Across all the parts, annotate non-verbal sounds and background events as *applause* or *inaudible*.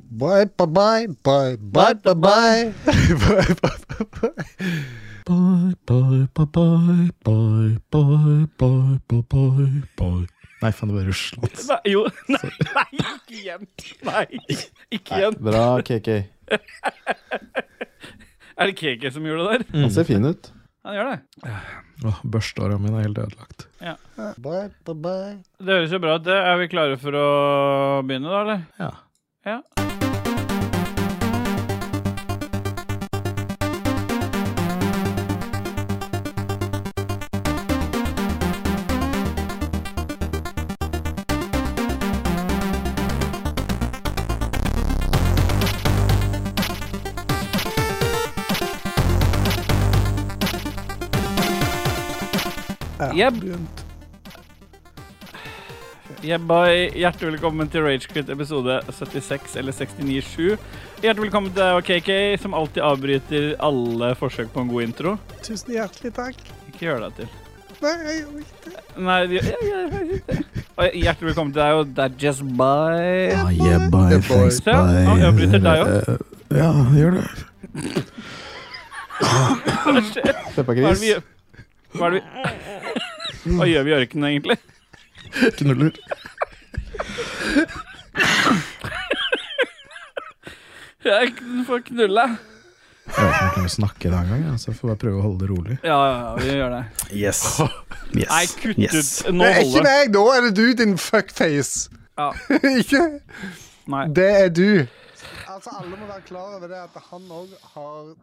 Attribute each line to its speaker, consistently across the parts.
Speaker 1: Bye, bye, bye, bye, bye, bye, bye.
Speaker 2: Bye, bye, bye, bye, bye, bye, bye, bye, bye, bye. Nei, faen, det var Russland.
Speaker 3: Nei, jo, nei, nei, ikke igjen. Nei, ikke igjen.
Speaker 4: Bra, KK.
Speaker 3: Er det Keke som gjorde det
Speaker 5: Mm.
Speaker 3: der?
Speaker 4: Han ser fin ut.
Speaker 3: Han gjør det.
Speaker 2: Åh, Børsteåra mine er helt ødelagt.
Speaker 1: Bye, bye, bye.
Speaker 3: Det høres jo bra ut. det. Er vi klare for å begynne, da, eller?
Speaker 2: Ja.
Speaker 3: Ja. Jeb. Jebba, Hjertelig velkommen til Ragequit episode 76 eller 69-7. Hjertelig velkommen til deg og KK, som alltid avbryter alle forsøk på en god intro.
Speaker 1: Tusen hjertelig takk.
Speaker 3: Ikke gjør deg til.
Speaker 1: Nei, jeg gjorde ikke
Speaker 3: Nei, ja, ja, ja. Og Hjertelig velkommen til deg og Dadges Bye.
Speaker 2: Ah, yeah, bye, thanks,
Speaker 3: Se, han avbryter deg
Speaker 2: Ja, gjør det.
Speaker 3: Hva skjer? Hva er det
Speaker 4: Peppergris.
Speaker 3: vi gjør? Hva, er det vi... *laughs* Hva gjør vi i ørkenen, egentlig?
Speaker 2: Knuller.
Speaker 3: Ørkenen får knulle.
Speaker 2: Jeg vet ikke om jeg kan snakke det engang, ja, så jeg får bare prøve å holde det rolig.
Speaker 3: Ja, ja, ja, vi gjør det.
Speaker 2: Yes.
Speaker 3: Nei, kutt ut. Nå
Speaker 1: Det er ikke
Speaker 3: holder det.
Speaker 1: meg, nå er det du, din fuckface.
Speaker 3: Ja,
Speaker 1: *laughs* ikke?
Speaker 3: nei.
Speaker 1: Det er du. Altså, alle må være klar over det at han òg har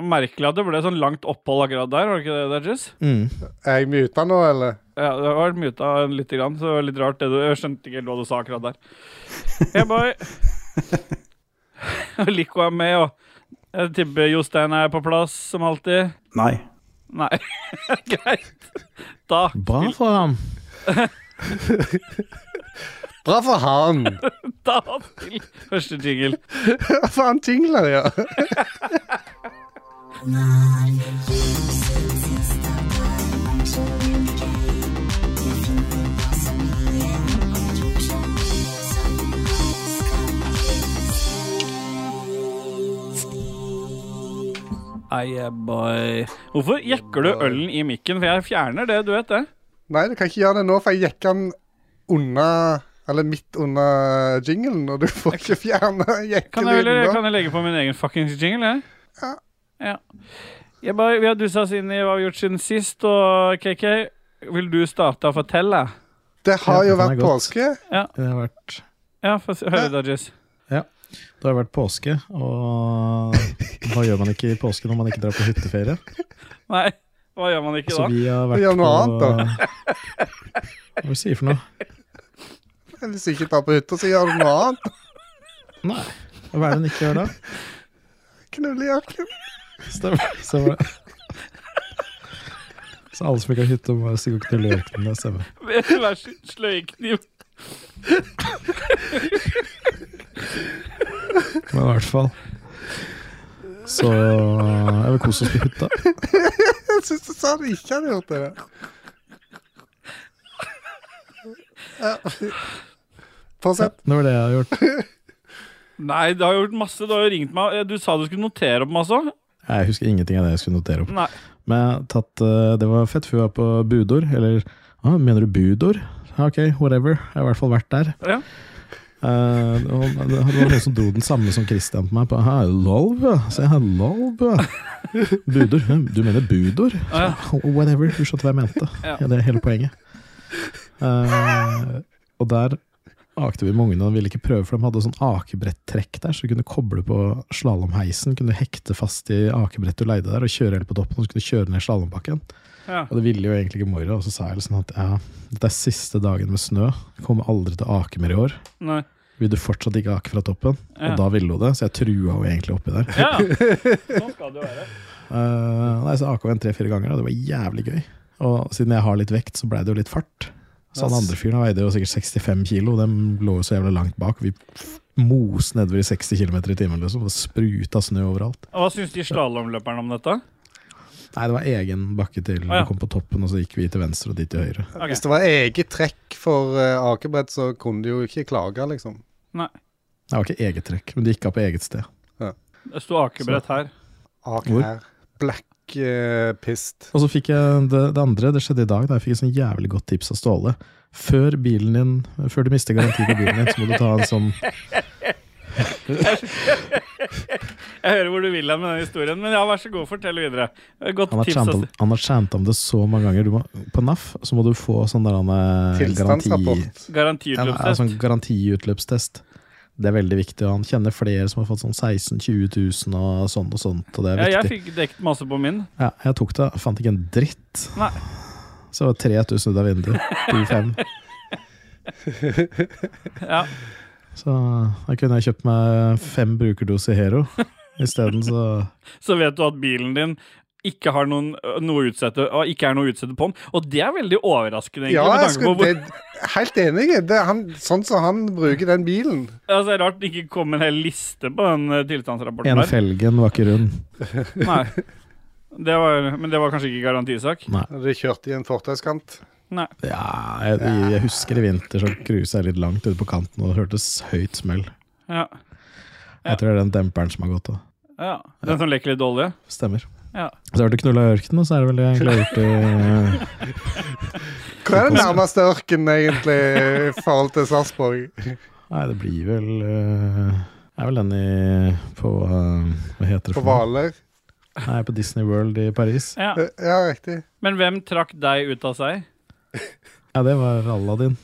Speaker 3: Merkelig at det ble sånn langt opphold akkurat der, var det ikke det, Dadges?
Speaker 2: Mm.
Speaker 1: Er jeg muta nå, eller?
Speaker 3: Ja, det har vært muta litt, grann, så det var litt rart. Det du, jeg skjønte ikke helt hva du sa akkurat der. Hey, boy. Og Lico er med, og jeg tipper Jostein er på plass, som alltid.
Speaker 6: Nei.
Speaker 3: Nei, *laughs* greit. Da
Speaker 2: Bra for ham.
Speaker 1: Bra for *laughs* han.
Speaker 3: Da til første jingle.
Speaker 1: For han tingler, ja.
Speaker 3: Ei, eh, boy. Hvorfor jekker du ølen i mikken? For jeg fjerner det, du vet det.
Speaker 1: Nei, du kan ikke gjøre det nå, for jeg jekka den unna Eller midt under jinglen, og du får ikke fjerne
Speaker 3: Kan
Speaker 1: jekken
Speaker 3: jeg,
Speaker 1: din
Speaker 3: vel-
Speaker 1: nå.
Speaker 3: kan jeg legge på min egen fuckings jingle, jeg?
Speaker 1: Ja.
Speaker 3: ja. Jeg bare, vi har dussa oss inn i hva vi har gjort siden sist, og KK, vil du starte å fortelle?
Speaker 1: Det har
Speaker 2: Ja,
Speaker 1: jo
Speaker 2: den er
Speaker 1: vært
Speaker 2: godt.
Speaker 1: påske.
Speaker 2: Det har vært
Speaker 3: Ja, få se- høre, Dodges.
Speaker 2: Det har vært påske, og hva gjør man ikke i påske når man ikke drar på hytteferie?
Speaker 3: Nei, hva gjør man ikke
Speaker 2: Så
Speaker 3: da?
Speaker 2: Altså, vi
Speaker 1: Gjør
Speaker 2: har vært på
Speaker 1: noe annet,
Speaker 2: Hva er det du sier for noe?
Speaker 1: Hvis du ikke drar på hytta, så gjør du noe annet.
Speaker 2: Nei. Hva er det hun ikke gjør da?
Speaker 1: Knull i jakken.
Speaker 2: Stemmer. Stemmer det. Så alle som ikke har hytte, må bare stikke og knulle i ørkenen. Det stemmer.
Speaker 3: *laughs* Vær så sløykniv.
Speaker 2: Men i hvert fall Så eh, jeg vil kose oss på hytta.
Speaker 1: Jeg syns du sa du ikke hadde gjort det. Ja. Fortsett.
Speaker 2: Det var det jeg har gjort.
Speaker 3: Nei, du har gjort masse. Du har jo ringt meg. Du sa du skulle notere opp masse òg.
Speaker 2: Jeg husker ingenting av det jeg skulle notere opp.
Speaker 3: Nei.
Speaker 2: Men jeg har tatt, eh, det var fett, for vi var på budord. Eller ah, mener du budord? Ja, Ok, whatever. Jeg har i hvert fall vært der.
Speaker 3: Ja.
Speaker 2: Eh, det var det var noen som dro den samme som Christian på meg. På, «Hæ, lolv, ja. Så jeg, «Hæ, lolv, *laughs* ja. Budord. «Hæ, Du mener budord?
Speaker 3: Ja.
Speaker 2: Oh, Whatever. Du skjønte hva jeg mente.
Speaker 3: *laughs* Ja.
Speaker 2: Ja, det er hele poenget. Eh, og der akte vi med ungene, og de ville ikke prøve, for de hadde sånn akebretttrekk der, så du kunne koble på slalåmheisen, kunne hekte fast i akebrettet du leide der, og kjøre helt på toppen, og så kunne du kjøre ned slalåmbakken.
Speaker 3: Ja.
Speaker 2: Og det ville jo egentlig ikke Moira, og så sa jeg liksom at ja, dette er siste dagen med snø, jeg kommer aldri til å ake mer i år.
Speaker 3: Nei.
Speaker 2: Vil du fortsatt ikke ake fra toppen?
Speaker 3: Ja.
Speaker 2: Og da ville hun det, så jeg trua henne egentlig oppi der. *laughs*
Speaker 3: ja. Sånn skal det jo være.
Speaker 2: Eh, nei, så AK en tre-fire ganger, og det var jævlig gøy. Og siden jeg har litt vekt, så blei det jo litt fart. Så han
Speaker 1: Ass.
Speaker 2: andre fyren han veide jo sikkert 65 kilo, og dem lå jo så jævlig langt bak. Vi mos nedover i 60 km i timen, liksom. Det spruta snø overalt.
Speaker 3: Og Hva syns de slalåmløperne om dette?
Speaker 2: Nei, det var egen bakke til.
Speaker 3: Å, ja.
Speaker 2: Vi kom på toppen, og så gikk vi til venstre og de til høyre.
Speaker 3: Ok.
Speaker 1: Hvis det var eget trekk for eh, akebrett, så kunne du jo ikke klage, liksom.
Speaker 3: Nei.
Speaker 2: Det var ikke eget trekk, men det gikk av på eget sted.
Speaker 3: Det sto akebrett her.
Speaker 1: Ak
Speaker 2: Hvor?
Speaker 1: her. Black eh, Pist.
Speaker 2: Og så fikk jeg det, det andre, det skjedde i dag, da jeg fikk et sånn jævlig godt tips av Ståle. Før bilen din, før du mister garanti på bilen din, så må du ta en sånn
Speaker 3: Jeg hører hvor du vil hen med den historien, men ja, vær så god, fortell videre. Godt
Speaker 2: Han har
Speaker 3: tips.
Speaker 2: chanta om,
Speaker 3: altså.
Speaker 2: han har chanta om det så mange ganger. Du må, på NAF så må du få sånn der han, eh, garanti,
Speaker 1: Tilstandsrapport.
Speaker 2: ja, ja,
Speaker 3: Garantiutløpstest.
Speaker 2: sånn garantiutløpstest. Det er veldig viktig. Og han kjenner flere som har fått sånn 16 000-20 000 og sånn og sånt. Og det er
Speaker 3: Ja, jeg
Speaker 2: viktig.
Speaker 3: fikk dekt masse på min.
Speaker 2: Ja, jeg tok det, fant ikke en dritt.
Speaker 3: Nei.
Speaker 2: Så det var 3000 ut av vinduet. Du fem.
Speaker 3: Ja.
Speaker 2: Så da kunne jeg kjøpt meg fem brukerdoser Hero. Isteden så
Speaker 3: Så vet du at bilen din ikke har noen, noe utsette, og ikke er noe utsette på den. Og det er veldig overraskende, egentlig.
Speaker 1: Ja,
Speaker 3: med
Speaker 1: jeg
Speaker 3: tanke på
Speaker 1: skulle,
Speaker 3: hvor,
Speaker 1: det, helt enig. Det er han, sånn som han bruker den bilen.
Speaker 3: altså, det er rart det ikke kom en hel liste på den eh, tilstandsrapporten
Speaker 2: En
Speaker 3: der.
Speaker 2: felgen var ikke rund.
Speaker 3: Nei. Det var, men det var kanskje ikke garantisak?
Speaker 1: Når de kjørte i en fortauskant.
Speaker 3: Nei.
Speaker 2: Ja, jeg, jeg husker i vinter så cruisa jeg litt langt ute på kanten og det hørtes høyt smell.
Speaker 3: Ja. Ja.
Speaker 2: Jeg tror det er den demperen som har gått òg.
Speaker 3: ja. Den som leker litt olje?
Speaker 2: Stemmer.
Speaker 3: Ja.
Speaker 2: Så har du knulla i ørkenen, og så er det vel egentlig gjort i
Speaker 1: Hvor er den nærmeste ørken, egentlig, i forhold til Sarpsborg?
Speaker 2: Nei, det blir vel eh, Det er vel den i på eh, Hva heter det?
Speaker 1: På
Speaker 2: for noe?
Speaker 1: Hvaler?
Speaker 2: Nei, på Disney World i Paris.
Speaker 3: Ja.
Speaker 1: Ja, riktig.
Speaker 3: Men hvem trakk deg ut av seg?
Speaker 2: Ja, det var Aladdin.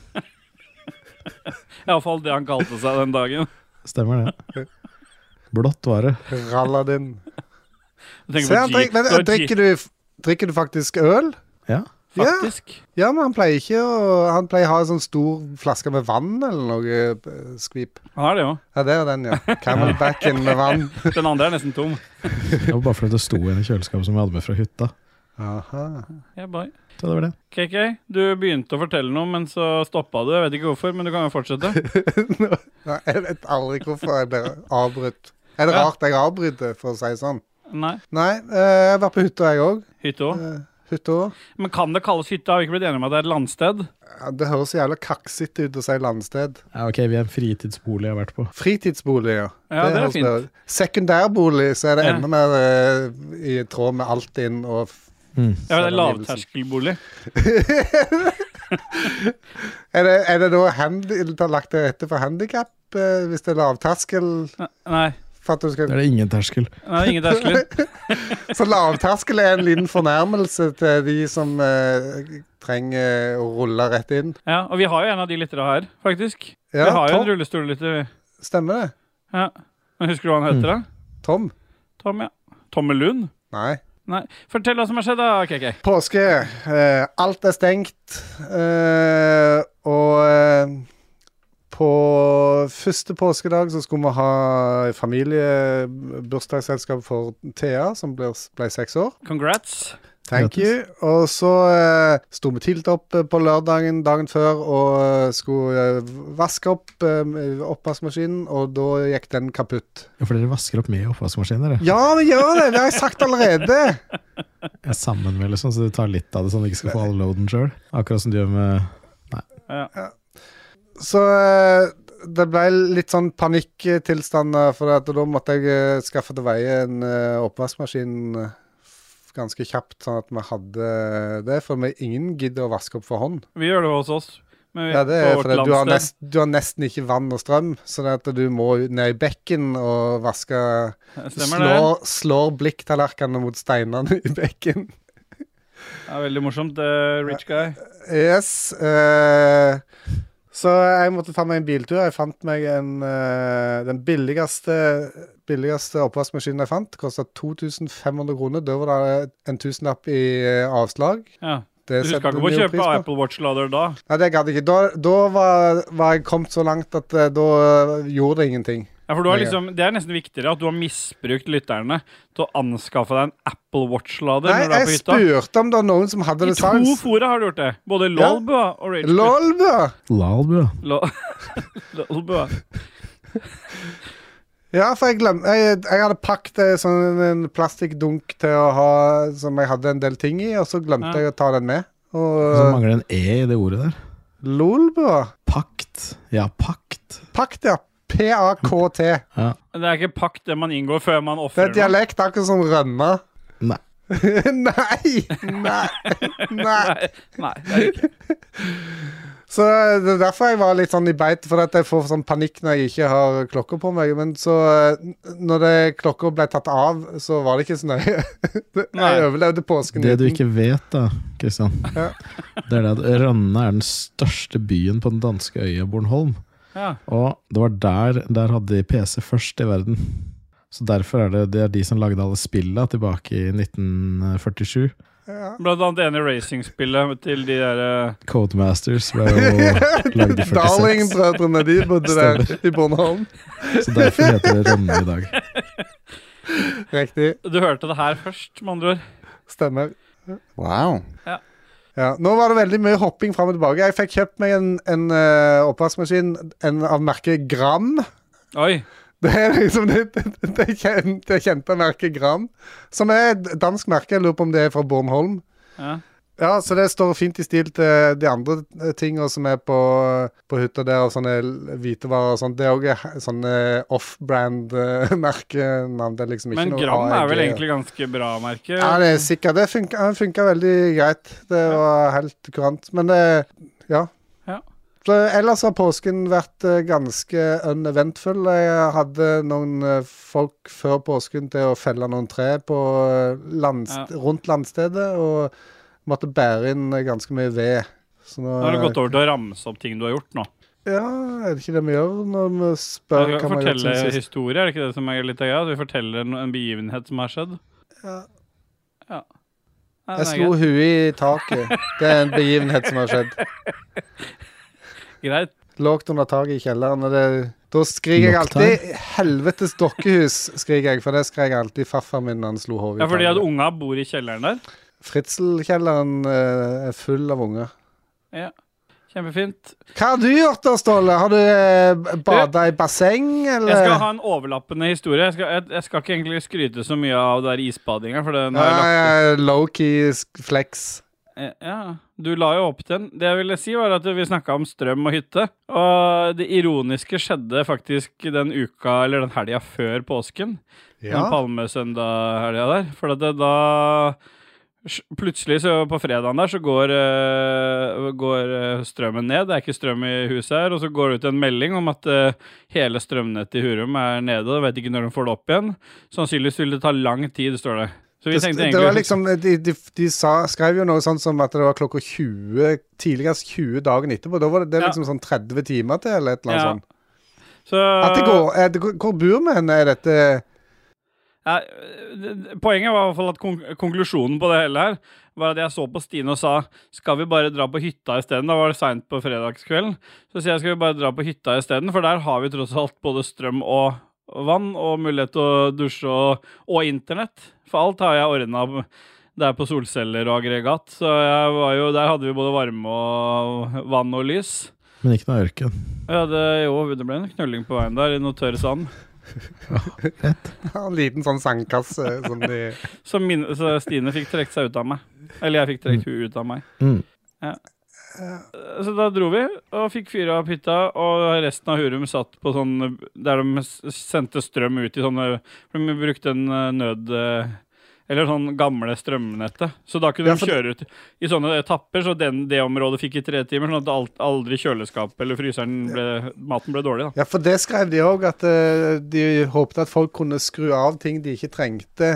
Speaker 3: Iallfall det han kalte seg den dagen.
Speaker 2: Stemmer det. Blått var det.
Speaker 1: Ralladin.
Speaker 3: Du tenker
Speaker 1: Se,
Speaker 3: på
Speaker 1: han
Speaker 3: G-
Speaker 1: drikk, men,
Speaker 3: det var G-
Speaker 1: drikker, du, drikker du faktisk øl?
Speaker 2: Ja.
Speaker 1: Ja,
Speaker 3: Faktisk.
Speaker 1: ja, men han pleier ikke å Han pleier å ha en sånn stor flaske med vann eller noe eh, skvip.
Speaker 3: Han har det jo.
Speaker 1: Ja, det er den,
Speaker 3: *laughs*
Speaker 1: ja. Camelbacken med vann.
Speaker 3: Den andre er nesten tom.
Speaker 2: Det var bare fordi det sto en i kjøleskapet som vi hadde med fra hytta.
Speaker 1: Aha.
Speaker 3: Yeah, boy.
Speaker 2: Så det var det.
Speaker 3: KK, du begynte å fortelle noe, men så stoppa du. Jeg vet ikke hvorfor, men du kan jo fortsette.
Speaker 1: Nei, jeg vet aldri hvorfor jeg blir avbrutt. Er det
Speaker 3: Ja.
Speaker 1: rart jeg avbryter, for å si det sånn?
Speaker 3: Nei,
Speaker 1: Nei, eh, jeg har vært på hytta, jeg òg.
Speaker 3: hytte òg.
Speaker 1: Hytta òg.
Speaker 3: Men kan det kalles hytte? Har vi ikke blitt enige om at det er et landsted?
Speaker 1: Ja, Det høres så jævla kaksete ut å si landsted.
Speaker 2: Ja, ok, vi er en fritidsbolig jeg har vært på.
Speaker 1: Fritidsboliger.
Speaker 3: Ja, det er
Speaker 1: høres
Speaker 3: fint.
Speaker 1: bedre ut. Sekundærbolig, så er det
Speaker 3: Ja.
Speaker 1: enda mer eh, i tråd med Altinn og f-
Speaker 3: Ja, det er
Speaker 1: Selvangivelsen.
Speaker 3: lavterskelbolig.
Speaker 1: Er det, er det da handi, det er lagt til rette for handikap, hvis det er lavterskel?
Speaker 3: Ne- Nei,
Speaker 1: For at du
Speaker 2: Der
Speaker 1: skal,
Speaker 2: er det ingen terskel.
Speaker 3: nei, ingen terskler.
Speaker 1: så lavterskel er en liten fornærmelse til de som eh, trenger å rulle rett inn?
Speaker 3: Ja, og vi har jo en av de lytterne her, faktisk.
Speaker 1: Ja,
Speaker 3: vi har jo en
Speaker 1: Tom,
Speaker 3: rullestollytter. vi.
Speaker 1: stemmer det?
Speaker 3: Ja. Men husker du hva han heter,
Speaker 1: Mm.
Speaker 3: da?
Speaker 1: Tom?
Speaker 3: Tom, ja. Tomme Lund?
Speaker 1: Nei.
Speaker 3: Nei. Fortell hva som har skjedd, da, KK.
Speaker 1: Påske. eh, alt er stengt. eh, og eh, på første påskedag så skulle vi ha familiebursdagsselskap for Thea, som ble, ble seks år.
Speaker 3: Congrats.
Speaker 1: Thank you. Og så uh, sto vi tidlig opp eh, på lørdagen dagen før og eh, skulle eh, vaske opp eh, oppvaskmaskinen, og da gikk den kaputt.
Speaker 2: Ja, for dere vasker opp med oppvaskmaskiner? dere.
Speaker 1: Ja, vi gjør det! Det har jeg sagt allerede.
Speaker 2: Ja, sammen med, liksom, så du tar litt av det, sånn at du ikke skal få all loaden sjøl. Akkurat som du gjør med
Speaker 1: Så eh, det ble litt sånn panikktilstander, for at da måtte jeg eh, skaffe til veie en eh, oppvaskmaskin eh, f- ganske kjapt, sånn at vi hadde eh, det. For vi, ingen gidder å vaske opp for hånd.
Speaker 3: Vi gjør det hos oss. Men vi,
Speaker 1: Ja, det er
Speaker 3: på vårt
Speaker 1: fordi du har,
Speaker 3: landsted.
Speaker 1: nest, du har nesten ikke vann og strøm, så det at du må ned i bekken og vaske
Speaker 3: Stemmer det.
Speaker 1: Slår, slår blikktallerkenene mot steinene i bekken.
Speaker 3: Det er veldig morsomt. eh, rich guy.
Speaker 1: Yes. eh, så jeg måtte ta meg en biltur. Jeg fant meg en, eh, den billigste, billigste oppvaskmaskinen jeg fant. Kosta 2500 kroner. Da var det en tusenlapp i eh, avslag.
Speaker 3: Ja.
Speaker 1: Det
Speaker 3: Du
Speaker 1: setter
Speaker 3: husker ikke på å
Speaker 1: vi jo
Speaker 3: kjøpe
Speaker 1: pris på.
Speaker 3: Apple Watch-lader da?
Speaker 1: Nei, det gadd jeg ikke. Da, da var, var jeg kommet så langt at eh, da eh, gjorde det ingenting.
Speaker 3: Ja, for du har
Speaker 1: Nei.
Speaker 3: liksom, Det er nesten viktigere at du har misbrukt lytterne til å anskaffe deg en Apple Watch-lader
Speaker 1: Nei,
Speaker 3: når du er på
Speaker 1: jeg
Speaker 3: hytta.
Speaker 1: spurte om det var noen som hadde
Speaker 3: I
Speaker 1: det
Speaker 3: to
Speaker 1: sans.
Speaker 3: fora har du gjort det. Både
Speaker 1: Ja.
Speaker 3: Lolbua og Rage Quit.
Speaker 1: Lolbø!
Speaker 2: Lalbu. ja.
Speaker 3: Lo- *laughs* Lolbua.
Speaker 1: Ja, for jeg glemte Jeg, jeg hadde pakket eh, sånn en plastikkdunk til å ha som jeg hadde en del ting i, og så glemte
Speaker 3: Ja.
Speaker 1: jeg å ta den med.
Speaker 2: Så
Speaker 1: Og eh,
Speaker 2: mangler det en E i det ordet der.
Speaker 1: Lolbua
Speaker 2: Pakt. Ja, pakt.
Speaker 1: Pakt, ja. P-A-K-T.
Speaker 2: Ja.
Speaker 3: Det er ikke pakt det man inngår før man
Speaker 1: Det
Speaker 3: ofrer
Speaker 1: er dialekt, akkurat som rønna. *laughs*
Speaker 2: Nei.
Speaker 1: nei! Nei! nei.
Speaker 3: Nei, nei, det er det ikke.
Speaker 1: Så det er derfor jeg var litt sånn i beit, for at jeg får sånn panikk når jeg ikke har klokka på meg. Men så eh, n- Når det, klokka ble tatt av, så var det ikke så nøye. *laughs*
Speaker 3: Nei.
Speaker 1: jeg overlevde påsken.
Speaker 2: Det du
Speaker 1: uten.
Speaker 2: ikke vet, da, Kristian,
Speaker 1: *laughs* Ja.
Speaker 2: det er det at Rønne er den største byen på den danske øya Bornholm.
Speaker 3: Ja.
Speaker 2: Og det var der Der hadde de PC først i verden. Så derfor er det, det er de som lagde alle spilla tilbake i 1947.
Speaker 1: Ja.
Speaker 3: Blant annet det ene racingspillet til de der eh,
Speaker 2: Codemasters ble
Speaker 1: *laughs*
Speaker 2: jo lagd i 46.
Speaker 1: Darling-brødrene, de bodde der i Bornholm.
Speaker 2: Så derfor heter det Rønne i dag.
Speaker 1: Riktig.
Speaker 3: Du hørte det her først, med andre ord.
Speaker 1: Stemmer. Wow.
Speaker 3: Ja.
Speaker 1: Ja, nå var det veldig mye hopping fram og tilbake. Jeg fikk kjøpt meg en, en eh, oppvaskmaskin en av merket Gram.
Speaker 3: Oi.
Speaker 1: Det er liksom det, det, det, kjente, det kjente merket Gram, som er et dansk merke. Jeg lurer på om det er fra Bornholm.
Speaker 3: Ja.
Speaker 1: Ja, så det står fint i stil til de andre eh, tinga som er på, på hytta der, og sånne l- hvitevarer og sånn. Det er òg sånne *laughs* off-brand-merkenavn. Det er liksom ikke
Speaker 3: Men
Speaker 1: noe
Speaker 3: Gram er vel
Speaker 1: AEG.
Speaker 3: egentlig ganske bra merke.
Speaker 1: Ja, det er sikkert. Det funka, han funka veldig greit. Det var helt kurant. Men det ja.
Speaker 3: Ja.
Speaker 1: Så ellers har påsken vært eh, ganske uneventfull. Jeg hadde noen eh, folk før påsken til å felle noen tre på eh, landst rundt landstedet, og måtte bære inn eh, ganske mye ved. Så nå,
Speaker 3: Nå har du gått over til å ramse opp ting du har gjort nå.
Speaker 1: Ja, er det ikke det vi gjør når vi
Speaker 3: Ja,
Speaker 1: spør
Speaker 3: Vi
Speaker 1: hva vi har gjort
Speaker 3: forteller
Speaker 1: siden sist?
Speaker 3: historier, er det ikke det som er litt av greia? At Vi forteller no- en begivenhet som har skjedd.
Speaker 1: Ja.
Speaker 3: Ja. Nei,
Speaker 1: Jeg
Speaker 3: den er
Speaker 1: slo huet i taket. Det er en begivenhet som har skjedd.
Speaker 3: greit.
Speaker 1: lågt under taket i kjelleren. Og det, da skriker jeg
Speaker 2: Nok der.
Speaker 1: alltid 'helvetes dokkehus', skriker jeg, for det skrek alltid farfar min når han slo hodet
Speaker 3: Ja,
Speaker 1: i
Speaker 3: fordi at
Speaker 1: taket.
Speaker 3: unga bor i kjelleren der.
Speaker 1: Fritzelkjelleren eh, er full av unger.
Speaker 3: Ja. Kjempefint.
Speaker 1: Hva har du gjort da, Ståle? Har du eh, bada i basseng, eller?
Speaker 3: Jeg skal ha en overlappende historie. Jeg skal, jeg, jeg skal ikke egentlig skryte så mye av der isbadinga, for den har jeg lagt
Speaker 1: ja, ja, Low-key sk- flex.
Speaker 3: Eh, Ja, du la jo opp til den. Det jeg ville si, var at vi snakka om strøm og hytte. Og det ironiske skjedde faktisk den uka, eller den helga før påsken. Den
Speaker 1: Ja.
Speaker 3: palmesøndag-helga der. For at det, da s- Plutselig så på fredagen der så går, eh, går eh, strømmen ned. Det er ikke strøm i huset her. Og så går det ut en melding om at eh, hele strømnettet i Hurum er nede. Og vet ikke når de får det opp igjen. Sannsynligvis vil det ta lang tid, står det. Så vi
Speaker 1: Det,
Speaker 3: tenkte
Speaker 1: det var
Speaker 3: egentlig
Speaker 1: liksom, de de, de sa, skrev jo noe sånn som at det var klokka 20 tidligst 20 dagen etterpå. Da var det, det
Speaker 3: Ja.
Speaker 1: liksom sånn 30 timer til, eller et eller annet
Speaker 3: Ja. Eh,
Speaker 1: sånt.
Speaker 3: så,
Speaker 1: At det går, er det, hvor bor vi hen? Er dette
Speaker 3: Ja, d- d- poenget var i hvert fall at konk konklusjonen på det hele her var at jeg så på Stine og sa skal vi bare dra på hytta isteden. Da var det seint på fredagskvelden. Så sier jeg skal vi bare dra på hytta isteden, for der har vi tross alt både strøm og vann og mulighet til å dusje og, og internett. For alt har jeg ordna der på solceller og aggregat. Så jeg var jo, der hadde vi både varme og vann og lys.
Speaker 2: Men ikke noe ørken.
Speaker 3: Og jeg hadde, jo, det ble en knulling på veien der i noe tørr sand.
Speaker 1: En liten sånn sandkasse som de
Speaker 3: Så, min, så Stine fikk trukket seg ut av meg. Eller jeg fikk trukket hun ut av meg.
Speaker 2: Mm.
Speaker 3: Så da dro vi og fikk fyra opp hytta, og resten av Hurum satt på sånn Der de s- sendte strøm ut i sånne For de brukte en eh, nød... eh, Eller sånn gamle strømnettet. Så da kunne
Speaker 1: Ja,
Speaker 3: de
Speaker 1: for-
Speaker 3: kjøre ut i sånne etapper, så den, det området fikk i tre timer, sånn at alt, aldri kjøleskapet eller fryseren ble Maten ble dårlig, da.
Speaker 1: Ja, for det skrev de òg, at eh, de håpte at folk kunne skru av ting de ikke trengte,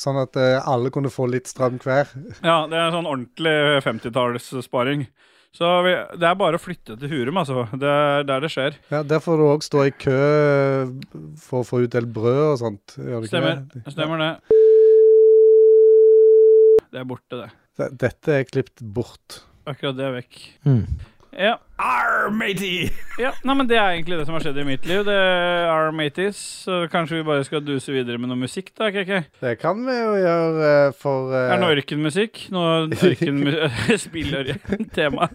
Speaker 1: sånn at eh, alle kunne få litt strøm hver.
Speaker 3: Ja, det er sånn ordentlig 50-tallssparing. Så vi, det er bare å flytte til Hurum, altså. Det er der det skjer.
Speaker 1: Ja, Der får du òg stå i kø eh, for å få utdelt brød og sånt. Gjør du ikke
Speaker 3: Stemmer.
Speaker 1: det?
Speaker 3: Stemmer det. Det er borte, det.
Speaker 1: D- Dette er klippet bort.
Speaker 3: Akkurat det er vekk.
Speaker 2: Mm.
Speaker 3: Ja. ja. Nei, men det er egentlig det som har skjedd i mitt liv. Det er our mateys. Så kanskje vi bare skal duse videre med noe musikk, da? KK?
Speaker 1: Det kan vi jo gjøre eh, for eh,
Speaker 3: Er det noe ørkenmusikk? Noe ørkenmu-
Speaker 1: *laughs*
Speaker 3: *laughs* Spillørken-tema?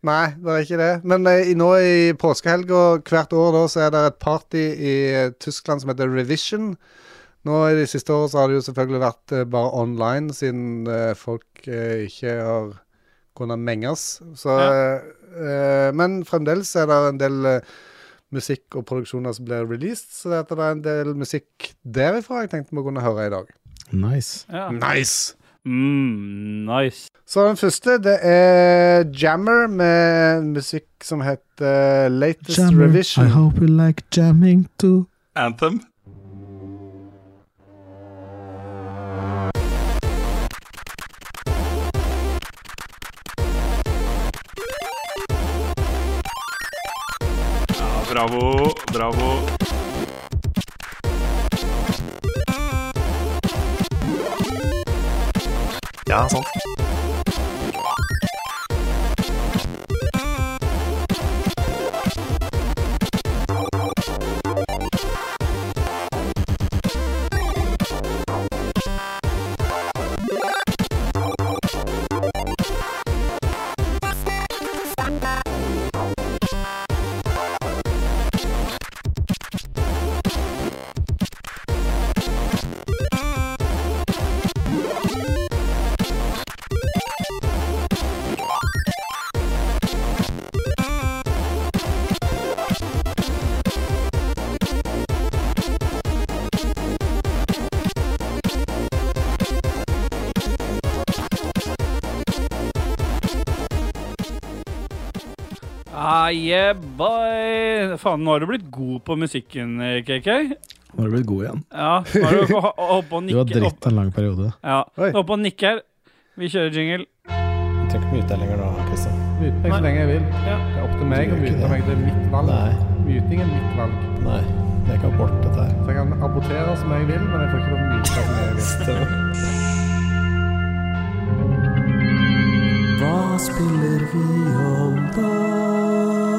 Speaker 1: Nei, det er ikke det. Men eh, i- nå i påskehelga hvert år da, så er det et party i eh, Tyskland som heter Revision. Nå i de siste årene så har det jo selvfølgelig vært eh, bare online, siden eh, folk eh, ikke har kunnet menges. Så
Speaker 3: Ja.
Speaker 1: eh, Eh, men fremdeles er det en del eh, musikk og produksjoner som blir released, så det er en del musikk derifra jeg tenkte vi kunne høre i dag.
Speaker 2: Nice.
Speaker 3: Ja.
Speaker 1: Nice!
Speaker 3: Mm, nice.
Speaker 1: Så den første, det er Jammer med en musikk som heter Latest
Speaker 2: Jammer, I
Speaker 1: Revision.
Speaker 2: hope you like jamming too.
Speaker 4: Anthem. Ja, Bravo, bravo. Ja, sant.
Speaker 3: Ah, yeah, boy. Faen, nå har du blitt god på musikken, eh, KK.
Speaker 2: Nå har du blitt god igjen.
Speaker 3: Ja, nå har du ho- hoppet og
Speaker 2: *laughs* Du var
Speaker 3: nikket.
Speaker 2: dritt
Speaker 3: opp-
Speaker 2: en lang periode.
Speaker 3: Ja,
Speaker 1: Oi.
Speaker 3: hoppet og nikket her. Vi kjører jingle.
Speaker 2: Du trenger ikke mute deg lenger nå, Kristian.
Speaker 1: Mute meg så lenge jeg vil. Det er opp til meg å
Speaker 2: Du gjør ikke
Speaker 1: mute
Speaker 2: det.
Speaker 1: meg. Det er mitt valg.
Speaker 2: Nei.
Speaker 1: Muting er mitt valg.
Speaker 2: Nei, jeg kan borte dette her.
Speaker 1: Så jeg kan abortere som jeg vil, men jeg får ikke lov å myte som jeg vil.
Speaker 6: Hva spiller vi om da?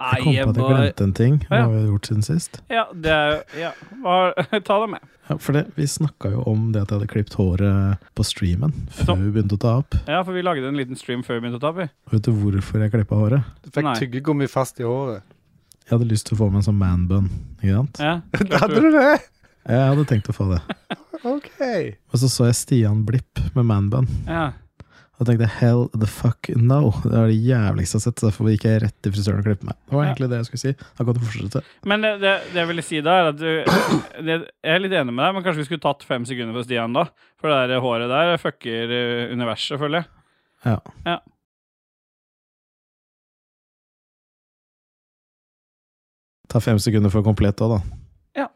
Speaker 3: Ah,
Speaker 2: Jeg kom
Speaker 3: yeah,
Speaker 2: på at jeg
Speaker 3: boy.
Speaker 2: glemte en ting. Hva
Speaker 3: Ja.
Speaker 2: har vi gjort siden sist?
Speaker 3: Ja, det er jo Ja, Hva- *laughs* ta det med.
Speaker 2: Ja, for det, Vi snakka jo om det at jeg hadde klippet håret på streamen før
Speaker 3: Sånn.
Speaker 2: vi begynte å ta opp.
Speaker 3: Ja, for vi lagde en liten stream før vi begynte å ta opp. vi.
Speaker 2: Vet du hvorfor jeg klippa håret?
Speaker 1: Du fikk
Speaker 3: Nei.
Speaker 1: tyggegummi fast i håret.
Speaker 2: Jeg hadde lyst til å få meg en sånn manbun. Ikke sant? *laughs*
Speaker 3: Ja,
Speaker 1: *laughs* Hadde du det?
Speaker 2: Jeg hadde tenkt å få det.
Speaker 1: OK. Eh,
Speaker 2: Og så så jeg Stian Blipp med manbun.
Speaker 3: Ja.
Speaker 2: Og tenkte hell the fuck no. Det var det jævligste jeg har sett. Så derfor gikk jeg rett til frisøren og klippet meg. Det var
Speaker 3: Ja.
Speaker 2: egentlig det jeg skulle si. Da kan du fortsette.
Speaker 3: Men det, det, det jeg ville si da, er at du *coughs* det, Jeg er litt enig med deg, men kanskje vi skulle tatt fem sekunder for Stian da? For det der håret der fucker eh, universet, føler jeg.
Speaker 2: Ja.
Speaker 3: Ja.
Speaker 2: Ta fem sekunder for komplett òg, da.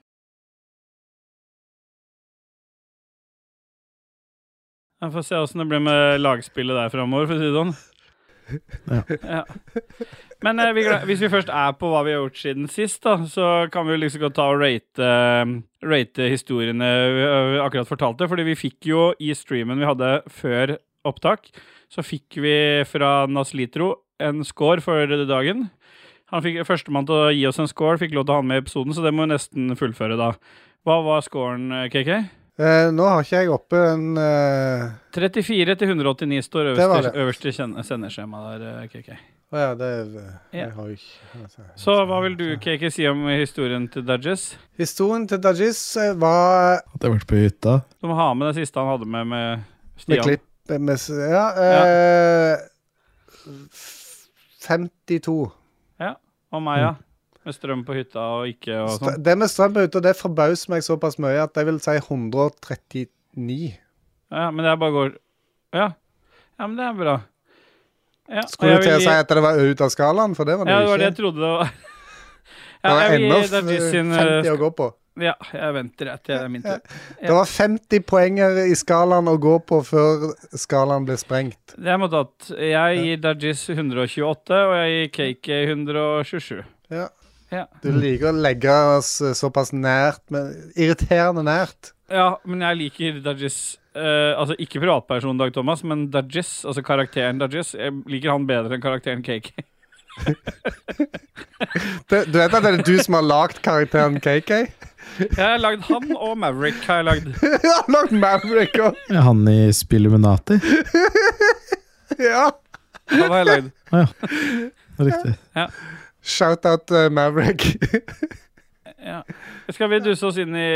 Speaker 3: Jeg får se åssen det blir med lagspillet der framover, for å si det sånn.
Speaker 2: Ja.
Speaker 3: Ja. Men eh, vi, glem- hvis vi først er på hva vi har gjort siden sist, da, så kan vi jo liksom godt ta og rate, eh, rate historiene vi eh, akkurat fortalte. Fordi vi fikk jo i streamen vi hadde før opptak, så fikk vi fra Naslitro en score for dagen. Han fikk Førstemann til å gi oss en score fikk lov til å ha den med i episoden, så det må vi nesten fullføre, da. Hva var scoren, eh, KK?
Speaker 1: Eh, nå har ikke jeg oppe en eh,
Speaker 3: 34 til 189 står
Speaker 1: Det var
Speaker 3: øverste,
Speaker 1: det.
Speaker 3: øverste kjen- sendeskjema der, eh, KK.
Speaker 1: Å ja, det er Jeg har jo ikke altså.
Speaker 3: Så hva vil du, KK, si om historien til Dudges?
Speaker 1: Historien til Dajis eh, var
Speaker 2: At jeg har vært på hytta.
Speaker 3: Du må ha med det siste han hadde med med Stian.
Speaker 1: med klipp eh, med, s- Ja. eh, f- 52.
Speaker 3: Og meg,
Speaker 1: Mm.
Speaker 3: ja. Med strøm på hytta og ikke og
Speaker 1: Stra-
Speaker 3: sånn.
Speaker 1: Det med strøm på hytta, det forbauser meg såpass mye at jeg vil si 139.
Speaker 3: Ja, men det er bare går Ja. ja, men det er bra. Ja, og
Speaker 1: Skulle du
Speaker 3: jeg
Speaker 1: til å
Speaker 3: vil gi-
Speaker 1: si at det var ut av skalaen, for det var *laughs* det
Speaker 3: Ja, det var det
Speaker 1: ikke.
Speaker 3: jeg trodde det var.
Speaker 1: Det
Speaker 3: Ja,
Speaker 1: var
Speaker 3: jeg vil
Speaker 1: ennå
Speaker 3: gi Dudges sin eh,
Speaker 1: 50 å gå på.
Speaker 3: Ja, jeg venter jeg til det er min tur. Ja.
Speaker 1: Det var 50 poenger i skalaen å gå på før skalaen ble sprengt.
Speaker 3: Det er mottatt. Jeg gir Dudges 128, og jeg gir Cake 127.
Speaker 1: Ja.
Speaker 3: Ja.
Speaker 1: Du liker å legge oss eh, såpass nært, men irriterende nært.
Speaker 3: Ja, men jeg liker Dudges eh, Altså ikke privatpersonen Dag Thomas, men Dudges, altså karakteren Dudges. Jeg liker han bedre enn karakteren Cake.
Speaker 1: Du, du vet at det er du som har lagd karakteren *laughs* KK?
Speaker 3: *laughs* Jeg har lagd han og Maverick. har jeg lagd
Speaker 1: Du har lagd Maverick òg!
Speaker 2: Ja, Han i Spilluminati.
Speaker 1: Ja.
Speaker 3: Han har jeg lagd.
Speaker 2: Riktig.
Speaker 1: Shout-out eh, Maverick.
Speaker 3: Ja. Skal vi duse oss inn i,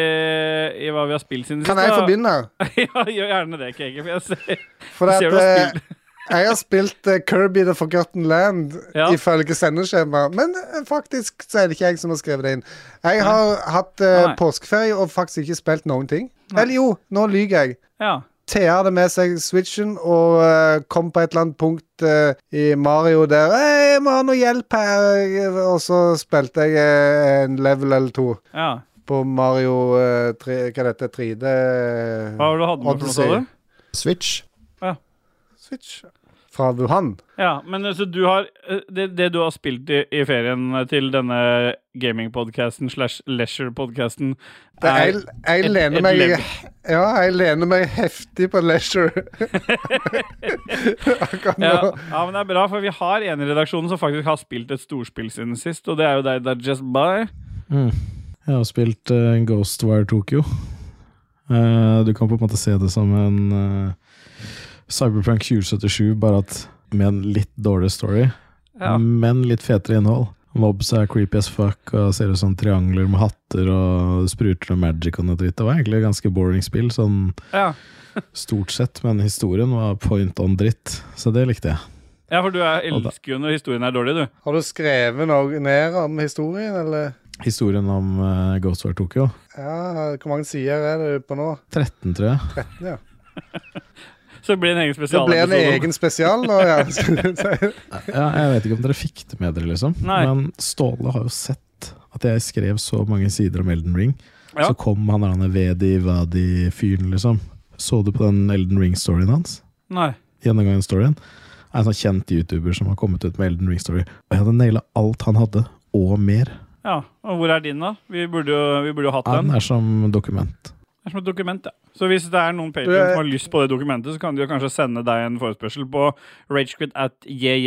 Speaker 3: i hva vi har spilt siden
Speaker 1: Kan jeg få begynne?
Speaker 3: *laughs* ja, gjør gjerne det, KG. For jeg ser,
Speaker 1: For at,
Speaker 3: ser du har
Speaker 1: eh, *laughs* jeg har spilt eh, Kirby The Forgotten Land
Speaker 3: Ja.
Speaker 1: ifølge sendeskjema, men eh, faktisk så er det ikke jeg som har skrevet det inn. Jeg har hatt eh,
Speaker 3: Nei.
Speaker 1: påskeferie og faktisk ikke spilt noen ting. Eller jo, nå lyver jeg.
Speaker 3: ja.
Speaker 1: Thea hadde med seg Switchen og eh, kom på et eller annet punkt eh, i Mario der «Hei, 'Jeg må ha noe hjelp her', og så spilte jeg eh, en level eller to
Speaker 3: ja.
Speaker 1: på Mario eh, tre, Hva er dette? 3D eh,
Speaker 3: Hva var det du hadde med for noe, sa
Speaker 1: Odyssey.
Speaker 3: du?
Speaker 2: Switch.
Speaker 1: Switch fra Wuhan.
Speaker 3: Ja, men eh, så du har eh, Det, det du har spilt i, i ferien eh, til denne gamingpodcasten slash leisure-podcasten
Speaker 1: Det, jeg, jeg,
Speaker 3: et-
Speaker 1: lener
Speaker 3: et
Speaker 1: meg,
Speaker 3: level.
Speaker 1: *laughs* ja, jeg lener meg heftig på leisure *laughs* akkurat nå.
Speaker 3: Ja, ja, men det er bra, for vi har en i redaksjonen som faktisk har spilt et storspill siden sist, og det er jo deg, det er Just By.
Speaker 2: Jeg har spilt eh, Ghostwire Tokyo. Eh, du kan på en måte se det som en eh, Cyberprank 2077, bare at med en litt dårlig story,
Speaker 3: Ja.
Speaker 2: men litt fetere innhold. Mobs er creepy as fuck og ser ut som triangler med hatter og spruter og magic og noe dritt. Det var egentlig et ganske boring spill, sånn
Speaker 3: Ja.
Speaker 2: stort sett, men historien var point on dritt, så det likte jeg.
Speaker 3: ja, for du er
Speaker 2: Og da-
Speaker 3: elsker jo når historien er dårlig, du.
Speaker 1: Har du skrevet noe ned om historien, eller?
Speaker 2: Historien om eh, Ghostwire Tokyo,
Speaker 1: Ja, Hvor mange sider er det på nå?
Speaker 2: 13 tror jeg.
Speaker 1: 13, ja.
Speaker 3: Så det blir en egen
Speaker 1: Det ble en
Speaker 3: spesialepisode.
Speaker 1: egen spesial nå,
Speaker 3: *laughs*
Speaker 1: ja. Skulle jeg si.
Speaker 2: Ja, jeg vet ikke om dere fikk det med dere, liksom.
Speaker 3: Nei.
Speaker 2: Men Ståle har jo sett at jeg skrev så mange sider om Elden Ring.
Speaker 3: Ja.
Speaker 2: Så kom han der Vedi Vadi-fyren, liksom. Så du på den Elden Ring-storyen hans?
Speaker 3: Nei.
Speaker 2: Gjennomgangen-storyen? En sånn kjent YouTuber som har kommet ut med Elden Ring-story. Og jeg hadde naila alt han hadde, og mer.
Speaker 3: Ja, og hvor er din, da? Vi burde jo, vi burde jo hatt den.
Speaker 2: Han er som dokument.
Speaker 3: Det er som et dokument, ja. Så hvis det er noen
Speaker 1: Du,
Speaker 3: patrons
Speaker 1: jeg-
Speaker 3: som har lyst på det dokumentet, så kan de jo kanskje sende deg en forespørsel på ragequit at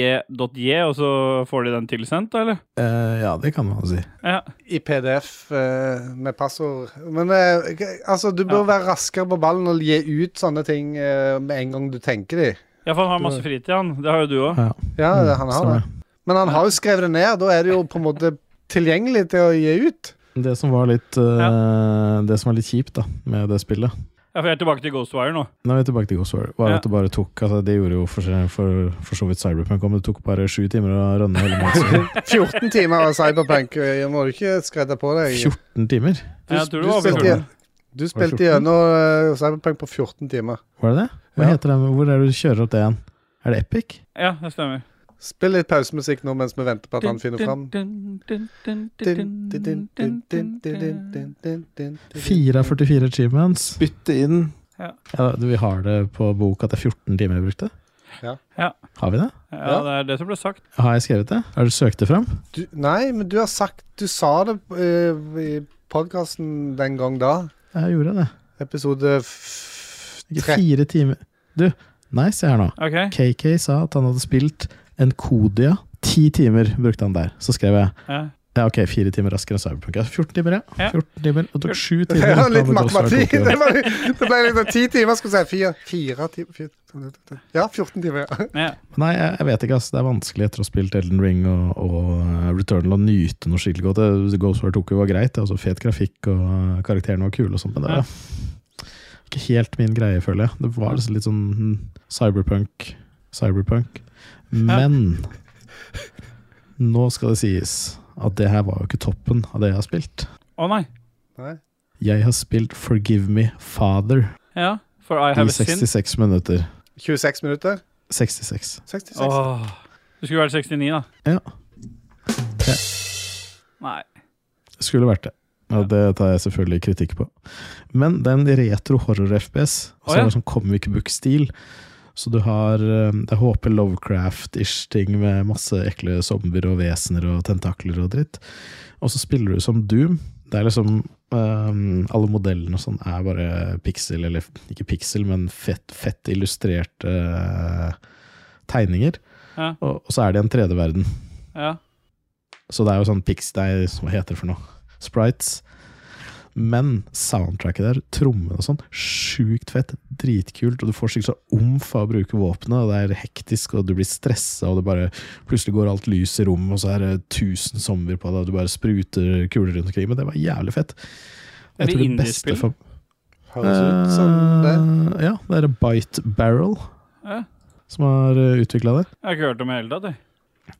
Speaker 3: jj.j, og så får de den tilsendt, da, eller?
Speaker 2: Eh, ja, det kan man si.
Speaker 3: Ja.
Speaker 1: I PDF eh, med passord. Men eh, g- altså, du bør
Speaker 3: Ja.
Speaker 1: være raskere på ballen og gi ut sånne ting eh, med en gang du tenker de.
Speaker 3: ja, for han har masse fritid, han. Det har jo du òg.
Speaker 2: Ja,
Speaker 1: Ja,
Speaker 2: Mm,
Speaker 1: det- han har
Speaker 2: stemmer.
Speaker 1: det. Men han har jo skrevet det ned. Da er det jo på en måte tilgjengelig til å gi ut.
Speaker 2: Det som var litt eh, Det som var litt kjipt da med det spillet,
Speaker 3: Ja, for jeg er tilbake til Ghostwire nå.
Speaker 2: Nå er vi tilbake til Ghostwire. Var
Speaker 3: Ja.
Speaker 2: at det bare tok altså, Det gjorde jo for, for, for så vidt Cyberpunk om det tok bare sju timer å rønne
Speaker 1: *laughs*
Speaker 2: hele massen.
Speaker 1: 14 timer av Cyberpunk. eh, Må du ikke skredde på deg.
Speaker 2: 14 timer?
Speaker 3: Jeg tror
Speaker 1: du
Speaker 3: det var
Speaker 1: spilte
Speaker 3: fjorten.
Speaker 1: igjen. Du
Speaker 2: Var det
Speaker 1: spilte
Speaker 2: 14?
Speaker 1: gjennom eh, Cyberpunk på 14 timer.
Speaker 2: Var det det? Hva
Speaker 1: Ja.
Speaker 2: heter den? Hvor er det du kjører opp det igjen? Er det Epic?
Speaker 3: Ja, det stemmer.
Speaker 1: Spill litt pausemusikk nå mens vi venter på at han finner fram.
Speaker 2: Fire av 44 achievements.
Speaker 7: Bytte inn
Speaker 2: Ja, du, vi har det på bok at det er 14 timer vi brukte?
Speaker 1: Ja.
Speaker 3: Ja.
Speaker 2: Har vi det?
Speaker 3: Ja,
Speaker 1: Ja.
Speaker 3: det er det som ble sagt.
Speaker 2: Har jeg skrevet det? Har du søkt det fram?
Speaker 1: Du, nei, men du har sagt Du sa det eh, i podkasten den gang da.
Speaker 2: Jeg gjorde det.
Speaker 1: Episode f-
Speaker 2: Ikke
Speaker 1: tre-
Speaker 2: fire timer Du, nei, se her nå.
Speaker 3: OK?
Speaker 2: KK sa at han hadde spilt en Kodia. Ti timer brukte han der. Så skrev jeg
Speaker 3: Ja.
Speaker 2: Ja, ok, fire timer raskere enn Cyberpunk. Ja, 14 timer, ja.
Speaker 3: Ja.
Speaker 2: 14 timer, og tok
Speaker 1: *laughs*
Speaker 2: sju timer.
Speaker 1: Det var litt
Speaker 2: Da hadde det også vært
Speaker 1: matematikk!
Speaker 2: ok,
Speaker 1: Det,
Speaker 2: da.
Speaker 1: var, litt- det ble litt ti timer, skulle jeg si. Fire, fire timer fire- Ja, 14 timer. ja.
Speaker 3: Ja.
Speaker 2: Nei, jeg, jeg vet ikke, ass. Det er vanskelig etter å ha spilt Elden Ring og, og eh, Returnal å nyte noe skikkelig godt. Det- Ghost War Tokyo var greit, det er også fet grafikk, og eh, karakterene var kule og sånt, men det var
Speaker 3: Ja.
Speaker 2: ikke helt min greie, føler jeg. Det var liksom litt sånn mm, cyberpunk, cyberpunk. Men nå skal det sies at det her var jo ikke toppen av det jeg har spilt.
Speaker 3: Å nei.
Speaker 1: Nei.
Speaker 2: Jeg har spilt Forgive Me Father
Speaker 3: Ja. For I
Speaker 2: i
Speaker 3: have a sin.
Speaker 2: 66 minutter.
Speaker 1: 26 minutter?
Speaker 2: 66.
Speaker 1: 66?
Speaker 3: Åh. Du skulle vært 69, da.
Speaker 2: Ja. Ja.
Speaker 3: Nei.
Speaker 2: Skulle vært det. Og det tar jeg selvfølgelig kritikk på. Men det er en retro horror-FPS.
Speaker 3: Å,
Speaker 2: Så
Speaker 3: ja.
Speaker 2: er det sånn comic book-stil. Så du har eh, Det er HP Lovecraft-ish ting med masse ekle zombier og vesener og tentakler og dritt. Og så spiller du som Doom. Det er liksom eh, Alle modellene og sånn er bare pixel, eller ikke pixel, men fett, fett illustrerte eh, tegninger.
Speaker 3: Ja.
Speaker 2: Og, og så er det en 3D-verden.
Speaker 3: Ja.
Speaker 2: Så det er jo sånn pix, nei, hva heter det for noe? Sprites. Men soundtracket der, trommene og sånn, sjukt fett, dritkult, og du får sikkert så omf av å bruke våpenet, og det er hektisk, og du blir stressa, og det bare plutselig går alt lys i rommet, og så er det tusen zombier på deg, og du bare spruter kuler rundt omkring, men det var jævlig fett.
Speaker 3: Er
Speaker 2: Jeg
Speaker 3: det
Speaker 2: tror det
Speaker 3: indiespill?
Speaker 2: beste for
Speaker 1: Høres ut som det.
Speaker 2: Eh, Ja, det er Bite Barrel
Speaker 3: Ja.
Speaker 2: som har utvikla det.
Speaker 3: Jeg har ikke hørt om det i hele tatt, jeg.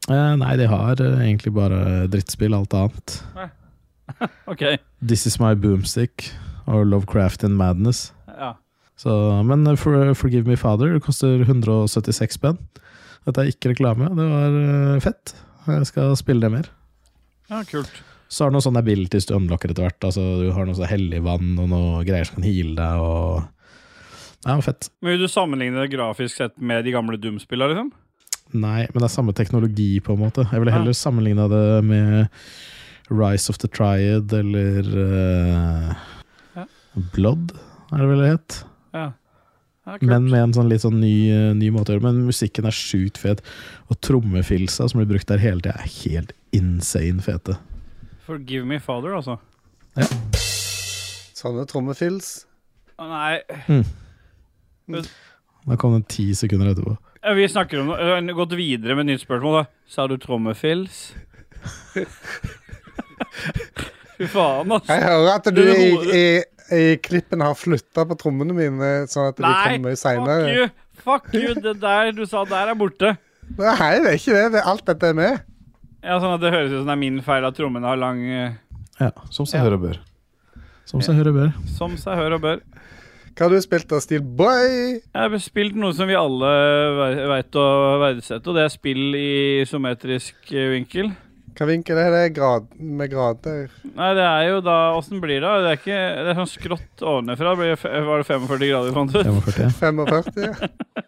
Speaker 2: Eh, nei, de har eh, egentlig bare drittspill, alt annet.
Speaker 3: Ok.
Speaker 2: This Is My Boomstick og Lovecraft and Madness.
Speaker 3: Ja.
Speaker 2: Så, men eh, for, Forgive Me Father det koster 176 spenn. Dette er ikke reklame. Det var eh, fett. Jeg skal spille det mer.
Speaker 3: ja, kult.
Speaker 2: Så har du noen sånne abilities du unlocker etter hvert. Altså, du har noe sånn hellig vann og noe greier som kan heale deg. Og... Ja, fett.
Speaker 3: Men Vil du sammenligne det grafisk sett med de gamle Doom-spillene, liksom?
Speaker 2: Nei, men det er samme teknologi, på en måte. Jeg ville heller sammenligna det med Rise of the Triad eller eh,
Speaker 3: Ja.
Speaker 2: Blood, er det vel det het.
Speaker 3: Ja. ja kult.
Speaker 2: Men med en sånn litt sånn ny, eh, ny måte å gjøre det Men musikken er sjukt fet, og trommefilsa som blir brukt der hele tida, er helt insane fete.
Speaker 3: Forgive me father, altså.
Speaker 1: Sånne trommefills.
Speaker 3: Å, Nei,
Speaker 2: Da kom den ti sekunder etterpå.
Speaker 3: Ja, vi snakker om noe. Jeg har gått videre med et nytt spørsmål. da. Sa du trommefills? *laughs* Fy faen, altså. ass.
Speaker 1: Jeg hører at du
Speaker 3: Det er
Speaker 1: i,
Speaker 3: hodet.
Speaker 1: i, i klippen har flytta på trommene mine, sånn at de
Speaker 3: Nei,
Speaker 1: kommer mye
Speaker 3: fuck
Speaker 1: seinere.
Speaker 3: you! Fuck you, Det der du sa der, er borte.
Speaker 1: Nei, det er ikke det. det. er Alt dette er med.
Speaker 3: Ja, sånn at Det høres ut som det er min feil at trommene har lang eh,
Speaker 2: Ja, som seg hør og bør. Som seg hør og bør.
Speaker 3: Som seg hør og bør.
Speaker 1: Hva har du spilt da, Steel Boy?
Speaker 3: Jeg har spilt noe som vi alle ve- vet å verdsette, og det er spill i isometrisk eh, vinkel.
Speaker 1: Hva vinkel er det? Grad, med grader?
Speaker 3: Nei, det er jo da Åssen blir det? da? Det er ikke Det er sånn skrått ovenfra. Blir det fe- Var det 45 grader, fant du ut?
Speaker 2: 45.
Speaker 3: *laughs*
Speaker 1: 45? ja.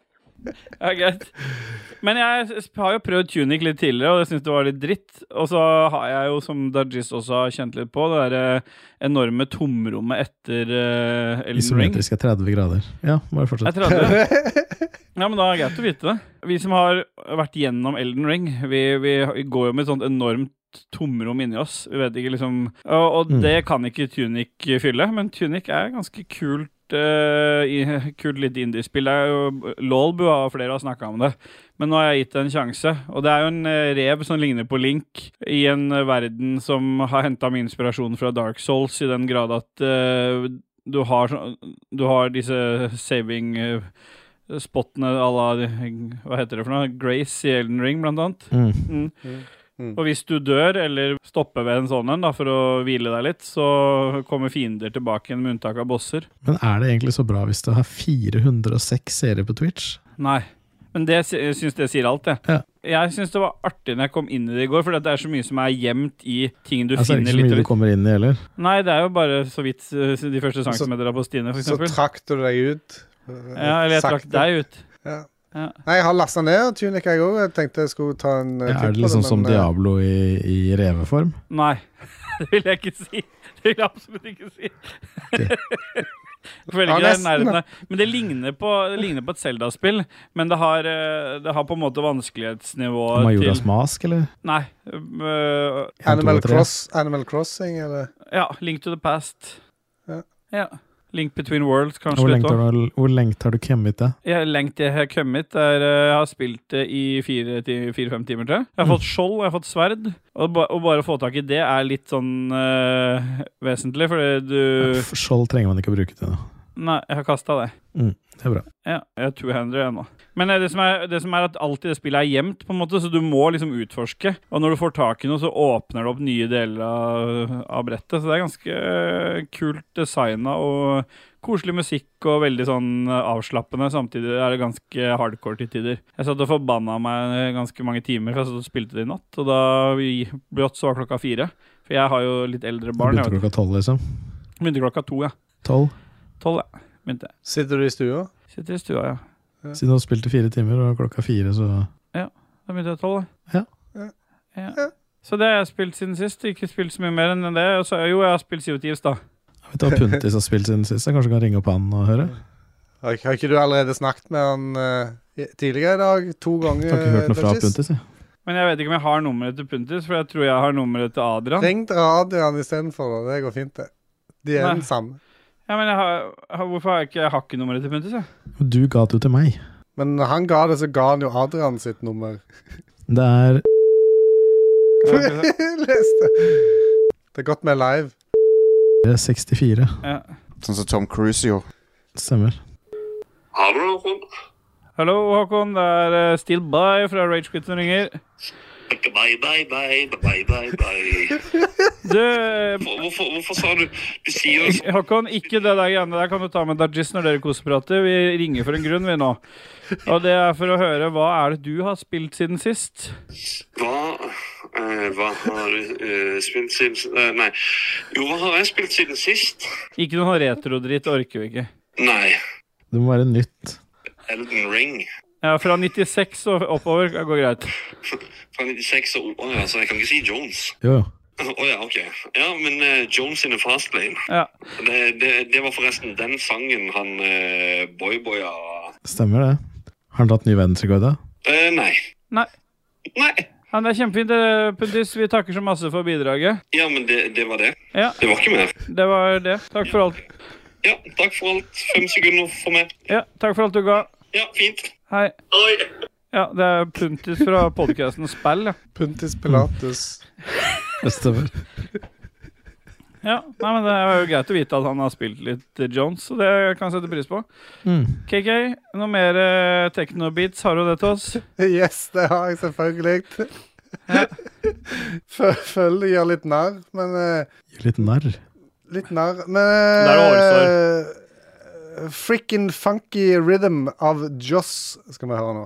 Speaker 3: Ja, greit. Men jeg s- har jo prøvd tunic litt tidligere, og jeg syns det var litt dritt. Og så har jeg jo, som Dajis også har kjent litt på, det derre enorme tomrommet etter eh, Elden Ring.
Speaker 2: Isometrisk er 30 grader. Ja, bare fortsett.
Speaker 3: Jeg trodde det. Ja, men da er det greit å vite det. Vi som har vært gjennom Elden Ring, vi, vi, vi går jo med et sånt enormt tomrom inni oss. Vi vet ikke liksom Og, og
Speaker 2: Mm.
Speaker 3: det kan ikke Tunic fylle, men Tunic er ganske kult. eh, i, kult lite indiespill. Det er jo- Lolbu har flere har snakka om det. Men nå har jeg gitt det en sjanse. Og det er jo en eh, rev som ligner på Link, i en eh, verden som har henta min inspirasjon fra Dark Souls, i den grad at eh, du har, sånn- du har disse saving eh, spottene à la Hva heter det for noe? Grace i Elden Ring, blant annet.
Speaker 2: Mm.
Speaker 3: Mm.
Speaker 1: Mm.
Speaker 3: Og hvis du dør, eller stopper ved en sånn en da, for å hvile deg litt, så kommer fiender tilbake igjen, med unntak av bosser.
Speaker 2: Men er det egentlig så bra hvis du har 406 seere på Twitch?
Speaker 3: Nei. Men det, sy- jeg syns det sier alt, jeg.
Speaker 2: Ja.
Speaker 3: Jeg syns det var artig når jeg kom inn i det i går, for det er så mye som er gjemt i ting du
Speaker 2: altså, det er ikke
Speaker 3: finner
Speaker 2: så
Speaker 3: litt
Speaker 2: mye du
Speaker 3: ut.
Speaker 2: kommer inn i heller.
Speaker 3: Nei, det er jo bare så vidt eh, de første centimeterne på stiene,
Speaker 1: Så
Speaker 3: f.eks.
Speaker 1: trakk du deg ut.
Speaker 3: Ja, eller jeg trakk
Speaker 1: Sakte.
Speaker 3: deg ut.
Speaker 1: Ja.
Speaker 3: Ja.
Speaker 1: Nei, jeg har lasta ned Tunic, jeg òg. Jeg tenkte jeg skulle ta en eh,
Speaker 2: Ja, er
Speaker 1: titt
Speaker 2: det
Speaker 1: på
Speaker 2: liksom som
Speaker 1: men, eh,
Speaker 2: Diablo i, i reveform?
Speaker 3: Nei, *laughs* det vil jeg ikke si. Det vil jeg absolutt ikke si. Jeg føler
Speaker 1: Ja,
Speaker 3: ikke det er i
Speaker 1: nesten,
Speaker 3: nærheten av. Men det ligner på, det ligner på et Zelda-spill. Men det har, eh, det har på en måte vanskelighetsnivå
Speaker 2: Majoras
Speaker 3: til
Speaker 2: Mask, eller?
Speaker 3: Nei. øh,
Speaker 2: En,
Speaker 1: Animal,
Speaker 2: to og tre.
Speaker 1: Cross, Animal Crossing, eller?
Speaker 3: ja, Link to the Past.
Speaker 1: Ja.
Speaker 3: Ja. Link Between Worlds, kanskje.
Speaker 2: Hvor
Speaker 3: litt
Speaker 2: lengt,
Speaker 3: også.
Speaker 2: har du, hvor lengt har du kommet det?
Speaker 3: Jeg lengt jeg har kommet. Det er, eh, jeg har spilt det i fire ti- fire-fem timer til.
Speaker 2: Mm.
Speaker 3: Jeg har fått skjold, og jeg har fått sverd. Og ba, å bare få tak i det er litt sånn eh, vesentlig, fordi du
Speaker 2: F- Skjold trenger man ikke å bruke til noe.
Speaker 3: Nei, jeg har kasta det.
Speaker 2: Det er bra.
Speaker 3: Ja, jeg er 200 igjen nå. Men eh, det som, er, det som er at alt i det spillet er gjemt, på en måte, så du må liksom utforske. Og når du får tak i noe, så åpner det opp nye deler av, av brettet. Så det er ganske eh, kult designa og koselig musikk og veldig sånn eh, avslappende. Samtidig er det ganske hardcore til tider. Jeg satt og forbanna meg eh, ganske mange timer, for jeg satt og spilte det i natt. Og da vi brått så var klokka fire. For jeg har jo litt eldre barn.
Speaker 2: Begynte
Speaker 3: Jeg vet.
Speaker 2: klokka tolv, liksom.
Speaker 3: Begynte klokka to, ja.
Speaker 2: Tolv.
Speaker 3: Tolv, ja. Begynte jeg.
Speaker 1: Sitter du i stua?
Speaker 3: Sitter i stua, ja.
Speaker 2: Siden du har spilt i fire timer, og klokka fire, så
Speaker 3: Da begynte jeg tolv,
Speaker 2: Ja.
Speaker 1: Ja.
Speaker 3: Ja. Så det har jeg spilt siden sist. Ikke spilt så mye mer enn det. Og så, jo, jeg har spilt CO2 i stad.
Speaker 2: Jeg vet du hva Puntis har spilt siden sist? Jeg kanskje kan ringe opp han og høre?
Speaker 1: Har ikke- har ikke du allerede snakket med han eh, i- tidligere i dag? To ganger? eh,
Speaker 2: Jeg har ikke hørt noe fra
Speaker 1: Dodges?
Speaker 2: Puntis, jeg.
Speaker 3: Men jeg vet ikke om jeg har nummeret til Puntis, for jeg tror jeg har nummeret til Adrian.
Speaker 1: Ring til radioen istedenfor, da. Det går fint, det. De er
Speaker 3: Nei.
Speaker 1: den samme.
Speaker 3: Ja, men jeg har, har- hvorfor har jeg ikke hakkenummeret til Puntis? jeg?
Speaker 2: Du ga det jo til meg.
Speaker 1: Men når han ga det, så ga han jo Adrian sitt nummer.
Speaker 2: Det er
Speaker 3: Ja,
Speaker 1: *laughs*
Speaker 3: ok, så-
Speaker 1: Leste. Det er godt vi er live.
Speaker 2: 64.
Speaker 3: Ja.
Speaker 7: Sånn som Tom Cruise gjorde.
Speaker 2: Stemmer.
Speaker 8: Hallo, Håkon.
Speaker 3: Hallo, Håkon. Det er eh, Still By fra Ragequit som ringer.
Speaker 8: Bye, bye, bye, bye, bye, bye.
Speaker 3: Du, eh,
Speaker 8: Hvorfor, hvorfor sa du Du sier jo
Speaker 3: Håkon, ikke det der greiene der kan du ta med Dajis når dere koseprater. Vi ringer for en grunn, vi nå. Og det er for å høre hva er det du har spilt siden sist?
Speaker 8: Hva, eh, hva har du eh, spilt siden eh, Nei. Jo, hva har jeg spilt siden sist?
Speaker 3: Ikke noe sånn retrodritt orker vi ikke.
Speaker 8: Nei.
Speaker 2: Det må være nytt.
Speaker 8: Elden Ring.
Speaker 3: Ja, Fra 96 og oppover går greit.
Speaker 8: Fra 96 og Å ja, så jeg kan ikke si Jones. *laughs*
Speaker 2: Jo, jo.
Speaker 8: Å ja, OK. Ja, men eh, Jones in the fast lane.
Speaker 3: Ja.
Speaker 8: Det, det, det var forresten den sangen han eh, boyboya
Speaker 2: Stemmer det. Har han tatt ny verdensrekord, da?
Speaker 8: eh, Nei.
Speaker 3: Nei.
Speaker 8: Nei.
Speaker 3: Ja, det er kjempefint, det, Puntis. Vi takker så masse for bidraget.
Speaker 8: Ja, men det, det var det.
Speaker 3: Ja,
Speaker 8: Det var ikke mer.
Speaker 3: det var det. Takk for alt.
Speaker 8: Ja, takk for alt. Fem sekunder for meg.
Speaker 3: Ja, takk for alt du ga.
Speaker 8: Ja, fint.
Speaker 3: Hei.
Speaker 8: Oi.
Speaker 3: Ja, det er Puntis fra podkasten Spill, ja.
Speaker 1: Puntis Pilatus.
Speaker 2: Det stemmer.
Speaker 3: ja. Nei, men det er jo greit å vite at han har spilt litt eh, Jones, så det kan jeg sette pris på.
Speaker 2: Mm.
Speaker 3: KK, noe mer eh, techno-beats? Har du det til oss?
Speaker 1: Yes, det har jeg selvfølgelig. *laughs* Fø- Føler jeg gjør litt narr, men eh,
Speaker 2: Gjør litt narr.
Speaker 1: Litt narr, men
Speaker 3: er det
Speaker 1: eh, Frickin' funky rhythm av Joss skal vi høre nå.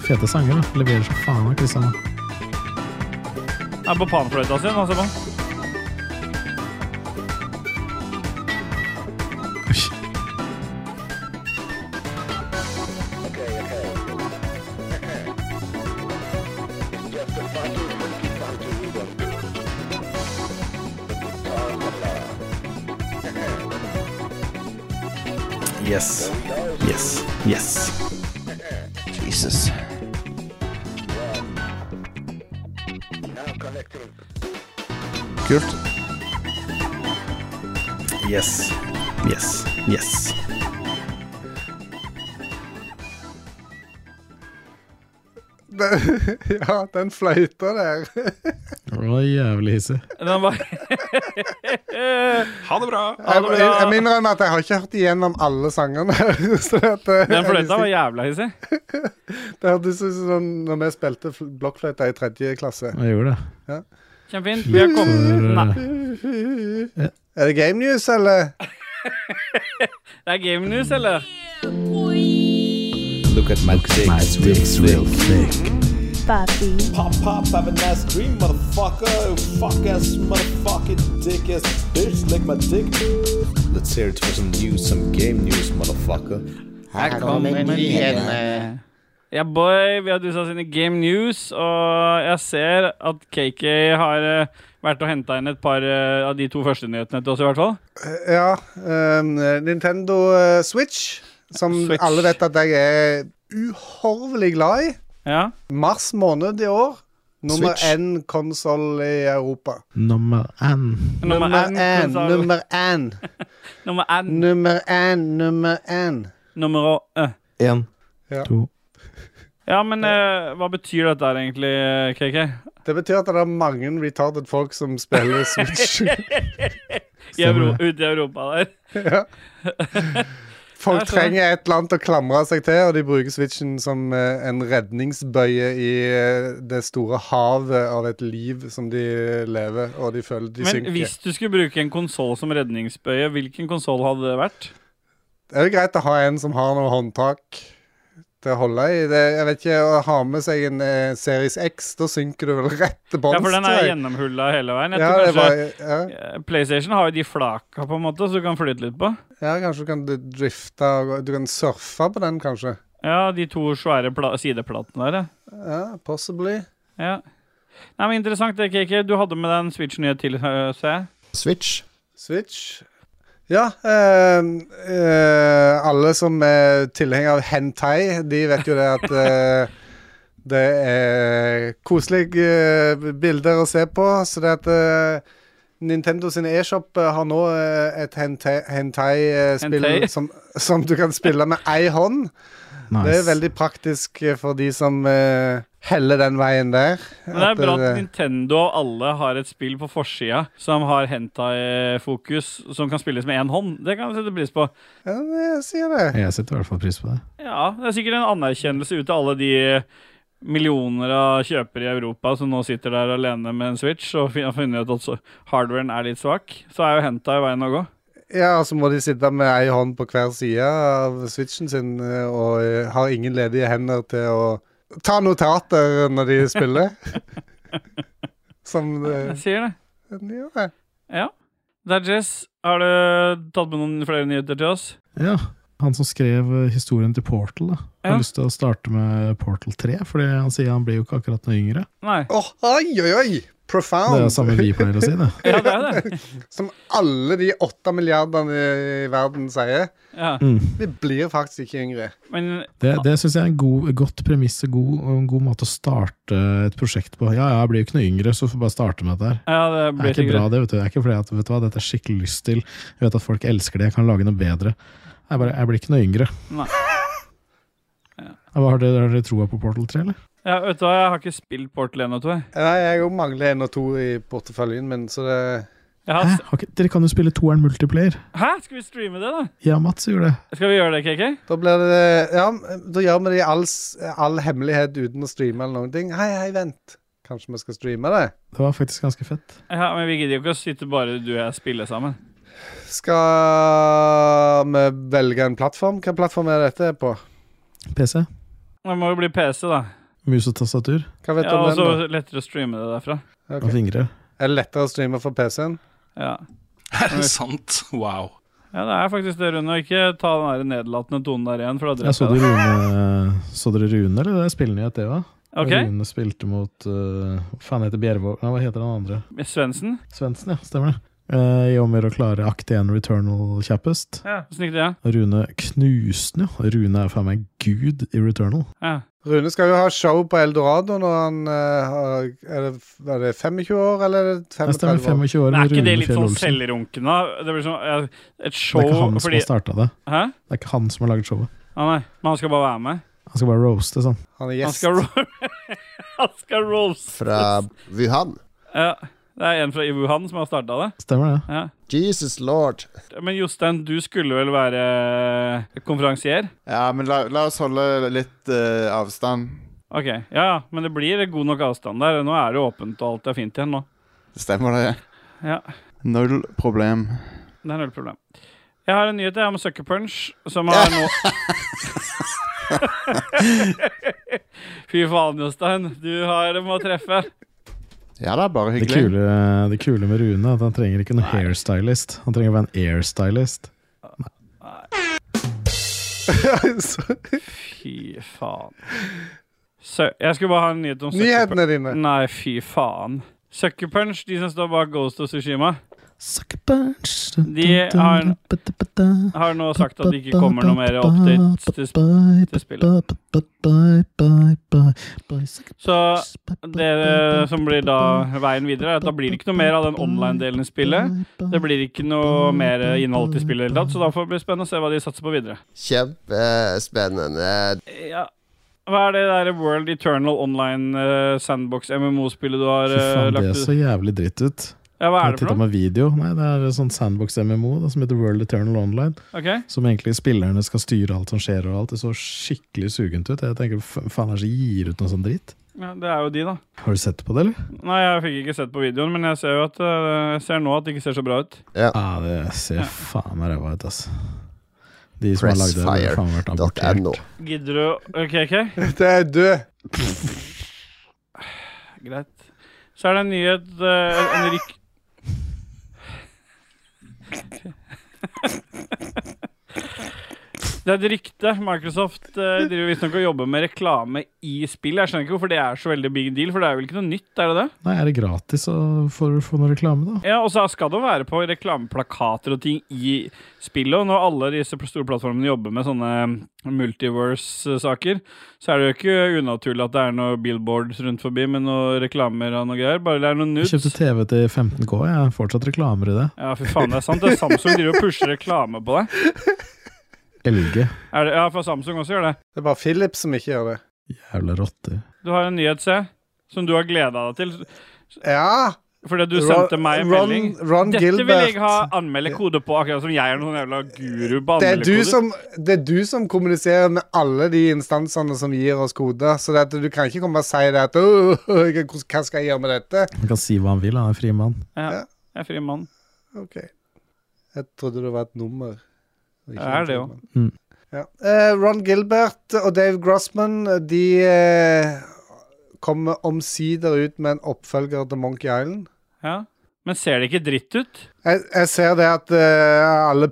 Speaker 2: Fete sanger, da. Leverer som faen av Kristian.
Speaker 3: Er på panfløyta sin, altså. man.
Speaker 2: Oi.
Speaker 7: Yes. Yes. Yes. Jesus. Kult. Yes. Yes. Yes.
Speaker 1: Den, *laughs* ja, den fløyta der.
Speaker 2: Det var jævlig hissig.
Speaker 3: Den var
Speaker 4: Ha det bra.
Speaker 1: Jeg, jeg, jeg må innrømme at jeg har ikke hørt igjennom alle sangene. *laughs* så at, eh,
Speaker 3: Den fløyta var
Speaker 1: jeg-
Speaker 3: jævla hissig.
Speaker 1: Det hørtes ut som sånn når vi spilte fl- blokkfløyta i tredje klasse.
Speaker 2: Jeg gjorde det.
Speaker 3: Kjempefint. Vi har kommet
Speaker 2: For,
Speaker 3: Nei,
Speaker 2: eh,
Speaker 1: Er det game news, eller?
Speaker 3: det er game news, eller?
Speaker 7: Look at my dick.
Speaker 9: Papi.
Speaker 10: Pop pop, have an ice cream, motherfucker. Fuck ass, motherfucking dick ass bitch, lick my dick.
Speaker 7: Let's hear it for some news, some game news, motherfucker.
Speaker 3: Her kommer nyhetene. Ja, boy, vi har dusa sine Game News, og jeg ser at KK har eh, vært og henta inn et par eh, av de to første nyhetene til oss, i hvert fall.
Speaker 1: Ja. ehm, Nintendo eh, Switch, som
Speaker 3: Switch.
Speaker 1: alle vet at jeg er uhorvelig glad i.
Speaker 3: Ja.
Speaker 1: Mars måned i år. Nummer
Speaker 7: Switch.
Speaker 1: én konsoll i Europa.
Speaker 2: Nummer én.
Speaker 3: Nummer én,
Speaker 1: én,
Speaker 3: sa du.
Speaker 1: nummer én,
Speaker 3: Nummer én.
Speaker 1: nummer én, nummer én.
Speaker 3: Nummer å... eh.
Speaker 7: En.
Speaker 2: To.
Speaker 3: Ja, men eh, hva betyr dette her egentlig, eh, KK?
Speaker 1: Det betyr at det er mange retarded folk som spiller
Speaker 3: *laughs*
Speaker 1: Switch.
Speaker 3: I
Speaker 2: Stemmer
Speaker 3: Euro
Speaker 2: det.
Speaker 3: ute i Europa der.
Speaker 1: Folk
Speaker 3: Jeg skjønner.
Speaker 1: trenger et eller annet å klamre seg til, og de bruker Switchen som eh, en redningsbøye i eh, det store havet av et liv som de lever, og de føler de
Speaker 3: Men
Speaker 1: synker.
Speaker 3: hvis du skulle bruke en konsoll som redningsbøye, hvilken konsoll hadde det vært?
Speaker 1: Det er jo greit å ha en som har noe håndtak til å holde i. Det, jeg vet ikke, Å ha med seg en eh, Series X, da synker du vel rett til
Speaker 3: Ja,
Speaker 1: bånns,
Speaker 3: for den er
Speaker 1: tror jeg.
Speaker 3: gjennomhulla hele veien. Jeg
Speaker 1: Ja,
Speaker 3: tror
Speaker 1: det
Speaker 3: kanskje
Speaker 1: var, ja.
Speaker 3: Eh, PlayStation har jo de flaka, på en måte, så du kan flyte litt på.
Speaker 1: ja, kanskje du kan d- drifte og Du kan surfe på den, kanskje.
Speaker 3: Ja, de to svære pla sideplatene der, ja.
Speaker 1: Ja, possibly.
Speaker 3: ja. Nei, men Interessant det, KK. Du hadde med deg en Switch-nyhet til, eh, ser jeg.
Speaker 9: Switch.
Speaker 1: Switch. Ja, eh, eh, alle som er tilhengere av hentai, de vet jo det at eh, det er koselige eh, bilder å se på. Så det at eh, Nintendo sin e-shop eh, har nå eh, et hentai-spill *laughs*
Speaker 3: Hentai?
Speaker 1: som, som du kan spille med ei hånd. Det er veldig praktisk eh, for de som eh, heller den veien der.
Speaker 3: Men det er
Speaker 1: At,
Speaker 3: bra at
Speaker 1: eh,
Speaker 3: Nintendo og alle har et spill på forsida som har hentai-fokus, som kan spilles med én hånd. Det kan vi sette pris på.
Speaker 1: ja, jeg sier det.
Speaker 2: Jeg setter i hvert fall pris på det.
Speaker 3: Ja, det er sikkert en anerkjennelse ut av alle de millioner av kjøpere i Europa som nå sitter der alene med en Switch og fin- har funnet ut at så- hardwaren er litt svak, så er jo hentai veien å gå.
Speaker 1: Ja, og så må de sitte med ei hånd på hver side av switchen sin eh, og eh, har ingen ledige hender til å ta notater når de
Speaker 2: *laughs*
Speaker 1: spiller. Som eh,
Speaker 3: Jeg sier det.
Speaker 1: den gjør.
Speaker 3: Ja. Dajess, har du tatt med noen flere nyheter til oss?
Speaker 2: Ja, han som skrev eh, historien til Portal, da. Jeg
Speaker 3: Ja.
Speaker 2: har lyst til å starte med Portal 3, fordi han sier han blir jo ikke akkurat noe yngre.
Speaker 3: Nei.
Speaker 1: Åh, oi, oi, oi!
Speaker 2: Det er
Speaker 1: Profound.
Speaker 2: det samme vi pleier å si,
Speaker 3: *laughs*
Speaker 2: det.
Speaker 3: Ja, det
Speaker 4: *laughs*
Speaker 3: er det.
Speaker 1: Som alle de åtte milliardene i verden sier.
Speaker 3: Ja.
Speaker 1: Vi blir faktisk ikke yngre.
Speaker 3: Men
Speaker 2: Mm. Det, det syns jeg er en god, godt premiss og god, og en god måte å starte et prosjekt på. Ja, ja, jeg blir jo ikke noe yngre, så får jeg bare starte med dette her.
Speaker 3: ja, det
Speaker 2: Det
Speaker 3: blir
Speaker 2: er ikke bra,
Speaker 3: sikkert
Speaker 2: det, vet du. Det er ikke fordi at, vet du hva, dette er skikkelig lyst til. Jeg vet at folk elsker det, jeg kan lage noe bedre. Jeg, bare, jeg blir ikke noe yngre.
Speaker 3: Nei.
Speaker 2: Hva har dere, har dere troa på Portal 3, eller?
Speaker 3: ja, Vet du hva, jeg har ikke spilt Portal 1 og 2. jeg.
Speaker 1: Nei, jeg jo mangler en og to i porteføljen min, så det
Speaker 3: Jeg har
Speaker 2: Hæ?
Speaker 3: s-
Speaker 2: Har ikke- Dere kan jo spille toeren multiplayer.
Speaker 3: Hæ? Skal vi streame det, da?
Speaker 2: Ja, Mats gjorde det.
Speaker 3: Skal vi gjøre det, KK?
Speaker 1: Da blir det Ja, da gjør vi det i all, s- all hemmelighet uten å streame eller noen ting. Hei, hei, vent. Kanskje vi skal streame det?
Speaker 2: Det var faktisk ganske fett.
Speaker 3: Ja, men vi gidder jo ikke å sitte bare du og jeg spille sammen.
Speaker 1: Skal vi velge en plattform? Hvilken plattform er dette på?
Speaker 2: PC.
Speaker 3: Det må jo bli PC, da.
Speaker 2: Mus og tastatur
Speaker 1: Hva vet du
Speaker 3: Ja, altså- og
Speaker 1: om den?
Speaker 3: så lettere å streame det
Speaker 1: da?
Speaker 3: derfra.
Speaker 2: og
Speaker 1: Ok.
Speaker 2: fingre.
Speaker 1: Er det lettere å streame for PC-en?
Speaker 3: Ja.
Speaker 4: Er det sant? Wow.
Speaker 3: Ja, det er faktisk det, Rune. og Ikke ta den der nedlatende tonen der igjen, for da
Speaker 2: Jeg så,
Speaker 3: dreper jeg
Speaker 2: dere
Speaker 3: deg.
Speaker 2: Rune, så dere Rune, eller det er spillenyhet, det, hva?
Speaker 3: Ok.
Speaker 2: Rune spilte mot eh, Hva faen heter Bjervåg Nei, hva heter den andre?
Speaker 3: Svendsen?
Speaker 2: Svendsen, ja. Stemmer det. Eh, I om å gjøre å klare Act 1 Returnal kjappest.
Speaker 3: Ja. Åssen gikk det?
Speaker 2: Og Rune knuste den, jo. Rune er faen meg gud i Returnal.
Speaker 3: Ja.
Speaker 1: Rune skal jo ha show på Eldorado når han eh, har er det, er det 25 år, eller er det
Speaker 2: Jeg stemmer
Speaker 1: 35 år?
Speaker 2: 25 år
Speaker 3: Men er
Speaker 2: med
Speaker 3: ikke det
Speaker 2: Rune
Speaker 3: litt
Speaker 2: Fjell
Speaker 3: sånn
Speaker 2: Olsen.
Speaker 3: selvrunkende? Det blir sånn ja, et
Speaker 2: Det
Speaker 3: show
Speaker 2: er ikke han som
Speaker 3: fordi
Speaker 2: har starta det.
Speaker 3: Hæ?
Speaker 2: Det er ikke han som har laget showet.
Speaker 3: Ah, nei. Men han skal bare være med?
Speaker 2: Han skal bare roaste sånn.
Speaker 1: Han er
Speaker 3: Han
Speaker 1: gjest. *laughs*
Speaker 3: skal, ro *laughs* han skal roast.
Speaker 9: Fra Wuhan.
Speaker 3: Ja. Det er en fra Wuhan som har starta det.
Speaker 2: Stemmer det?
Speaker 3: Ja.
Speaker 9: Jesus lord.
Speaker 3: Men Jostein, du skulle vel være konferansier?
Speaker 11: Ja, men la, la oss holde litt eh, avstand.
Speaker 3: Ok, ja, ja, men det blir god nok avstand der. Nå er det åpent, og alt er fint igjen nå.
Speaker 11: Det stemmer, det.
Speaker 3: Ja.
Speaker 11: Null problem.
Speaker 3: Det er null problem. Jeg har en nyhet jeg, om Sucker Punch, som har nå *laughs* Fy faen, Jostein. Du har det med å treffe.
Speaker 11: Ja da, bare
Speaker 2: Det
Speaker 11: hyggelig.
Speaker 2: kule, det kule med Rune er at han trenger ikke noen hairstylist. Han trenger bare en airstylist.
Speaker 1: Så-
Speaker 3: Fy faen. Sø jeg skulle bare ha en nyhet om Sucker Punch.
Speaker 1: Nyhetene dine.
Speaker 3: Nei, fy faen. Sucker Punch, de som står bak Ghost of Tsushima,
Speaker 2: Sucker punch.
Speaker 3: De har en- har nå sagt at det ikke kommer noe mer updates til, sp- til spillet. Så det som blir da veien videre, er at da blir det ikke noe mer av den online-delen i spillet. Det blir ikke noe mer innhold til spillet i det hele tatt, så da får det bli spennende å se hva de satser på videre.
Speaker 9: Kjempespennende.
Speaker 3: Ja. Hva er det der World Eternal Online eh, Sandbox MMO-spillet du har
Speaker 2: Fy
Speaker 3: eh,
Speaker 2: faen, det
Speaker 3: lagt
Speaker 2: så
Speaker 3: ut?
Speaker 2: jævlig dritt ut.
Speaker 3: Ja, hva er
Speaker 2: Jeg
Speaker 3: det for
Speaker 2: tittet
Speaker 3: noe?
Speaker 2: med video. Nei, det er en sånn sandbox-MMO da, som heter World Eternal Online.
Speaker 3: Ok,
Speaker 2: Som egentlig spillerne skal styre alt som skjer og alt. Det så skikkelig sugent ut. Jeg tenker, fa- faen er det som gir ut noe sånn dritt?
Speaker 3: ja, Det er jo de, da.
Speaker 2: Har du sett på det, eller?
Speaker 3: Nei, jeg fikk ikke sett på videoen, men jeg ser jo at øh, Jeg ser nå at det ikke ser så bra ut.
Speaker 2: Ja, det ser faen meg ræva ut, ass. De som har lagd det, burde faen vært abortert.
Speaker 9: Pressfire.no.
Speaker 3: Gidder du OK, OK?
Speaker 1: Det er du!
Speaker 3: Greit. Så er det en nyhet øh, En ryk... Det er et rykte. Microsoft øh, driver visstnok og jobber med reklame i spill. Jeg skjønner ikke hvorfor det er så veldig big deal, for det er vel ikke noe nytt, er det det?
Speaker 2: Nei, er det gratis å få, få noe reklame, da?
Speaker 3: Ja, og så skal det jo være på reklameplakater og ting i spillet. Og når alle disse store plattformene jobber med sånne um, multiverse-saker, så er det jo ikke unaturlig at det er noen billboards rundt forbi med noen reklamer og noe greier. Bare det er noen
Speaker 2: Jeg
Speaker 3: nudes.
Speaker 2: kjøpte TV til 15K, jeg har fortsatt reklamer i det.
Speaker 3: Ja, fy faen, det er sant. Det er Samsung driver og pusher reklame på deg.
Speaker 2: LG.
Speaker 3: Er det, ja, for Samsung også gjør det.
Speaker 1: Det er bare Philip som ikke gjør det.
Speaker 2: Jævla rotter.
Speaker 3: Du har en nyhet, se, som du har gleda deg til.
Speaker 1: Ja!
Speaker 3: Fordi du sendte meg en
Speaker 1: Ron,
Speaker 3: melding.
Speaker 1: Ron
Speaker 3: Dette
Speaker 1: Gilbert.
Speaker 3: vil jeg ha anmeldekode på, akkurat som jeg er noen jævla guru på
Speaker 1: Det er, du
Speaker 3: anmeldekoder.
Speaker 1: som, det er du som kommuniserer med alle de instansene som gir oss koder. Så det at du kan ikke komme og si det at «Åh, jeg- Hva skal jeg gjøre med dette?
Speaker 2: Han kan si hva han vil, han er fri mann.
Speaker 3: Ja, jeg er fri mann.
Speaker 1: OK. Jeg trodde det var et nummer. og ikke
Speaker 3: Det er
Speaker 1: en
Speaker 3: det jo.
Speaker 1: tilnavn.
Speaker 2: Mm.
Speaker 1: Ja. Eh, Ron Gilbert og Dave Grossman de eh, kommer omsider ut med en oppfølger til Monkey Island.
Speaker 3: Ja. Men ser det ikke dritt ut?
Speaker 1: Jeg, jeg ser det at eh, alle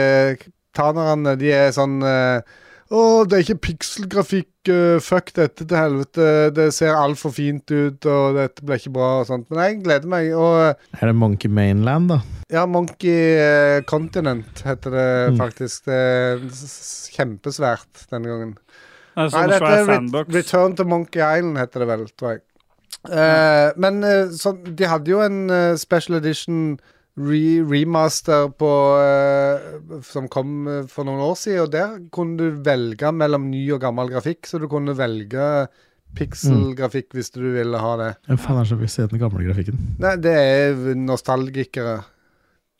Speaker 1: puritanerne, de er sånn eh, Å, det er ikke pikselgrafikk. eh, fuck dette til helvete. Det ser altfor fint ut, og dette blir ikke bra og sånt. Men jeg gleder meg. Og eh,
Speaker 2: Er det Monkey Mainland, da?
Speaker 1: ja, Monkey eh, Continent heter det
Speaker 2: Mm.
Speaker 1: faktisk. Det er s- kjempesvært denne gangen.
Speaker 3: Det er sånn
Speaker 1: Nei, dette
Speaker 3: svær
Speaker 1: er Ret-
Speaker 3: sandbox.
Speaker 1: Return to Monkey Island heter det vel, tror jeg. Eh, men eh, sånn- de hadde jo en eh, special edition re remaster på eh, Som kom eh, for noen år siden, og der kunne du velge mellom ny og gammel grafikk. Så du kunne velge pikselgrafikk hvis du ville ha det.
Speaker 2: Hvem faen er det som vil se den gamle grafikken?
Speaker 1: Nei, det er nostalgikere,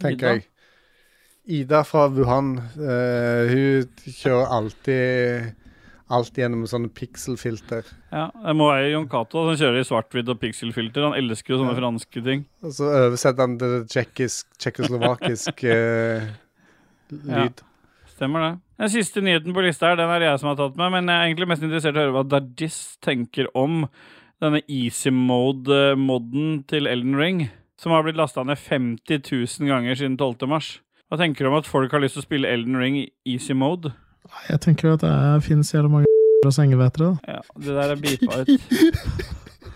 Speaker 1: tenker
Speaker 3: Ida?
Speaker 1: jeg. Ida fra Wuhan, eh, hun kjører alltid Alt gjennom sånne pikselfilter.
Speaker 3: Ja, det må være Jon Cato som kjører i svart-hvitt og pikselfilter. Han elsker jo sånne franske ting.
Speaker 1: Og så oversetter han til tsjekkisk,
Speaker 3: *laughs*
Speaker 1: tsjekkoslovakisk eh, lyd.
Speaker 3: Stemmer det. Den siste nyheten på lista her, den er det jeg som har tatt med, men jeg er egentlig mest interessert i å høre hva Dajis tenker om denne easy mode-modden til Elden Ring, som har blitt lasta ned 50 000 ganger siden 12. mars. Hva tenker du om at folk har lyst til å spille Elden Ring i easy mode?
Speaker 2: Nei, Jeg tenker at det er- finnes jævla mange *laughs* og sengevetere, da.
Speaker 3: Ja, det der er beepa ut.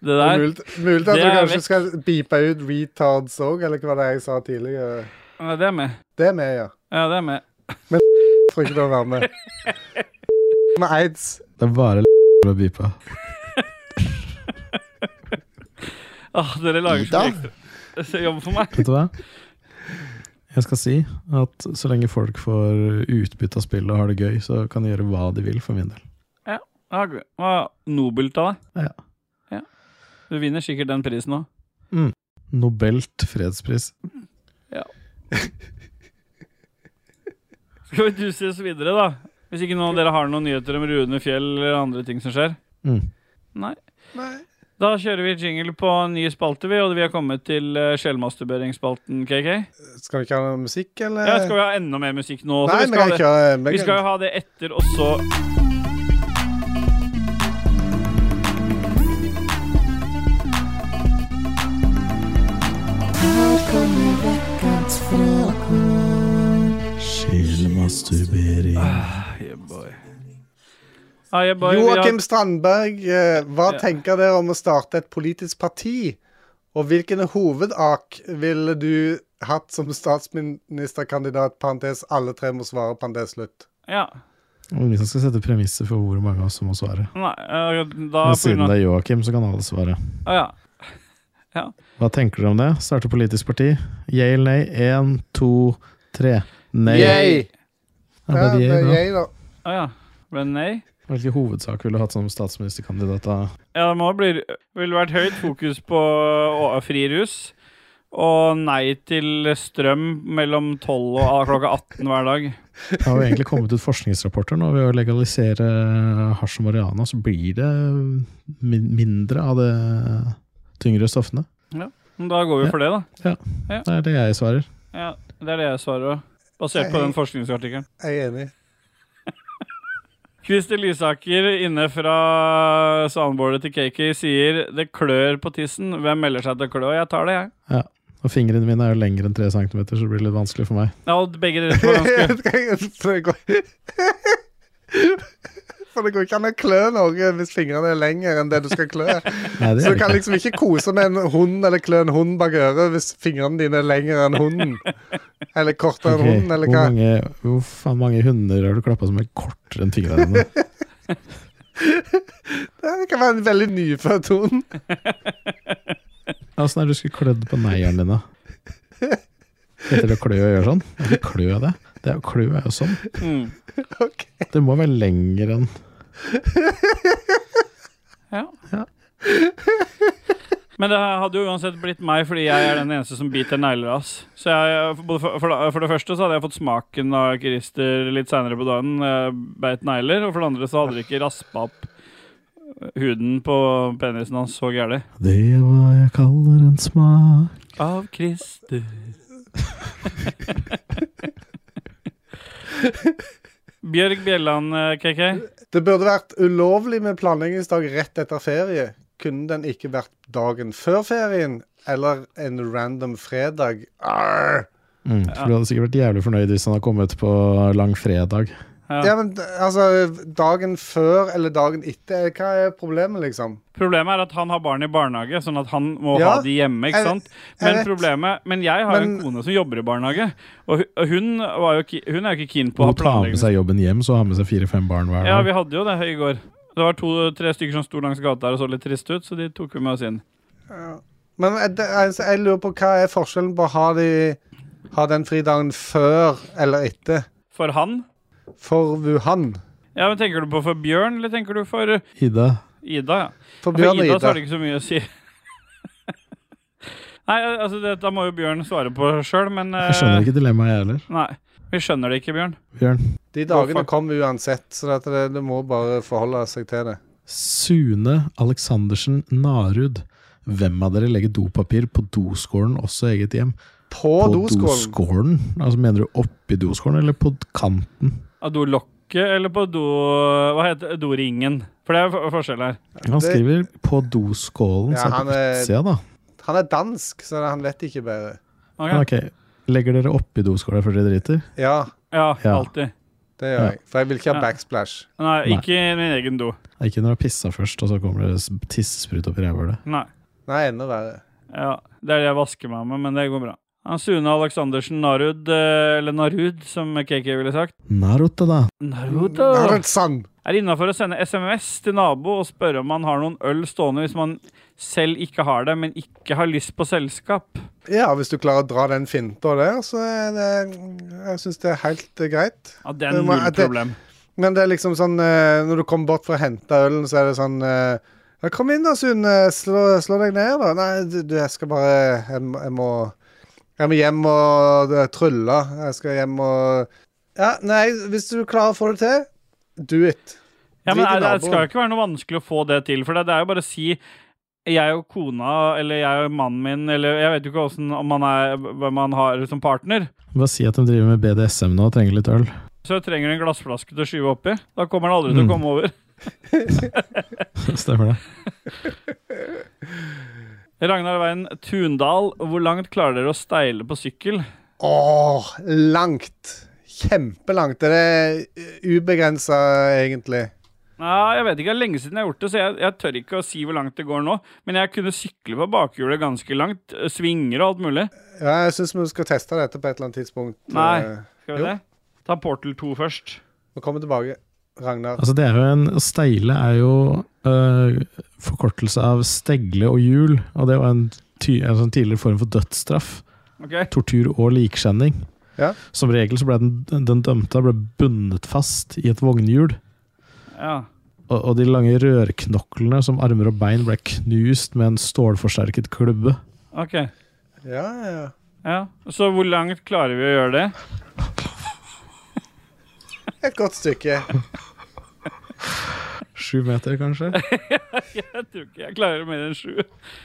Speaker 3: Det der
Speaker 1: Mulig mulig at
Speaker 3: Det
Speaker 1: du
Speaker 3: er
Speaker 1: kanskje
Speaker 3: vekk.
Speaker 1: skal beepe ut retards òg, eller hva det er jeg sa tidligere.
Speaker 3: Ja, det er med.
Speaker 1: Det er med, ja.
Speaker 3: Ja, det er med.
Speaker 1: Tror ikke det å
Speaker 3: *laughs*
Speaker 1: være med. Med aids.
Speaker 2: Det er bare *laughs* å by på.
Speaker 3: Åh, Ah, dere lager så
Speaker 9: Ida?
Speaker 3: mye ekstra så jobb for meg.
Speaker 2: Vet du hva? Jeg skal si at så lenge folk får utbytte av spillet og har det gøy, så kan de gjøre hva de vil, for min del.
Speaker 3: Ja, det var nobelt av deg.
Speaker 2: Ja.
Speaker 3: Ja. Du vinner sikkert den prisen òg.
Speaker 2: Nobelt fredspris.
Speaker 3: Skal vi duse oss videre, da? Hvis ikke noen av dere har noen nyheter om Rune Fjell eller andre ting som skjer?
Speaker 2: Mm.
Speaker 3: Nei. Da kjører vi jingle på en ny spalte, vi, og vi har kommet til eh, sjelmasturberingsspalten, KK.
Speaker 1: Skal vi ikke ha noe musikk, eller?
Speaker 3: Ja, skal vi ha enda mer musikk nå? også?
Speaker 1: Eh. Nei,
Speaker 3: vi,
Speaker 1: vi kan
Speaker 3: skal ha det,
Speaker 1: ikke ha vi kan-
Speaker 3: vi skal jo ha det etter, og så
Speaker 2: Sjelmasturbering.
Speaker 3: ah, jeg bare, vi har-
Speaker 1: Joakim Strandberg, eh, hva tenker dere om å starte et politisk parti? Og hvilken hovedak ville du hatt som statsministerkandidat? Parentes, alle tre må svare, parentes, slutt.
Speaker 3: Ja.
Speaker 2: Ingen som skal sette premisser for hvor mange av oss som må svare.
Speaker 3: Nei, eh, da
Speaker 2: Men
Speaker 3: på grunn
Speaker 2: siden
Speaker 3: av
Speaker 2: det er Joakim, så kan alle svare.
Speaker 3: Å, ja.
Speaker 2: Hva tenker dere om det? Starte politisk parti? Yay eller nei? Én, to, tre. Nei.
Speaker 1: Yay!
Speaker 2: Ja, det er
Speaker 1: Ja,
Speaker 2: de,
Speaker 1: det er
Speaker 2: da.
Speaker 1: jeg, da.
Speaker 3: Å, ja. Ah, Ble det nei?
Speaker 2: Hvilken hovedsak ville du hatt som statsministerkandidat? da?
Speaker 3: Ja, det må bli Ville vært høyt fokus på å- fri rus. Og nei til strøm mellom 12 og ah, klokka 18 hver dag.
Speaker 2: Det har jo egentlig kommet ut forskningsrapporter nå. Ved å legalisere hasj og marihuana, så blir det min- mindre av de tyngre stoffene.
Speaker 3: Men Da går vi for det, da.
Speaker 2: Det er det jeg svarer.
Speaker 3: Ja, Det er det jeg svarer òg. Basert på den forskningsartikkelen.
Speaker 1: Jeg er enig.
Speaker 3: Christer Lysaker inne fra soundboardet til KK sier 'det klør på tissen'. Hvem melder seg til å klø? Jeg tar det, jeg.
Speaker 2: Og fingrene mine er jo lengre enn tre centimeter, så det blir litt vanskelig for meg.
Speaker 3: Ja, og begge dere får
Speaker 1: *laughs*
Speaker 3: ganske
Speaker 1: For det går *laughs* For det går ikke an å klø noe hvis fingrene er lengre enn det du skal klø.
Speaker 2: Nei, det
Speaker 1: Så du
Speaker 2: er det
Speaker 1: kan
Speaker 2: ikke.
Speaker 1: liksom ikke kose med en hund eller klø en hund bak øret hvis fingrene dine er lengre enn hunden. Eller kortere enn
Speaker 2: Ok,
Speaker 1: hunden, eller
Speaker 2: hvor,
Speaker 1: hva.
Speaker 2: mange, hvor faen mange hunder har du klappa som er kortere enn fingrene dine? *laughs*
Speaker 1: Det kan være en veldig nyfødt hund.
Speaker 2: Åssen er det du skulle klødd på neieren din, da? Heter det å klø å gjøre sånn? Er det klø det? Det er jo klø er jo sånn.
Speaker 3: mm.
Speaker 1: Ok.
Speaker 2: Det må være lenger enn
Speaker 3: Ja. *laughs* Men det hadde jo uansett blitt meg, fordi jeg er den eneste som biter negler. ass. Så jeg, både for, for, for det første så hadde jeg fått smaken av Christer litt seinere på dagen. Jeg beit negler. Og for det andre så hadde det ikke raspa opp huden på penisen hans så gærent.
Speaker 2: Det er hva jeg kaller en smak.
Speaker 3: Av Christer. *laughs* Bjørg Bjelland, eh, KK.
Speaker 1: Det burde vært ulovlig med planleggingsdag rett etter ferie. Kunne den ikke vært dagen før ferien, eller en random fredag? Arr.
Speaker 2: Mm, for Du hadde sikkert vært jævlig fornøyd hvis han hadde kommet på langfredag.
Speaker 1: Ja, men d- altså, dagen før eller dagen etter, hva er problemet, liksom?
Speaker 3: Problemet er at han har barn i barnehage, sånn at han må
Speaker 1: Ja,
Speaker 3: ha de hjemme. ikke
Speaker 1: jeg-
Speaker 3: sant?
Speaker 1: jeg
Speaker 3: Men
Speaker 1: vet.
Speaker 3: problemet, men jeg har jo en
Speaker 1: Men-
Speaker 3: kone som jobber i barnehage, og hu- og hun, var jo, ki- hun er jo ikke keen på
Speaker 2: Må
Speaker 3: å
Speaker 2: ta
Speaker 3: ha
Speaker 2: med
Speaker 3: planlegging.
Speaker 2: seg jobben hjem, så ha med seg fire-fem barn hver
Speaker 3: Ja,
Speaker 2: dag.
Speaker 3: vi hadde jo det i går. Det var to-tre stykker som sto langs gata her og så litt triste ut, så de tok vi med oss inn.
Speaker 1: Men er det- altså, jeg lurer på hva er forskjellen på å ha, de, ha den fridagen før eller etter
Speaker 3: For han?
Speaker 1: for Wuhan?
Speaker 3: Ja, men Tenker du på for Bjørn, eller tenker du for uh,
Speaker 2: Ida,
Speaker 3: Ida? ja?
Speaker 1: For
Speaker 3: For
Speaker 1: Bjørn og
Speaker 3: Ida så har
Speaker 1: Ida.
Speaker 3: det ikke så mye å si. *laughs* Nei, altså, dette må jo Bjørn svare på sjøl, men eh,
Speaker 1: Eh.
Speaker 2: jeg skjønner ikke dilemmaet, jeg heller.
Speaker 3: Nei, vi skjønner det ikke, Bjørn.
Speaker 2: Bjørn.
Speaker 1: De dagene kommer uansett, så dette- det, det må bare forholde seg til det.
Speaker 2: Sune Aleksandersen Narud. Hvem av dere legger dopapir på doskålen, også eget hjem?
Speaker 1: På,
Speaker 2: på
Speaker 1: doskålen.
Speaker 2: doskålen? Altså Mener du oppi doskålen, eller på kanten?
Speaker 3: Av dolokket eller på do... Hva heter det? Doringen. For det er for- forskjell her.
Speaker 2: Han
Speaker 1: Det-
Speaker 2: skriver 'på doskålen',
Speaker 1: Ja,
Speaker 2: så
Speaker 1: han
Speaker 2: er det på
Speaker 1: er-
Speaker 2: utsida, da.
Speaker 1: Han er dansk, så han vet ikke bedre.
Speaker 3: Ok.
Speaker 2: Ja, Ok, Legger dere oppi doskåla før dere driter?
Speaker 1: Ja,
Speaker 3: Ja,
Speaker 2: Ja.
Speaker 3: alltid.
Speaker 1: det gjør
Speaker 2: Ja.
Speaker 1: jeg. For jeg vil ikke ha
Speaker 3: Ja.
Speaker 1: backsplash.
Speaker 3: Nei,
Speaker 2: Nei.
Speaker 3: ikke i min egen do.
Speaker 2: Det er Ikke når du har pissa først, og så kommer det s- tissesprut opp i rævhølet.
Speaker 3: Nei.
Speaker 1: Nei, enda verre.
Speaker 3: Ja, det er det jeg vasker meg med, men det går bra. Han Sune Aleksandersen Narud, eh, eller Narud, som KK ville sagt.
Speaker 2: Naruto, da.
Speaker 3: Narud, da.
Speaker 1: Narutsan.
Speaker 3: Er innafor å sende SMS til nabo og spørre om han har noen øl stående hvis man selv ikke har det, men ikke har lyst på selskap.
Speaker 1: Ja, hvis du klarer å dra den finta der, så er det Jeg syns det er helt eh, greit.
Speaker 3: Ja, det er
Speaker 1: Men, men,
Speaker 3: null
Speaker 1: det-
Speaker 3: problem.
Speaker 1: Men det er liksom sånn eh, Når du kommer bort for å hente ølen, så er det sånn eh, ja, 'Kom inn da, Sune. Slå, slå deg ned, da.' 'Nei, du, du, jeg skal bare Jeg, må- jeg må Jeg må hjem og eh, trylle. Jeg skal hjem og Ja, nei, hvis du klarer å få det til, do it.
Speaker 3: Ja, men
Speaker 1: Drit i
Speaker 3: er, Det
Speaker 1: naboen.
Speaker 3: skal jo ikke være noe vanskelig å få det til. For det, det er jo bare å si jeg og kona, eller jeg og mannen min, eller jeg vet jo ikke hvordan, om man er, hvem man har som partner.
Speaker 2: Bare si at de driver med BDSM nå og trenger litt øl. *laughs*
Speaker 3: Så trenger du en glassflaske til å skyve oppi. Da kommer han aldri til
Speaker 2: Mm.
Speaker 3: å komme over.
Speaker 2: Stemmer det.
Speaker 3: Ragnar Veien Tundal, hvor langt klarer dere å steile på sykkel?
Speaker 1: Åh, langt. Kjempelangt. Det er ubegrensa, egentlig.
Speaker 3: Nei, jeg vet ikke, det er lenge siden jeg har gjort det, så jeg, jeg tør ikke å si hvor langt det går nå. Men jeg kunne sykle på bakhjulet ganske langt. eh, Svinger og alt mulig.
Speaker 1: Ja, jeg syns vi skal teste dette på et eller annet tidspunkt.
Speaker 3: Nei.
Speaker 1: Eh,
Speaker 3: Skal
Speaker 1: Jo.
Speaker 3: vi det? Ta Portal 2 først.
Speaker 1: Vi kommer tilbake, Ragnar.
Speaker 2: Altså, det er jo en å Steile er jo øh, forkortelse av stegle og hjul, og det var en, ty, en sånn tidligere form for dødsstraff.
Speaker 3: Ok?
Speaker 2: Tortur og likskjenning.
Speaker 1: Ja.
Speaker 2: Som regel så ble den, den dømte ble bundet fast i et vognhjul.
Speaker 3: Ja.
Speaker 2: Og, og de lange rørknoklene som armer og bein ble knust med en stålforsterket klubbe.
Speaker 3: Ok,
Speaker 1: Ja, ja.
Speaker 3: ja. Så hvor langt klarer vi å gjøre det? *laughs*
Speaker 1: Et godt stykke.
Speaker 2: Sju meter, kanskje?
Speaker 3: Jeg tror ikke jeg klarer mer enn sju.
Speaker 2: *laughs*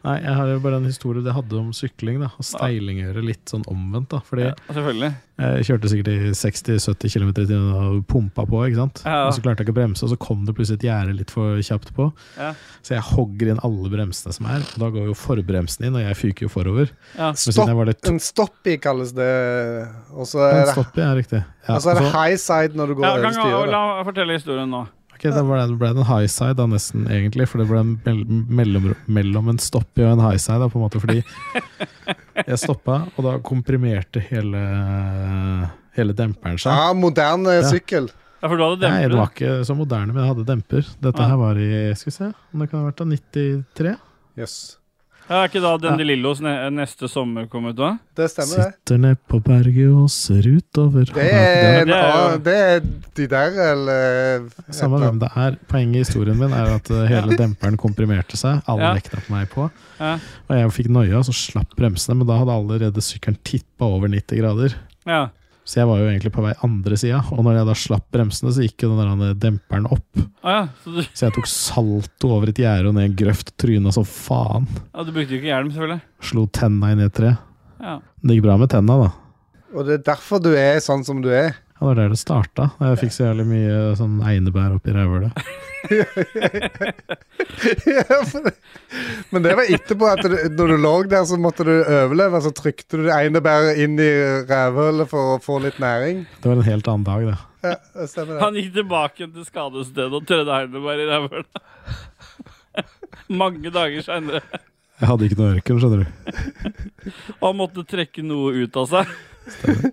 Speaker 2: Nei, jeg har jo bare en historie det hadde om sykling. da Og steilingjøre litt sånn omvendt. da Fordi
Speaker 3: Ja, selvfølgelig.
Speaker 2: jeg kjørte sikkert i 60-70 km i timen og pumpa på. ikke sant?
Speaker 3: Ja.
Speaker 2: Og så klarte jeg ikke å bremse, og så kom det plutselig et gjerde litt for kjapt på.
Speaker 3: Ja.
Speaker 2: Så jeg hogger inn alle bremsene som er. Og da går jo forbremsen inn, og jeg fyker jo forover.
Speaker 3: Ja.
Speaker 2: Men siden jeg var litt
Speaker 1: En stoppy kalles det. Og så er
Speaker 2: En
Speaker 1: det,
Speaker 2: stopp, ja, riktig. Ja,
Speaker 1: og så
Speaker 2: altså,
Speaker 1: er det
Speaker 2: og så-
Speaker 1: high side når du går
Speaker 3: Ja,
Speaker 1: over
Speaker 3: kan, la,
Speaker 1: styret.
Speaker 3: la
Speaker 1: da.
Speaker 3: meg fortelle historien nå.
Speaker 2: Ok, da ble det, ble det en high side da, nesten, egentlig. For det ble en mell mellom, mellom en stopp i og en high side, da, på en måte.
Speaker 3: *laughs*
Speaker 2: Fordi jeg stoppa, og da komprimerte hele, hele demperen seg.
Speaker 1: Ja, moderne eh,
Speaker 2: Ja.
Speaker 1: sykkel.
Speaker 3: Ja, for du hadde
Speaker 2: Nei, det
Speaker 3: dempet.
Speaker 2: var ikke så moderne, men jeg hadde demper. Dette
Speaker 3: Ja.
Speaker 2: her var i skal vi se, om det kan ha vært da 93?
Speaker 1: Jøss.
Speaker 3: Ja, er ikke da
Speaker 2: Ja.
Speaker 3: Den De Lillos ne neste sommer kom ut da?
Speaker 1: Det stemmer, det.
Speaker 2: Sitter ned på berget og ser utover
Speaker 1: Det er,
Speaker 2: Ja,
Speaker 1: en,
Speaker 3: det er jo-
Speaker 1: annen- det er de der, eller
Speaker 2: det er Samme hvem det er. Poenget i historien min er at eh, hele demperen komprimerte seg. Alle
Speaker 3: Ja.
Speaker 2: nekta på meg på.
Speaker 3: Ja.
Speaker 2: Og jeg fikk noia, så slapp bremsene, men da hadde allerede sykkelen tippa over 90 grader.
Speaker 3: Ja.
Speaker 2: Så jeg var jo egentlig på vei andre sida, og når jeg da slapp bremsene, så gikk jo den der demperen opp.
Speaker 3: Å ja. Så du,
Speaker 2: Så jeg tok salto over et gjerde og ned en grøft og tryna som faen.
Speaker 3: ja, du brukte jo ikke hjelm, selvfølgelig.
Speaker 2: Slo tenna inn i et tre.
Speaker 3: Ja.
Speaker 2: Det gikk bra med tenna, da.
Speaker 1: Og det er derfor du er sånn som du er. *laughs*
Speaker 2: Ja, det var der det starta. Jeg fikk så jævlig mye sånn einebær oppi rævhølet.
Speaker 1: Ja, for det- Men det var etterpå at du, når du lå der, så måtte du overleve. Så trykte du det ene bæret inn i rævhullet for å få litt næring.
Speaker 2: Det var en helt annen dag, det.
Speaker 1: Ja, det stemmer det.
Speaker 3: Han gikk tilbake til skadestedet og tredde Heineberg i rævhøla. *laughs* Mange dager seinere.
Speaker 2: Jeg hadde ikke noe ørken, skjønner du.
Speaker 3: Og han måtte trekke noe ut av seg.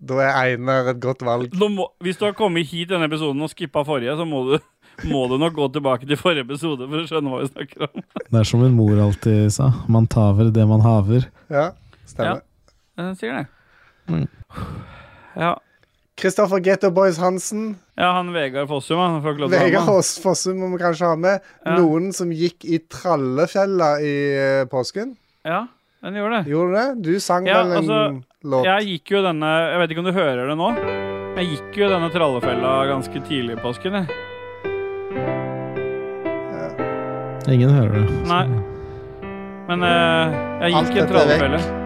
Speaker 1: Da er Einar et godt valg.
Speaker 3: Nå må, hvis du har kommet hit i denne episoden og skippa forrige, så må du, må du nok gå tilbake til forrige episode for å skjønne hva vi snakker om.
Speaker 2: Det er som min mor alltid sa, man taver det man haver.
Speaker 1: Ja, stemmer.
Speaker 3: Eh, Sikkert det.
Speaker 1: Mm.
Speaker 3: Ja.
Speaker 1: Kristoffer Getto Boys Hansen.
Speaker 3: ja, han Vegard Fossum, han får ikke lov til å være
Speaker 1: Vegard
Speaker 3: med.
Speaker 1: Foss- Fossum må vi kanskje ha med.
Speaker 3: Ja.
Speaker 1: Noen som gikk i trallefjella i eh, påsken.
Speaker 3: Ja, han gjorde det.
Speaker 1: Gjorde du det? Du sang
Speaker 3: Ja,
Speaker 1: vel en
Speaker 3: altså,
Speaker 1: låt?
Speaker 3: Jeg gikk jo denne Jeg vet ikke om du hører det nå? Jeg gikk jo denne trallefella ganske tidlig i påsken, jeg.
Speaker 2: Ingen hører det.
Speaker 3: Nei. Men eh, jeg
Speaker 1: Alt
Speaker 3: gikk i en
Speaker 1: dette er vekk.
Speaker 3: trallefelle.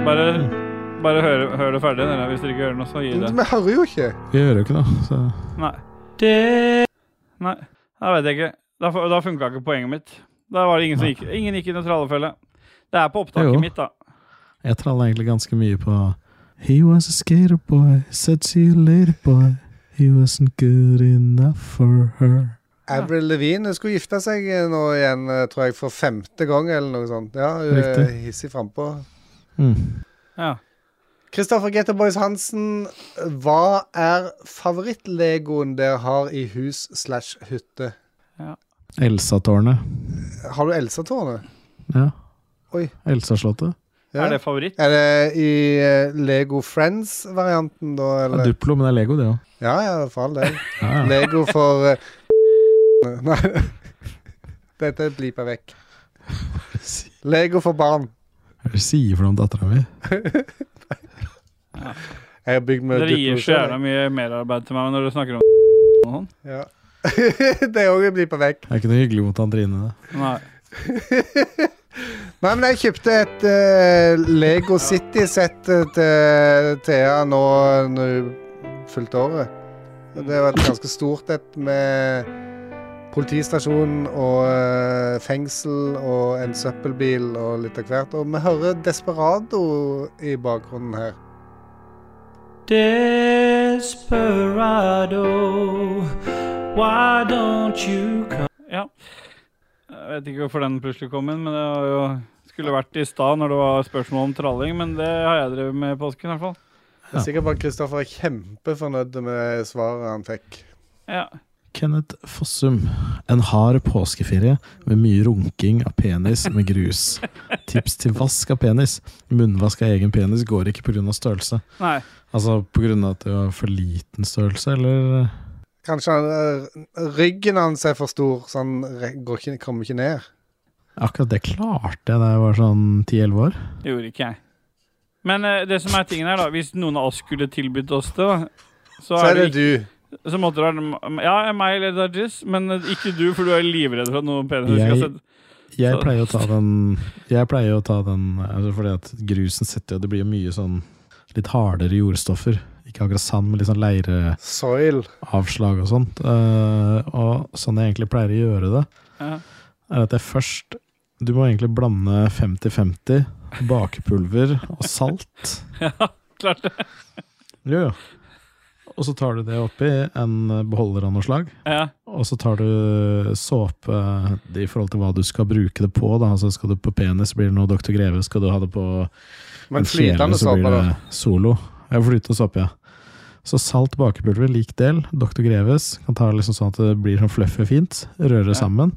Speaker 3: Bare,
Speaker 1: Mm.
Speaker 3: bare hør, hør det ferdig. Dere. Hvis dere ikke hører noe, så gi
Speaker 1: Men
Speaker 3: det.
Speaker 1: Vi hører jo ikke.
Speaker 2: Vi hører jo ikke noe, så
Speaker 3: Nei. Nei, da vet jeg ikke. Da, fu- da funka ikke poenget mitt. Da var det ingen som gikk Ingen gikk i noen trallefelle. Det er på opptaket
Speaker 2: Jo.
Speaker 3: mitt, da.
Speaker 2: jeg tralla egentlig ganske mye på He was a skater boy, said see you later boy. He wasn't good enough for her.
Speaker 1: Avril Levine skulle gifte seg nå igjen, eh, tror jeg, for femte gang eller noe sånt. Ja, hun
Speaker 2: Riktig.
Speaker 1: er hissig frampå.
Speaker 2: Mm.
Speaker 3: Ja.
Speaker 1: Kristoffer Gete Boys Hansen, hva er favorittlegoen dere har i hus slash hytte?
Speaker 2: Elsa-tårnet.
Speaker 1: Har du Elsa-tårnet?
Speaker 2: Ja.
Speaker 1: Oi.
Speaker 2: Elsa-slottet.
Speaker 1: Ja.
Speaker 3: Er det favoritt?
Speaker 1: Er det i eh, Lego Friends-varianten, da?
Speaker 2: Ja,
Speaker 1: Eller?
Speaker 2: Duplo, men det er Lego, det òg.
Speaker 1: Ja, ja, for all del.
Speaker 2: Ja, ja.
Speaker 1: Lego for eh, *laughs* Nei. Dette bliper vekk. Lego for barn.
Speaker 2: Hva er det du sier for noe om dattera mi?
Speaker 1: Jeg har bygd med
Speaker 3: Dere
Speaker 1: Duplo
Speaker 3: gir så
Speaker 1: selv,
Speaker 3: gjerne mye merarbeid til meg når dere snakker om sånn.
Speaker 1: jeg. Ja. *laughs* det er òg bliper vekk.
Speaker 2: Det er ikke noe hyggelig mot han Trine. det.
Speaker 3: Nei.
Speaker 1: Nei, men jeg kjøpte et eh, Lego City-sett eh, til Thea nå når hun fulgte året. Og Det var et ganske stort et med politistasjon og eh, fengsel og en søppelbil og litt av hvert. Og vi hører Desperado i bakgrunnen her.
Speaker 6: Desperado, why don't you come?
Speaker 3: Ja. Jeg vet ikke hvorfor den plutselig kom inn, men det var jo, skulle vært i stad når det var spørsmål om tralling, men det har jeg drevet med i påsken i hvert fall.
Speaker 1: Jeg er sikker på at Kristoffer er kjempefornøyd med svaret han fikk.
Speaker 3: Ja.
Speaker 2: Kenneth Fossum. En hard påskeferie med mye runking av penis med grus. Tips til vask av penis. Munnvask av egen penis går ikke pga. størrelse.
Speaker 3: Nei.
Speaker 2: Altså pga. at det var for liten størrelse, eller?
Speaker 1: Kanskje han, eh, ryggen hans er for stor, så han re- går ikke, kommer ikke ned.
Speaker 2: Akkurat det klarte jeg da jeg var sånn 10-11 år.
Speaker 3: Det gjorde ikke jeg. Men eh, det som er tingen her, da, hvis noen av oss skulle tilbudt oss det, da, så,
Speaker 1: Så
Speaker 3: er det,
Speaker 1: du.
Speaker 3: ikke- så måtte det være Ja, meg eller Dajis, men ikke du, for du er livredd for at noen penis
Speaker 2: Jeg-
Speaker 3: skal sette
Speaker 2: Jeg
Speaker 3: Så-
Speaker 2: pleier å ta den Jeg pleier å ta den altså Fordi at grusen setter jo Det blir jo mye sånn Litt hardere jordstoffer Ikke akkurat sand Men litt sånn leireavslag
Speaker 1: Soil.
Speaker 2: og sånt Eh, Og sånn jeg egentlig pleier å gjøre det
Speaker 3: Ja.
Speaker 2: Er at jeg først Du må egentlig blande 50-50 Bakepulver og salt
Speaker 3: *laughs* Klart det.
Speaker 2: Jo jo Og så tar du det oppi En beholder av noe slag
Speaker 3: Ja.
Speaker 2: og så tar du såpe i forhold til hva du skal bruke det på. Da. Altså, skal du på penis, blir det noe Dr. Greve. Skal du ha det på
Speaker 1: Men
Speaker 2: en kjele,
Speaker 1: flytende
Speaker 2: så blir
Speaker 1: såpe, da.
Speaker 2: det solo. Ja, flytende såpe, ja. Så salt bakepulver, lik del. Dr. Greves. Kan ta liksom sånn at det blir sånn fluffy fint. Røre sammen.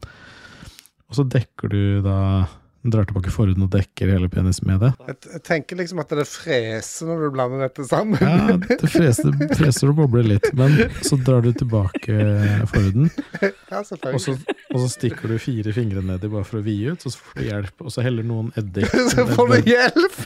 Speaker 2: Og så dekker du da Drar tilbake forhuden og dekker hele penis med det.
Speaker 1: Jeg, jeg tenker liksom at det freser når du blander dette sammen.
Speaker 2: Ja, det freser, det freser og bobler litt, men så drar du tilbake forhuden.
Speaker 1: Ja,
Speaker 2: Og så,
Speaker 1: selvfølgelig.
Speaker 2: og så stikker du fire fingre nedi bare for å vide ut, og så får du hjelp. Og så heller noen eddik.
Speaker 1: *laughs* *laughs* Så får du hjelp!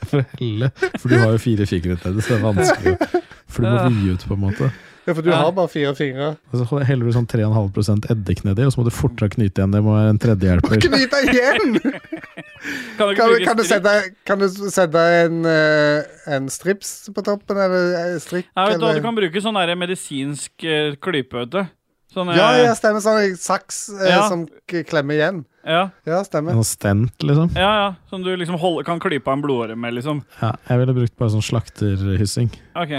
Speaker 2: For, å helle, for du har jo fire fingre nedi, så det er vanskelig. For du må vide ut, på en måte.
Speaker 1: Ja, for du har bare fire fingre.
Speaker 2: Og så heller du sånn 3,5 eddik nedi, og så må du fortere knyte igjen. Det må være en tredjehjelper.
Speaker 1: Knyt deg igjen!
Speaker 3: Kan
Speaker 1: Kan,
Speaker 3: du ikke
Speaker 1: kan, du
Speaker 3: bruke strikk?
Speaker 1: sette, kan du sette en, eh, en strips på toppen, eller eh, strikk?
Speaker 3: Ja, vet du, hva,
Speaker 1: eller?
Speaker 3: du kan bruke sånn der medisinsk eh, klype, vet du. Sånn,
Speaker 1: ja,
Speaker 3: eh,
Speaker 1: ja, stemmer. Sånn saks eh,
Speaker 3: Ja.
Speaker 1: som k- klemmer igjen.
Speaker 3: ja.
Speaker 1: Ja, stemmer.
Speaker 2: Sånn stent, liksom.
Speaker 3: Ja, ja. Som du liksom holder, kan klype av en blodåre med, liksom.
Speaker 2: Ja, jeg ville brukt bare sånn slakterhyssing.
Speaker 3: OK.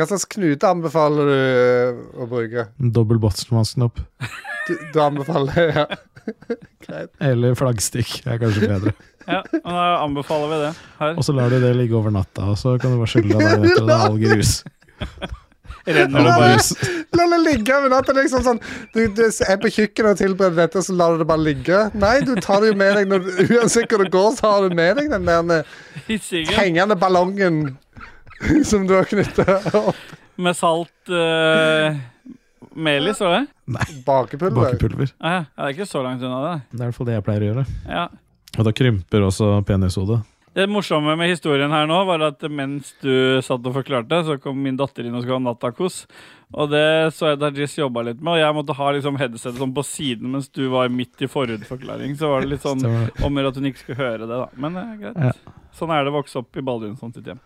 Speaker 1: Hva slags knute anbefaler du eh, å bruke?
Speaker 2: En Dobbel botselmasken opp.
Speaker 1: Du, du anbefaler *laughs* ja. Greit.
Speaker 2: Eller flaggstikk er kanskje bedre.
Speaker 3: Ja, og Da anbefaler vi det her.
Speaker 2: Og så lar du det ligge over natta, og så kan du bare skylle deg der etter en halv grus.
Speaker 3: Renner det
Speaker 2: Halv
Speaker 3: bare
Speaker 2: grus.
Speaker 1: La det ligge over natta. Liksom sånn, du, du er på kjøkkenet og tilbereder dette, så lar du det bare ligge. Nei, du tar det jo med deg når, du- uansett hvor det går, så har du med deg den der eh,
Speaker 3: hissingen
Speaker 1: hengende ballongen *laughs* som du har knytta opp.
Speaker 3: med salt uh, melis, var det?
Speaker 1: Bakepulver.
Speaker 2: Bakepulver.
Speaker 3: Ah, ja, det er ikke så langt unna det.
Speaker 2: Det er i hvert fall det jeg pleier å gjøre.
Speaker 3: Ja.
Speaker 2: Og da krymper også penishodet.
Speaker 3: Det morsomme med historien her nå var at mens du satt og forklarte, så kom min datter inn og skulle ha nattakos. Og det så jeg Dajis jobba litt med, og jeg måtte ha liksom headsetet sånn på siden mens du var midt i forhudforklaring. Så var det litt sånn
Speaker 2: Så det var-
Speaker 3: om å gjøre at hun ikke skulle høre det, da. Men det er
Speaker 2: Ja.
Speaker 3: greit. Sånn er det å vokse opp i Baldunsson sitt hjem.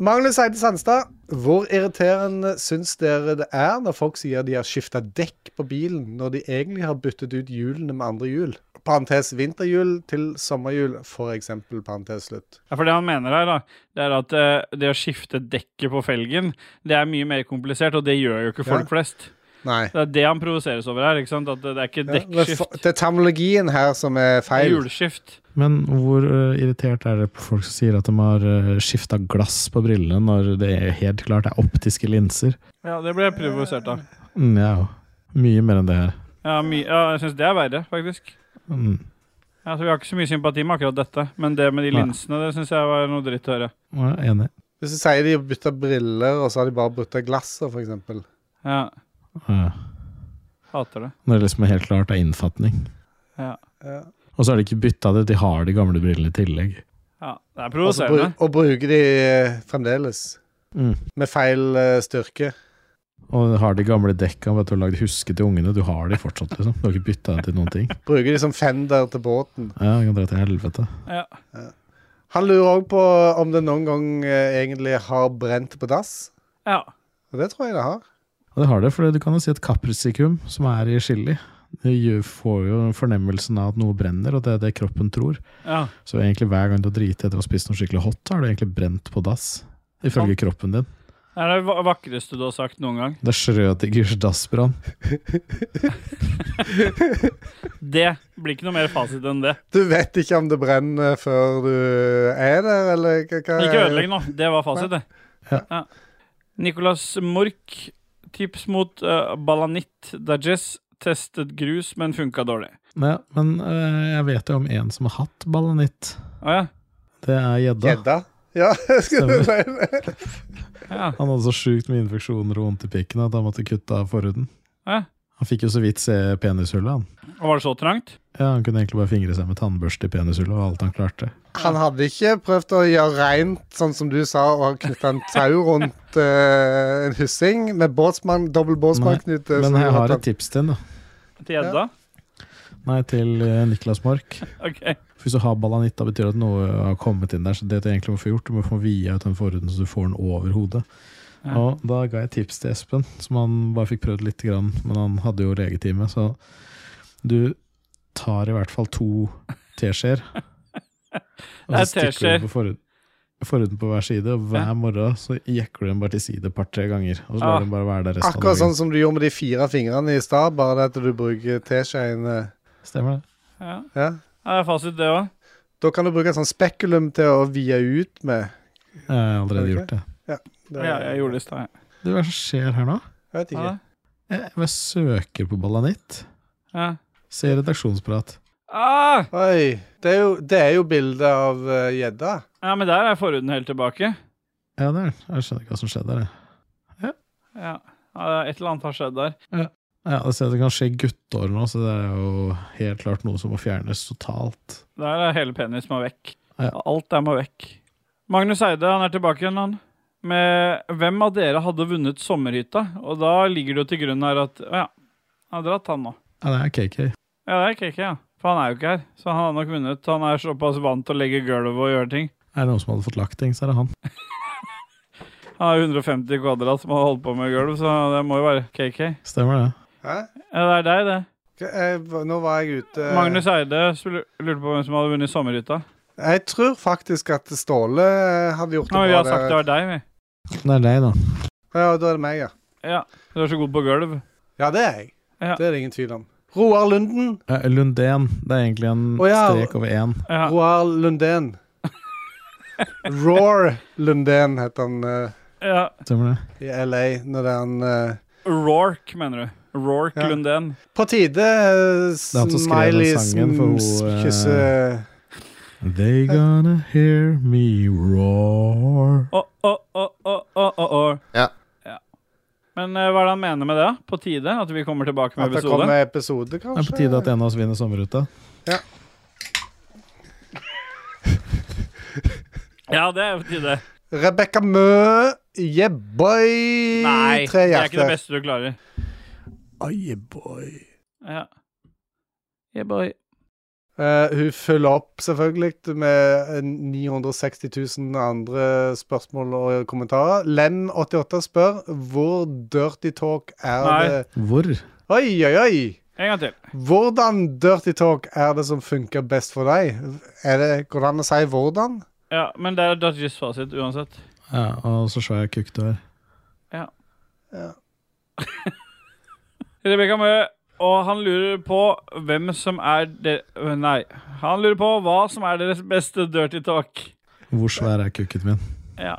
Speaker 1: Magnus Eide Sandstad, hvor irriterende syns dere det er når folk sier de har skifta dekk på bilen, når de egentlig har byttet ut hjulene med andre hjul? Parentes vinterhjul til sommerhjul, for eksempel. Parentes slutt.
Speaker 3: Ja, for det han mener her, da, det er at eh, det å skifte dekket på felgen, det er mye mer komplisert, og det gjør jo ikke folk flest.
Speaker 1: Nei.
Speaker 3: Det er det han provoseres over her, ikke sant? At det det er ikke
Speaker 1: Ja, det er for-
Speaker 3: dekkskift,
Speaker 1: det er terminologien her som er
Speaker 3: det er
Speaker 1: feil.
Speaker 3: hjulskift.
Speaker 2: Men hvor eh, irritert er det på folk som sier at de har uh, skifta glass på brillene, når det er helt klart er optiske linser?
Speaker 3: Ja, det ble jeg provosert av.
Speaker 2: Mm, ja, jo. mye mer enn det her.
Speaker 3: Ja, my, ja jeg syns det er verre, faktisk.
Speaker 2: Mm.
Speaker 3: Ja, så Vi har ikke så mye sympati med akkurat dette, men det med de
Speaker 2: Nei.
Speaker 3: linsene det synes jeg var noe dritt å høre.
Speaker 2: Ja, enig.
Speaker 1: Hvis du sier de har bytta briller, og så har de bare bytta glasser, for eksempel.
Speaker 3: Ja,
Speaker 2: Ja.
Speaker 3: Hater det.
Speaker 2: Når det liksom er helt klart er innfatning.
Speaker 3: Ja.
Speaker 1: Ja.
Speaker 2: Og så er de ikke bytta det, de har de gamle brillene i tillegg.
Speaker 3: ja, Det er
Speaker 1: Og så bru-
Speaker 3: provoserende.
Speaker 1: og bruker de eh, fremdeles.
Speaker 2: Mm.
Speaker 1: Med feil eh, styrke.
Speaker 2: Og har de gamle dekka, vet du, lagd huske til ungene. Du har de fortsatt, liksom. Du har ikke bytta dem til noen ting.
Speaker 1: Bruker de som fender til båten.
Speaker 2: Ja, jeg kan dra til helvete.
Speaker 3: Ja.
Speaker 1: Han lurer òg på om det noen gang eh, egentlig har brent på dass.
Speaker 3: ja.
Speaker 1: Og det tror jeg det har.
Speaker 2: Ja, det har det, for du kan jo si et kaprisikum som er i chili. Det gjør- får jo fornemmelsen av at noe brenner, og det er det kroppen tror.
Speaker 3: ja.
Speaker 2: Så egentlig hver gang du har driti etter å ha spist noe skikkelig hot, så har du egentlig brent på dass. Ifølge kroppen din.
Speaker 3: Det er det va- vakreste du har sagt noen gang.
Speaker 2: Det er Schrødingers dassbrann.
Speaker 3: Det blir ikke noe mer fasit enn det.
Speaker 1: Du vet ikke om det brenner før du er der, eller hva? hva-
Speaker 3: Ikke ødelegg nå. Det var fasit, det.
Speaker 2: Ja.
Speaker 3: Ja. Nicolas Mork Tips mot eh, balanitt dajess. Testet grus, men funka dårlig.
Speaker 2: Nei, men eh, jeg vet jo om en som har hatt balanitt.
Speaker 3: Å ja.
Speaker 2: Det er gjedda.
Speaker 1: Gjedda? Ja, *laughs* skulle du si det?
Speaker 3: ja.
Speaker 2: Han hadde så sjukt med infeksjoner og vondt i pikken at han måtte kutte av forhuden.
Speaker 3: Hæ?
Speaker 2: Han fikk jo så vidt se penishullet, han.
Speaker 3: Og var det så trangt?
Speaker 2: Ja, Han kunne egentlig bare fingre seg med tannbørste i penishullet, og alt han klarte.
Speaker 1: Han hadde ikke prøvd å gjøre reint, sånn som du sa, og knytte en tau rundt eh, en hyssing med båtsmann, dobbel båtsmannknute.
Speaker 2: Men
Speaker 1: som
Speaker 2: jeg
Speaker 1: du
Speaker 2: har
Speaker 1: tatt.
Speaker 2: et tips til, da.
Speaker 3: Til gjedda?
Speaker 2: Nei, til eh, Niklas Mork.
Speaker 3: Ok.
Speaker 2: Hvis du har balanitt, da betyr det at noe har kommet inn der. Så det du egentlig må få gjort, du må få via ut den forhuden så du får den over hodet.
Speaker 3: Ja.
Speaker 2: Og da ga jeg tips til Espen, som han bare fikk prøvd lite grann. Men han hadde jo legetime, så du tar i hvert fall to teskjeer.
Speaker 3: *laughs*
Speaker 2: Og
Speaker 3: Det er
Speaker 2: så stikker
Speaker 3: teskjeer.
Speaker 2: du på forhuden, forhuden på hver side, og hver
Speaker 3: Ja.
Speaker 2: morgen så jekker du den bare til side et par-tre ganger. Og så
Speaker 3: Ah.
Speaker 2: lar du den bare være der resten
Speaker 1: Akkurat
Speaker 2: av dagen.
Speaker 1: sånn som du gjorde med de fire fingrene i stad, bare det at du bruker teskjeen eh,
Speaker 2: Stemmer det?
Speaker 3: Ja.
Speaker 1: ja.
Speaker 3: Ja, Det er fasit, det òg.
Speaker 1: Da kan du bruke et sånt spekulum til å vie ut med.
Speaker 2: Jeg har allerede
Speaker 1: Ok.
Speaker 2: gjort det.
Speaker 1: Det-
Speaker 3: Ja, jeg gjorde det i stad.
Speaker 2: Du, hva er det som skjer her nå?
Speaker 1: Jeg vet ikke.
Speaker 3: Ja.
Speaker 2: Jeg bare søker på balanitt.
Speaker 3: Ja.
Speaker 2: Se redaksjonsprat.
Speaker 3: Ah!
Speaker 1: Oi. Det er jo, det er jo bildet av eh, gjedda.
Speaker 3: ja, men der er forhuden helt tilbake.
Speaker 2: Ja, det er den. Jeg skjønner ikke hva som skjedde der. jeg.
Speaker 3: Ja. ja, Et eller annet har skjedd der.
Speaker 2: Ja, det, ser, det kan skje i gutteår nå, så det er jo helt klart noe som må fjernes totalt.
Speaker 3: Der er hele penis må vekk.
Speaker 2: Ja.
Speaker 3: Alt der må vekk. Magnus Eide han er tilbake igjen, han. Med 'Hvem av dere hadde vunnet sommerhytta?' Og da ligger det jo til grunn her at Å ja, han har dratt, han nå.
Speaker 2: Ja, det er KK.
Speaker 3: Ja, det er KK, ja. For han er jo ikke her. Så han har nok vunnet. Han er såpass vant til å legge gulvet og gjøre ting.
Speaker 2: Er det noen som hadde fått lagt ting, så er det han.
Speaker 3: Han har 150 kvadrat som har holdt på med gulv, så det må jo være KK.
Speaker 2: Stemmer det?
Speaker 1: Hæ?
Speaker 3: Ja, det er deg, det.
Speaker 1: Hva- jeg- Nå var jeg ute
Speaker 3: Magnus Eide spør- lurte på hvem som hadde vunnet sommerhytta.
Speaker 1: Jeg tror faktisk at Ståle eh, hadde gjort det
Speaker 3: Ja, men vi
Speaker 1: bra.
Speaker 3: har sagt det
Speaker 1: der.
Speaker 3: var deg, vi.
Speaker 2: Det er deg, da.
Speaker 1: Ja, da er det meg, ja.
Speaker 3: Ja, Du er så god på gulv.
Speaker 1: Ja, det er jeg.
Speaker 3: Ja.
Speaker 1: Det er det ingen tvil om. Roar Lunden.
Speaker 2: Eh, Lundén. Det er egentlig en
Speaker 1: Å, ja.
Speaker 2: strek over én.
Speaker 3: Ja.
Speaker 1: Roar
Speaker 3: *laughs*
Speaker 1: Lundén. Roar Lundén het han eh,
Speaker 3: ja.
Speaker 2: Stemmer det?
Speaker 1: i LA når det er han eh,
Speaker 3: Rorke, mener du. Rorke
Speaker 1: Ja.
Speaker 3: Lundén.
Speaker 1: På tide uh,
Speaker 2: er han som skrev den
Speaker 1: Smiley
Speaker 2: sangen for hun, eh,
Speaker 1: kysser
Speaker 2: They gonna hear me roar.
Speaker 3: Å, å, å, å, å, å, å.
Speaker 9: Ja.
Speaker 3: Ja. Men eh, hva er det han mener med det? da? På tide? At vi kommer tilbake med
Speaker 1: At det
Speaker 3: episode?
Speaker 1: kommer episode,
Speaker 2: Det er
Speaker 1: kanskje?
Speaker 2: på tide at en av oss vinner sommerruta.
Speaker 3: Ja, det er på tide.
Speaker 1: Rebekka Mø, yeah boy!
Speaker 3: Nei, det
Speaker 1: Tre
Speaker 3: er ikke det
Speaker 1: hjerter.
Speaker 3: beste du klarer.
Speaker 1: Oh, yeah boy.
Speaker 3: Ja. Yeah, boy.
Speaker 1: Eh, hun følger opp selvfølgelig med eh, 960 000 andre spørsmål og kommentarer. Lem88 spør hvor dirty talk er
Speaker 3: Nei.
Speaker 1: det
Speaker 2: Hvor?
Speaker 1: Oi, oi, oi!
Speaker 3: En gang til.
Speaker 1: Hvordan dirty talk er det som funker best for deg? Er det, går det an å si hvordan?
Speaker 3: Ja, men det er Dodges fasit uansett.
Speaker 2: Ja, og så så jeg kukkdør.
Speaker 3: Rebekka Mø, og han lurer på hvem som er de... Nei. Han lurer på hva som er deres beste dirty talk.
Speaker 2: Hvor svær er kukken min?
Speaker 3: Ja.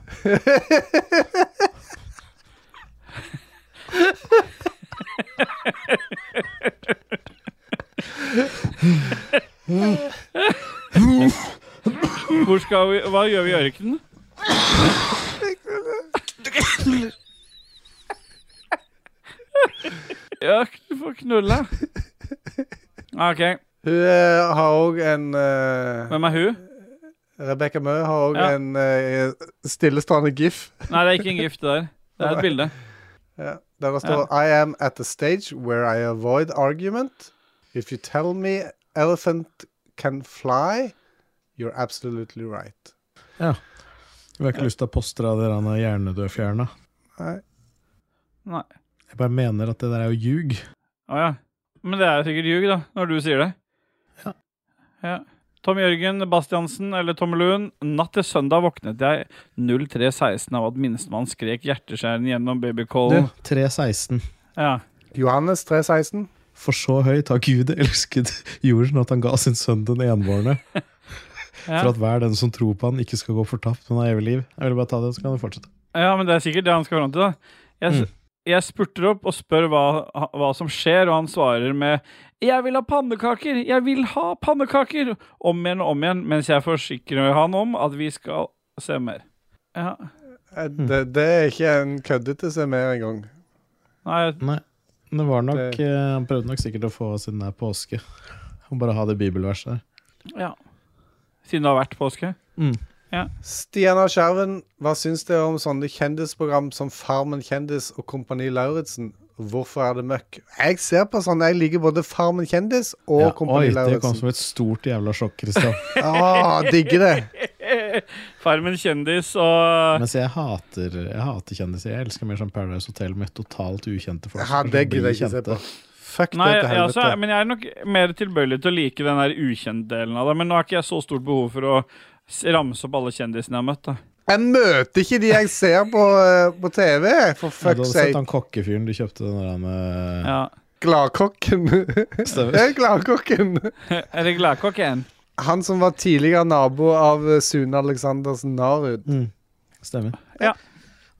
Speaker 3: Hvor skal vi Hva gjør vi i ørkenen? Ja, du får knulle. OK.
Speaker 1: Hun eh, har òg en uh,
Speaker 3: Hvem er hun?
Speaker 1: Rebekka Mø har òg
Speaker 3: Ja.
Speaker 1: en eh, stillestående gif.
Speaker 3: Nei, det er ikke en gift, det der. Det er et bilde.
Speaker 1: Ja, der det står I am at the stage where I avoid argument. If you tell me elephant can fly, you're absolutely right.
Speaker 2: Vi har ikke lyst til å postre av dere han er hjernedødfjerna.
Speaker 1: Nei.
Speaker 3: Nei.
Speaker 2: Jeg bare mener at det der er jo ljug.
Speaker 3: Å ja. Men det er jo sikkert ljug, da, når du sier det.
Speaker 2: Ja.
Speaker 3: ja. Tom Jørgen Bastiansen eller Tom Lund. Natt til søndag våknet jeg 03.16 av at minstemann skrek hjerteskjæren gjennom
Speaker 2: Du,
Speaker 3: babycallen.
Speaker 2: 316.
Speaker 3: Ja.
Speaker 1: Johannes 316.
Speaker 2: For så høyt har Gud elsket jorden at han ga sin sønn den enbårne,
Speaker 3: *laughs* Ja.
Speaker 2: for at hver den som tror på han, ikke skal gå fortapt, men har evig liv. Jeg vil bare ta det, så kan du fortsette.
Speaker 3: ja, men det er sikkert det han skal fram til, da. Jeg, s- jeg spurter opp og spør hva, hva som skjer, og han svarer med 'Jeg vil ha pannekaker! Jeg vil ha pannekaker!' Om igjen og om igjen, mens jeg forsikrer han om at vi skal se mer. Ja.
Speaker 1: Eh, Det, det er ikke en køddete CMR engang.
Speaker 3: Nei,
Speaker 2: Nei. Det var nok
Speaker 1: Det-
Speaker 2: eh, Han prøvde nok sikkert å få sin der påske. Og bare ha det bibelverset der.
Speaker 3: ja. Siden det har vært påske.
Speaker 1: Stian av Skjerven, hva syns dere om sånne kjendisprogram som Farmen kjendis og Kompani Lauritzen? Hvorfor er det møkk? Jeg ser på sånne. Jeg liker både Farmen kjendis og
Speaker 2: Ja,
Speaker 1: Kompani
Speaker 2: det kom
Speaker 1: Lauritzen.
Speaker 2: som et stort jævla sjokk, Kristian.
Speaker 1: Ah, digger det.
Speaker 3: Farmen kjendis og
Speaker 2: Mens jeg hater, jeg hater kjendiser. Jeg elsker mer sånn Paradise Hotel med totalt ukjente folk.
Speaker 1: Ja,
Speaker 2: som
Speaker 1: det
Speaker 2: blir
Speaker 1: gidder jeg ikke se på.
Speaker 2: kjente.
Speaker 1: Fuck
Speaker 3: Nei,
Speaker 1: det til
Speaker 3: jeg, også,
Speaker 1: helvete.
Speaker 3: men jeg er nok mer tilbøyelig til å like den der ukjent-delen av det. Men nå har ikke jeg så stort behov for å s- ramse opp alle kjendisene jeg har møtt. da
Speaker 1: Jeg møter ikke de jeg ser på, eh, på TV, for
Speaker 2: Ja,
Speaker 1: fuck's
Speaker 2: du hadde sett
Speaker 1: sake.
Speaker 2: han kokkefyren du kjøpte den der han, eh,
Speaker 3: Ja. *laughs*
Speaker 1: Gladkokken. *laughs*
Speaker 2: *laughs* Stemmer.
Speaker 1: Det er Gladkokken.
Speaker 3: Er det gladkokk igjen?
Speaker 1: Han som var tidligere nabo av eh, Sune Aleksandersen Narud.
Speaker 2: Mm, Stemmer.
Speaker 3: Ja.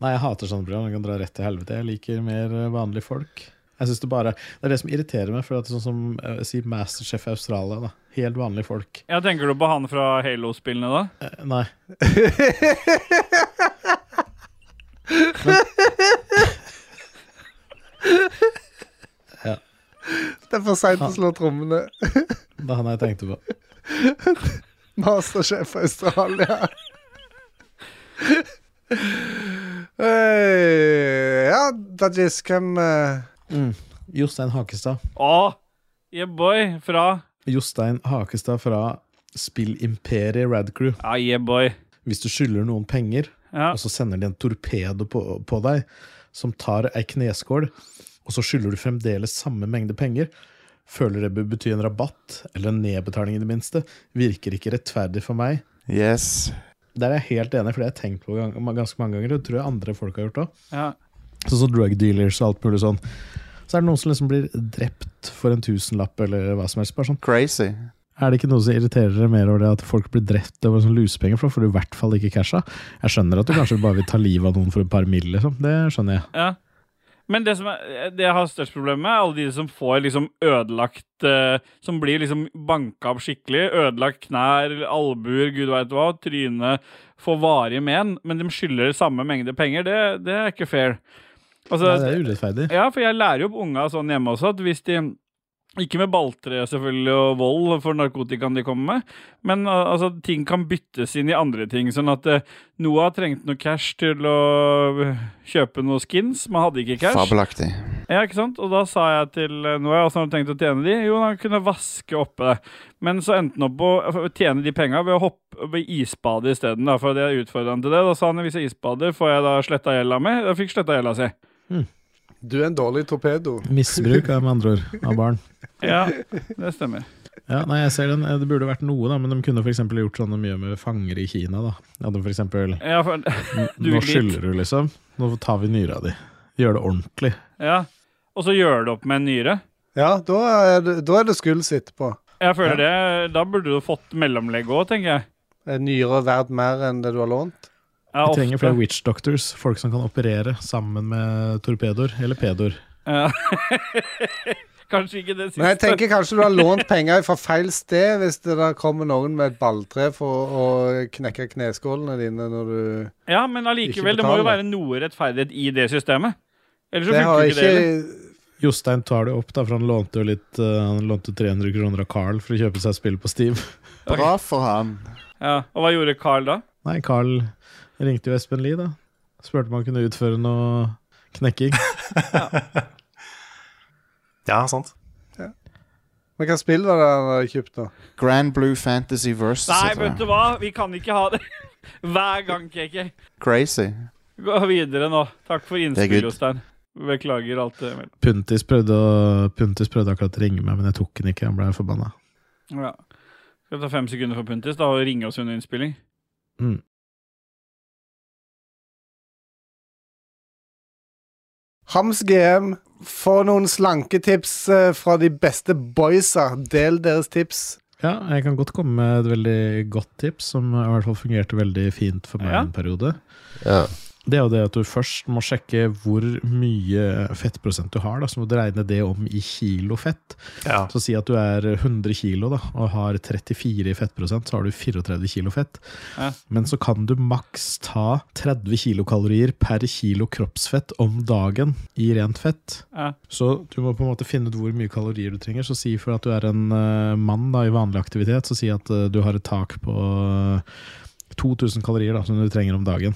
Speaker 2: Nei, jeg hater sånne program. Jeg kan dra rett til helvete. Jeg liker mer eh, vanlige folk. Jeg synes Det bare Det er det som irriterer meg. For at sånn som eh, Si Masterchef Australia. da Helt vanlige folk.
Speaker 3: Ja, Tenker du på han fra Halo-spillene, da?
Speaker 2: Eh, Nei.
Speaker 1: Det er for seint å slå trommene. *laughs*
Speaker 2: Det er han jeg tenkte på.
Speaker 1: Masterchef Australia. *laughs* Hey, ja, Dajis, hvem eh,
Speaker 2: Jostein Hakestad.
Speaker 3: Å, yeah boy fra
Speaker 2: Jostein Hakestad fra spillimperiet Radcrew.
Speaker 3: Ja, yeah boy.
Speaker 2: Hvis du skylder noen penger,
Speaker 3: Ja.
Speaker 2: og så sender de en torpedo på, på deg, som tar ei kneskål, og så skylder du fremdeles samme mengde penger, føler det bør bety en rabatt, eller en nedbetaling i det minste, virker ikke rettferdig for meg.
Speaker 11: Yes.
Speaker 2: Der er jeg helt enig, for det har jeg tenkt på gang- ganske mange ganger, og det tror jeg andre folk har gjort òg.
Speaker 3: Ja.
Speaker 2: Sånn som drug dealers og alt mulig sånn. Så er det noen som liksom blir drept for en tusenlapp, eller hva som helst. Bare sånn.
Speaker 11: Crazy.
Speaker 2: Er det ikke noe som irriterer dere mer over det at folk blir drept over sånn lusepenger, for da får du i hvert fall ikke casha? Jeg skjønner at du kanskje bare vil ta livet av noen for et par mill, liksom. Det skjønner jeg.
Speaker 3: ja. Men det, som er, det jeg har størst problem med, er alle de som får liksom ødelagt eh, Som blir liksom banka opp skikkelig. Ødelagt knær, albuer, gud veit hva. Tryne. Får varige men. Men de skylder samme mengde penger. Det, det er ikke fair. Altså,
Speaker 2: Nei, det er urettferdig.
Speaker 3: Ja, for jeg lærer jo opp unga sånn hjemme også, at hvis de ikke med balltre selvfølgelig og vold for narkotikaen de kommer med, men al- altså, ting kan byttes inn i andre ting. Sånn at eh, Noah trengte noe cash til å eh, kjøpe noe skins, men hadde ikke cash.
Speaker 11: Fabelaktig.
Speaker 3: Ja, ikke sant? Og da sa jeg til eh, Noah åssen har du tenkt å tjene de? Jo, han kunne vaske oppe det. Men så endte han opp på å tjene de penga ved å hoppe ved isbadet isteden. da, For det jeg utfordra han til det. Da sa han hvis jeg isbader, får jeg da sletta gjelda mi? Da fikk sletta gjelda si.
Speaker 1: Du er en dårlig torpedo.
Speaker 2: Misbruk er med andre *laughs* ord av barn.
Speaker 3: Ja, det stemmer.
Speaker 2: Ja, nei, jeg ser den. Eh, Det burde vært noe, da, men de kunne f.eks. gjort sånne mye med fanger i Kina. da. Ja, de for eksempel,
Speaker 3: Ja, for, *laughs* Du
Speaker 2: Nå
Speaker 3: vil dit.
Speaker 2: skylder du, liksom. Nå tar vi nyra di. Gjør det ordentlig.
Speaker 3: ja. Og så gjør det opp med en nyre.
Speaker 1: Ja, da er det, da er det skuls etterpå.
Speaker 3: Jeg føler det, Da burde du fått mellomlegg òg, tenker jeg.
Speaker 1: Er Nyre verdt mer enn det du har lånt?
Speaker 3: Ja,
Speaker 2: Vi trenger flere
Speaker 3: ofte.
Speaker 2: witch doctors, folk som kan operere sammen med torpedoer eller pedoer.
Speaker 3: Ja. *laughs* Kanskje ikke det siste.
Speaker 1: Men jeg tenker kanskje du har lånt penger fra feil sted hvis det da kommer noen med et balltre for å knekke kneskålene dine når du
Speaker 3: Ja, Men
Speaker 1: Ikke
Speaker 3: allikevel, det må jo
Speaker 1: betale.
Speaker 3: være noe rettferdighet i det systemet. Ellers så
Speaker 1: Det har
Speaker 3: funker ikke det. heller.
Speaker 1: ikke
Speaker 2: Jostein tar det opp, da, for han lånte jo litt eh, Han lånte 300 kroner av Carl for å kjøpe seg spill på Steam. *laughs*
Speaker 11: Bra for han.
Speaker 3: Ja. Og hva gjorde Carl da?
Speaker 2: Nei, Carl ringte jo Espen Lie, da. Spurte om han kunne utføre noe knekking.
Speaker 5: Ja, sant.
Speaker 1: Men hva spill var det han hadde kjøpt, da?
Speaker 11: Grand Blue Fantasy Versus.
Speaker 3: Nei,
Speaker 11: heter
Speaker 3: vet du
Speaker 11: det.
Speaker 3: hva, vi kan ikke ha det *laughs* hver gang, KK.
Speaker 11: Crazy.
Speaker 3: Gå videre nå. Takk for
Speaker 11: er
Speaker 3: innspill,
Speaker 11: good.
Speaker 3: Jostein. Beklager alt det mellom.
Speaker 2: Puntis prøvde, å, Puntis prøvde akkurat å ringe meg, men jeg tok den ikke. Han ble forbanna.
Speaker 3: Ja. Skal vi ta fem sekunder for Puntis da, og ringe oss under innspilling?
Speaker 2: Mm.
Speaker 1: Hams GM, få noen slanketips eh, fra de beste boysa. Del deres tips.
Speaker 2: Ja, jeg kan godt komme med et veldig godt tips, som i hvert fall fungerte veldig fint for meg
Speaker 3: Ja.
Speaker 2: en periode.
Speaker 9: Ja.
Speaker 2: det er jo det at du først må sjekke hvor mye fettprosent du har. Da. Så må du regne det om i kilo fett.
Speaker 5: Ja.
Speaker 2: Så si at du er 100 kilo da, og har 34 i fettprosent, så har du 34 kilo fett.
Speaker 3: Ja.
Speaker 2: Men så kan du maks ta 30 kilokalorier per kilo kroppsfett om dagen i rent fett.
Speaker 3: Ja.
Speaker 2: Så du må på en måte finne ut hvor mye kalorier du trenger. Så si for at du er en eh, mann da, i vanlig aktivitet, så si at eh, du har et tak på eh, 2000 kalorier da, som du trenger om dagen.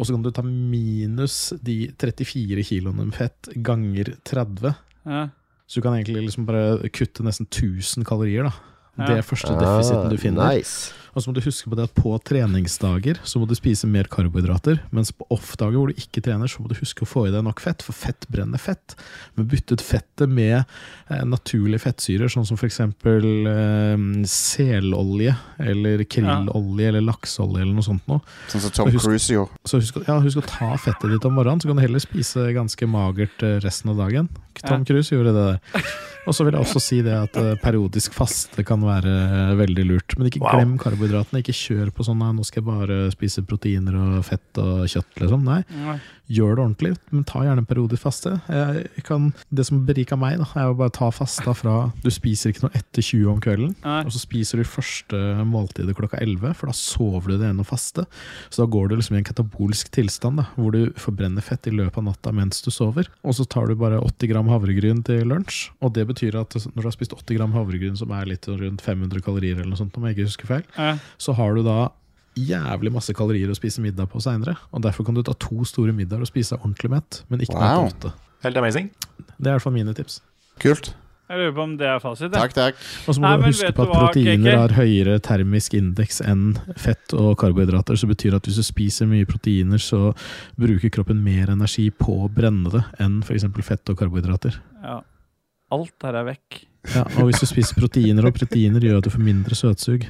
Speaker 2: Og så kan du ta minus de 34 kiloene med fett ganger 30.
Speaker 3: Ja.
Speaker 2: Så du kan egentlig liksom bare kutte nesten 1000 kalorier. da.
Speaker 3: Ja.
Speaker 2: Det er første defisiten du finner.
Speaker 9: Ah, Nice.
Speaker 2: Og så må du huske på det at på treningsdager så må du spise mer karbohydrater, mens på off-dager hvor du ikke trener, så må du huske å få i deg nok fett, for fett brenner fett. Men bytte ut fettet med eh, naturlige fettsyrer, sånn som f.eks. Eh, selolje, eller krillolje, eller lakseolje, eller noe sånt noe.
Speaker 11: Sånn som Tom
Speaker 2: Og husk-
Speaker 11: Cruise gjorde.
Speaker 2: Så husk, å- ja, husk å ta fettet ditt om morgenen, så kan du heller spise ganske magert eh, resten av dagen. Tom Cruise gjorde det der. Og så vil jeg også si det at eh, periodisk faste kan være eh, veldig lurt. Men ikke
Speaker 5: Wow.
Speaker 2: glem karbohydratene. Ikke kjør på sånn «Nei, 'nå skal jeg bare spise proteiner og fett og kjøtt', liksom. Nei,
Speaker 3: Nei.
Speaker 2: gjør det ordentlig, men ta gjerne en periodisk faste. Jeg kan, det som beriker meg, da, er å bare ta fasta fra Du spiser ikke noe etter 20 om kvelden.
Speaker 3: Nei.
Speaker 2: Og så spiser du første måltidet klokka 11, for da sover du deg gjennom faste. Så da går du liksom i en katabolsk tilstand, da, hvor du forbrenner fett i løpet av natta mens du sover. Og så tar du bare 80 gram havregryn til lunsj, og det betyr at når du har spist 80 gram havregryn, som er litt rundt 500 kalorier eller noe sånt, om jeg ikke husker feil,
Speaker 3: Ja.
Speaker 2: så har du da jævlig masse kalorier å spise middag på seinere. Og derfor kan du ta to store middager og spise deg ordentlig mett, men ikke wow.
Speaker 11: Wow.
Speaker 2: noe åtte.
Speaker 5: Helt amazing.
Speaker 2: Det er i hvert fall mine tips.
Speaker 11: Kult.
Speaker 3: Jeg lurer på om det er fasit. jeg.
Speaker 11: Takk, takk.
Speaker 2: Og så må
Speaker 3: Nei,
Speaker 2: du
Speaker 3: men
Speaker 2: huske
Speaker 3: vet
Speaker 2: på at
Speaker 3: du hva,
Speaker 2: proteiner
Speaker 3: KK?
Speaker 2: har høyere termisk indeks enn fett og karbohydrater. Så det betyr at hvis du spiser mye proteiner, så bruker kroppen mer energi på å brenne det enn f.eks. fett og karbohydrater.
Speaker 3: Ja. Alt her er vekk.
Speaker 2: Ja, og hvis du spiser proteiner, og proteiner gjør at du får mindre søtsug.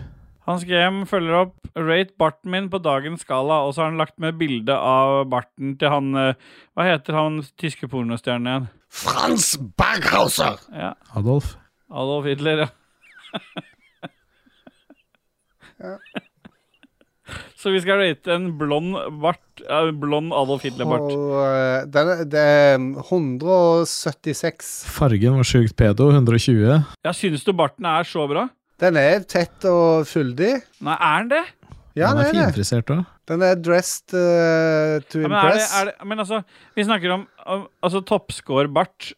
Speaker 3: Hans GM følger opp Rate barten min på dagens skala, og så har han lagt med bilde av barten til han eh, Hva heter han tyske pornostjernen igjen?
Speaker 9: Frans Berghauser!
Speaker 3: Ja,
Speaker 2: Adolf?
Speaker 3: Adolf Hitler, ja. Så vi skal rate en blond bart eh, Blond Adolf Hitler-bart.
Speaker 1: Og, eh, den, er- det er 176.
Speaker 2: Fargen var sjukt pedo, 120.
Speaker 3: Ja, Syns du barten er så bra?
Speaker 1: Den er tett og fyldig.
Speaker 3: Nei, er den det?
Speaker 1: Ja,
Speaker 2: Han er
Speaker 1: den er det.
Speaker 2: finfrisert òg.
Speaker 1: Den er dressed eh, to
Speaker 3: Ja, men, er det,
Speaker 1: impress.
Speaker 3: er det, men altså, vi snakker om om- altså, toppscore-bart.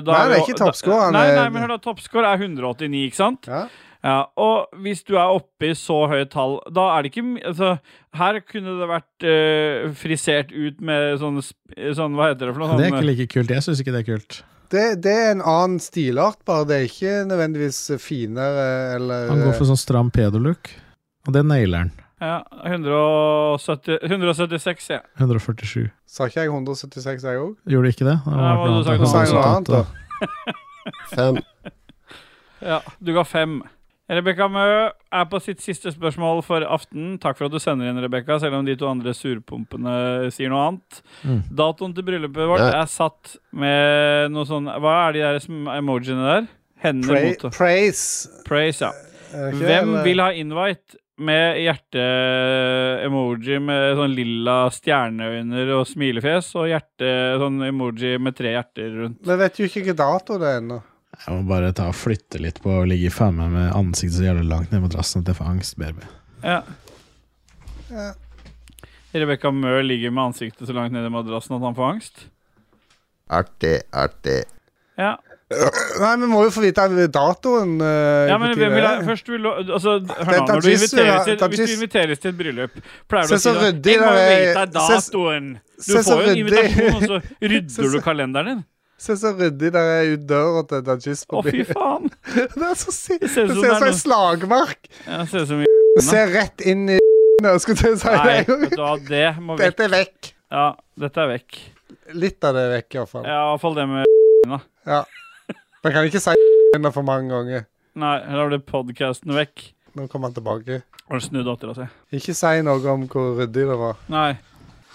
Speaker 1: Nei,
Speaker 3: da er
Speaker 1: det er
Speaker 3: jo-
Speaker 1: ikke toppscore,
Speaker 3: da-
Speaker 1: han
Speaker 3: Nei,
Speaker 1: er-
Speaker 3: nei, men hør da, toppscore er 189, ikke sant?
Speaker 1: Ja.
Speaker 3: Ja, og hvis du er oppe i så høyt tall, da er det ikke my- altså, Her kunne det vært eh, frisert ut med sånn, sp- sånn Hva heter det for noe?
Speaker 2: Det er
Speaker 3: Sånn,
Speaker 2: ikke like kult. Jeg syns ikke det er kult.
Speaker 1: Det, det er en annen stilart, bare det er ikke nødvendigvis finere eh, eller
Speaker 2: Han går for sånn stram pedo-look, og det nailer han.
Speaker 3: ja, 170, 176, ja.
Speaker 2: 147.
Speaker 1: Sa ikke jeg 176, jeg òg?
Speaker 2: Gjorde du ikke det? Det
Speaker 3: Nei,
Speaker 2: var
Speaker 3: hva hadde du sagt
Speaker 2: blant
Speaker 3: nå?
Speaker 1: Sa jeg noe annet,
Speaker 2: annet
Speaker 1: da?
Speaker 2: resultatet.
Speaker 9: Fem.
Speaker 3: ja. Du ga fem. Rebekka Mø er på sitt siste spørsmål for aften. Takk for at du sender inn, Rebekka, selv om de to andre surpumpene sier noe annet.
Speaker 2: Mm.
Speaker 3: Datoen til bryllupet vårt
Speaker 9: Ja.
Speaker 3: er satt med noe sånn Hva er de der som- emojiene der? Hendene
Speaker 1: Pra
Speaker 3: mot og-
Speaker 1: praise.
Speaker 3: Praise, ja.
Speaker 1: er det ikke,
Speaker 3: Hvem
Speaker 1: eller?
Speaker 3: vil ha invite med hjerte-emoji med sånn lilla stjerneøyne og smilefjes, og hjerte, sånn emoji med tre hjerter rundt?
Speaker 1: Vi vet jo ikke hvilken dato det er ennå.
Speaker 2: Jeg må bare ta og flytte litt på å ligge faen meg med ansiktet så jævlig langt ned i madrassen at jeg får angst, baby.
Speaker 3: Ja.
Speaker 1: Ja.
Speaker 3: Rebekka Mø ligger med ansiktet så langt ned i madrassen at han får angst.
Speaker 9: Artig, artig.
Speaker 3: Ja,
Speaker 1: Nei, vi må jo få vite datoen. eh,
Speaker 3: ja men
Speaker 1: når
Speaker 3: vi vil ha,
Speaker 1: det er.
Speaker 3: først vil du altså, Hør
Speaker 1: Men
Speaker 3: nå, når du
Speaker 1: Tajis vil ha-
Speaker 3: inviteres til, hvis du
Speaker 1: Tajis-
Speaker 3: inviteres til et bryllup, pleier du
Speaker 1: Se
Speaker 3: å si
Speaker 1: så
Speaker 3: da,
Speaker 1: ryddig
Speaker 3: Jeg må
Speaker 1: det
Speaker 3: vite
Speaker 1: er. Se-
Speaker 3: datoen! Du
Speaker 1: se så
Speaker 3: får jo en
Speaker 1: ryddig.
Speaker 3: invitasjon, og så
Speaker 1: Se
Speaker 3: rydder
Speaker 1: så-
Speaker 3: du kalenderen din.
Speaker 1: *laughs* Se så ryddig det er ut døra til Dajis på
Speaker 3: Å, fy
Speaker 1: bilen.
Speaker 3: faen!
Speaker 1: Det er så si- Det
Speaker 3: ser
Speaker 1: ser
Speaker 3: ut
Speaker 1: ut
Speaker 3: som
Speaker 1: som
Speaker 3: det er sånn
Speaker 1: en slagmark.
Speaker 3: Ja, det ser ut som
Speaker 1: Det ser rett inn i *laughs* Jeg skulle til å si
Speaker 3: Nei, vet
Speaker 1: det.
Speaker 3: du hva, det må vekk.
Speaker 1: Dette er vekk.
Speaker 3: Ja, dette er vekk.
Speaker 1: Litt av det er vekk, iallfall.
Speaker 3: Ja, i hvert fall det med
Speaker 1: Ja. Man kan ikke si *laughs* det for mange ganger.
Speaker 3: Nei, da ble podkasten vekk.
Speaker 1: Nå kommer han tilbake.
Speaker 3: Og snu dattera si.
Speaker 1: Ikke si noe om hvor ryddig det var.
Speaker 3: Nei.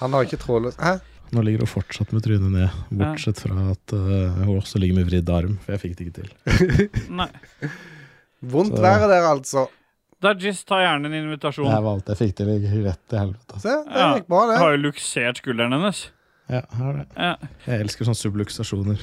Speaker 1: Han har ikke trådløs Hæ?
Speaker 2: Nå ligger hun fortsatt med trynet ned, bortsett fra at eh, hun også ligger med vridd arm, for jeg fikk det ikke til.
Speaker 3: Nei.
Speaker 1: Vondt
Speaker 2: Så-
Speaker 1: været der, altså.
Speaker 3: Dajis, ta gjerne en invitasjon.
Speaker 2: Det her var alt jeg fikk til. i Rett til helvete. altså.
Speaker 1: Se, det
Speaker 3: Ja,
Speaker 1: gikk bra, det.
Speaker 3: Har jo luksert skulderen hennes.
Speaker 2: Ja, her er det.
Speaker 3: Ja,
Speaker 2: Jeg elsker sånne subluksasjoner.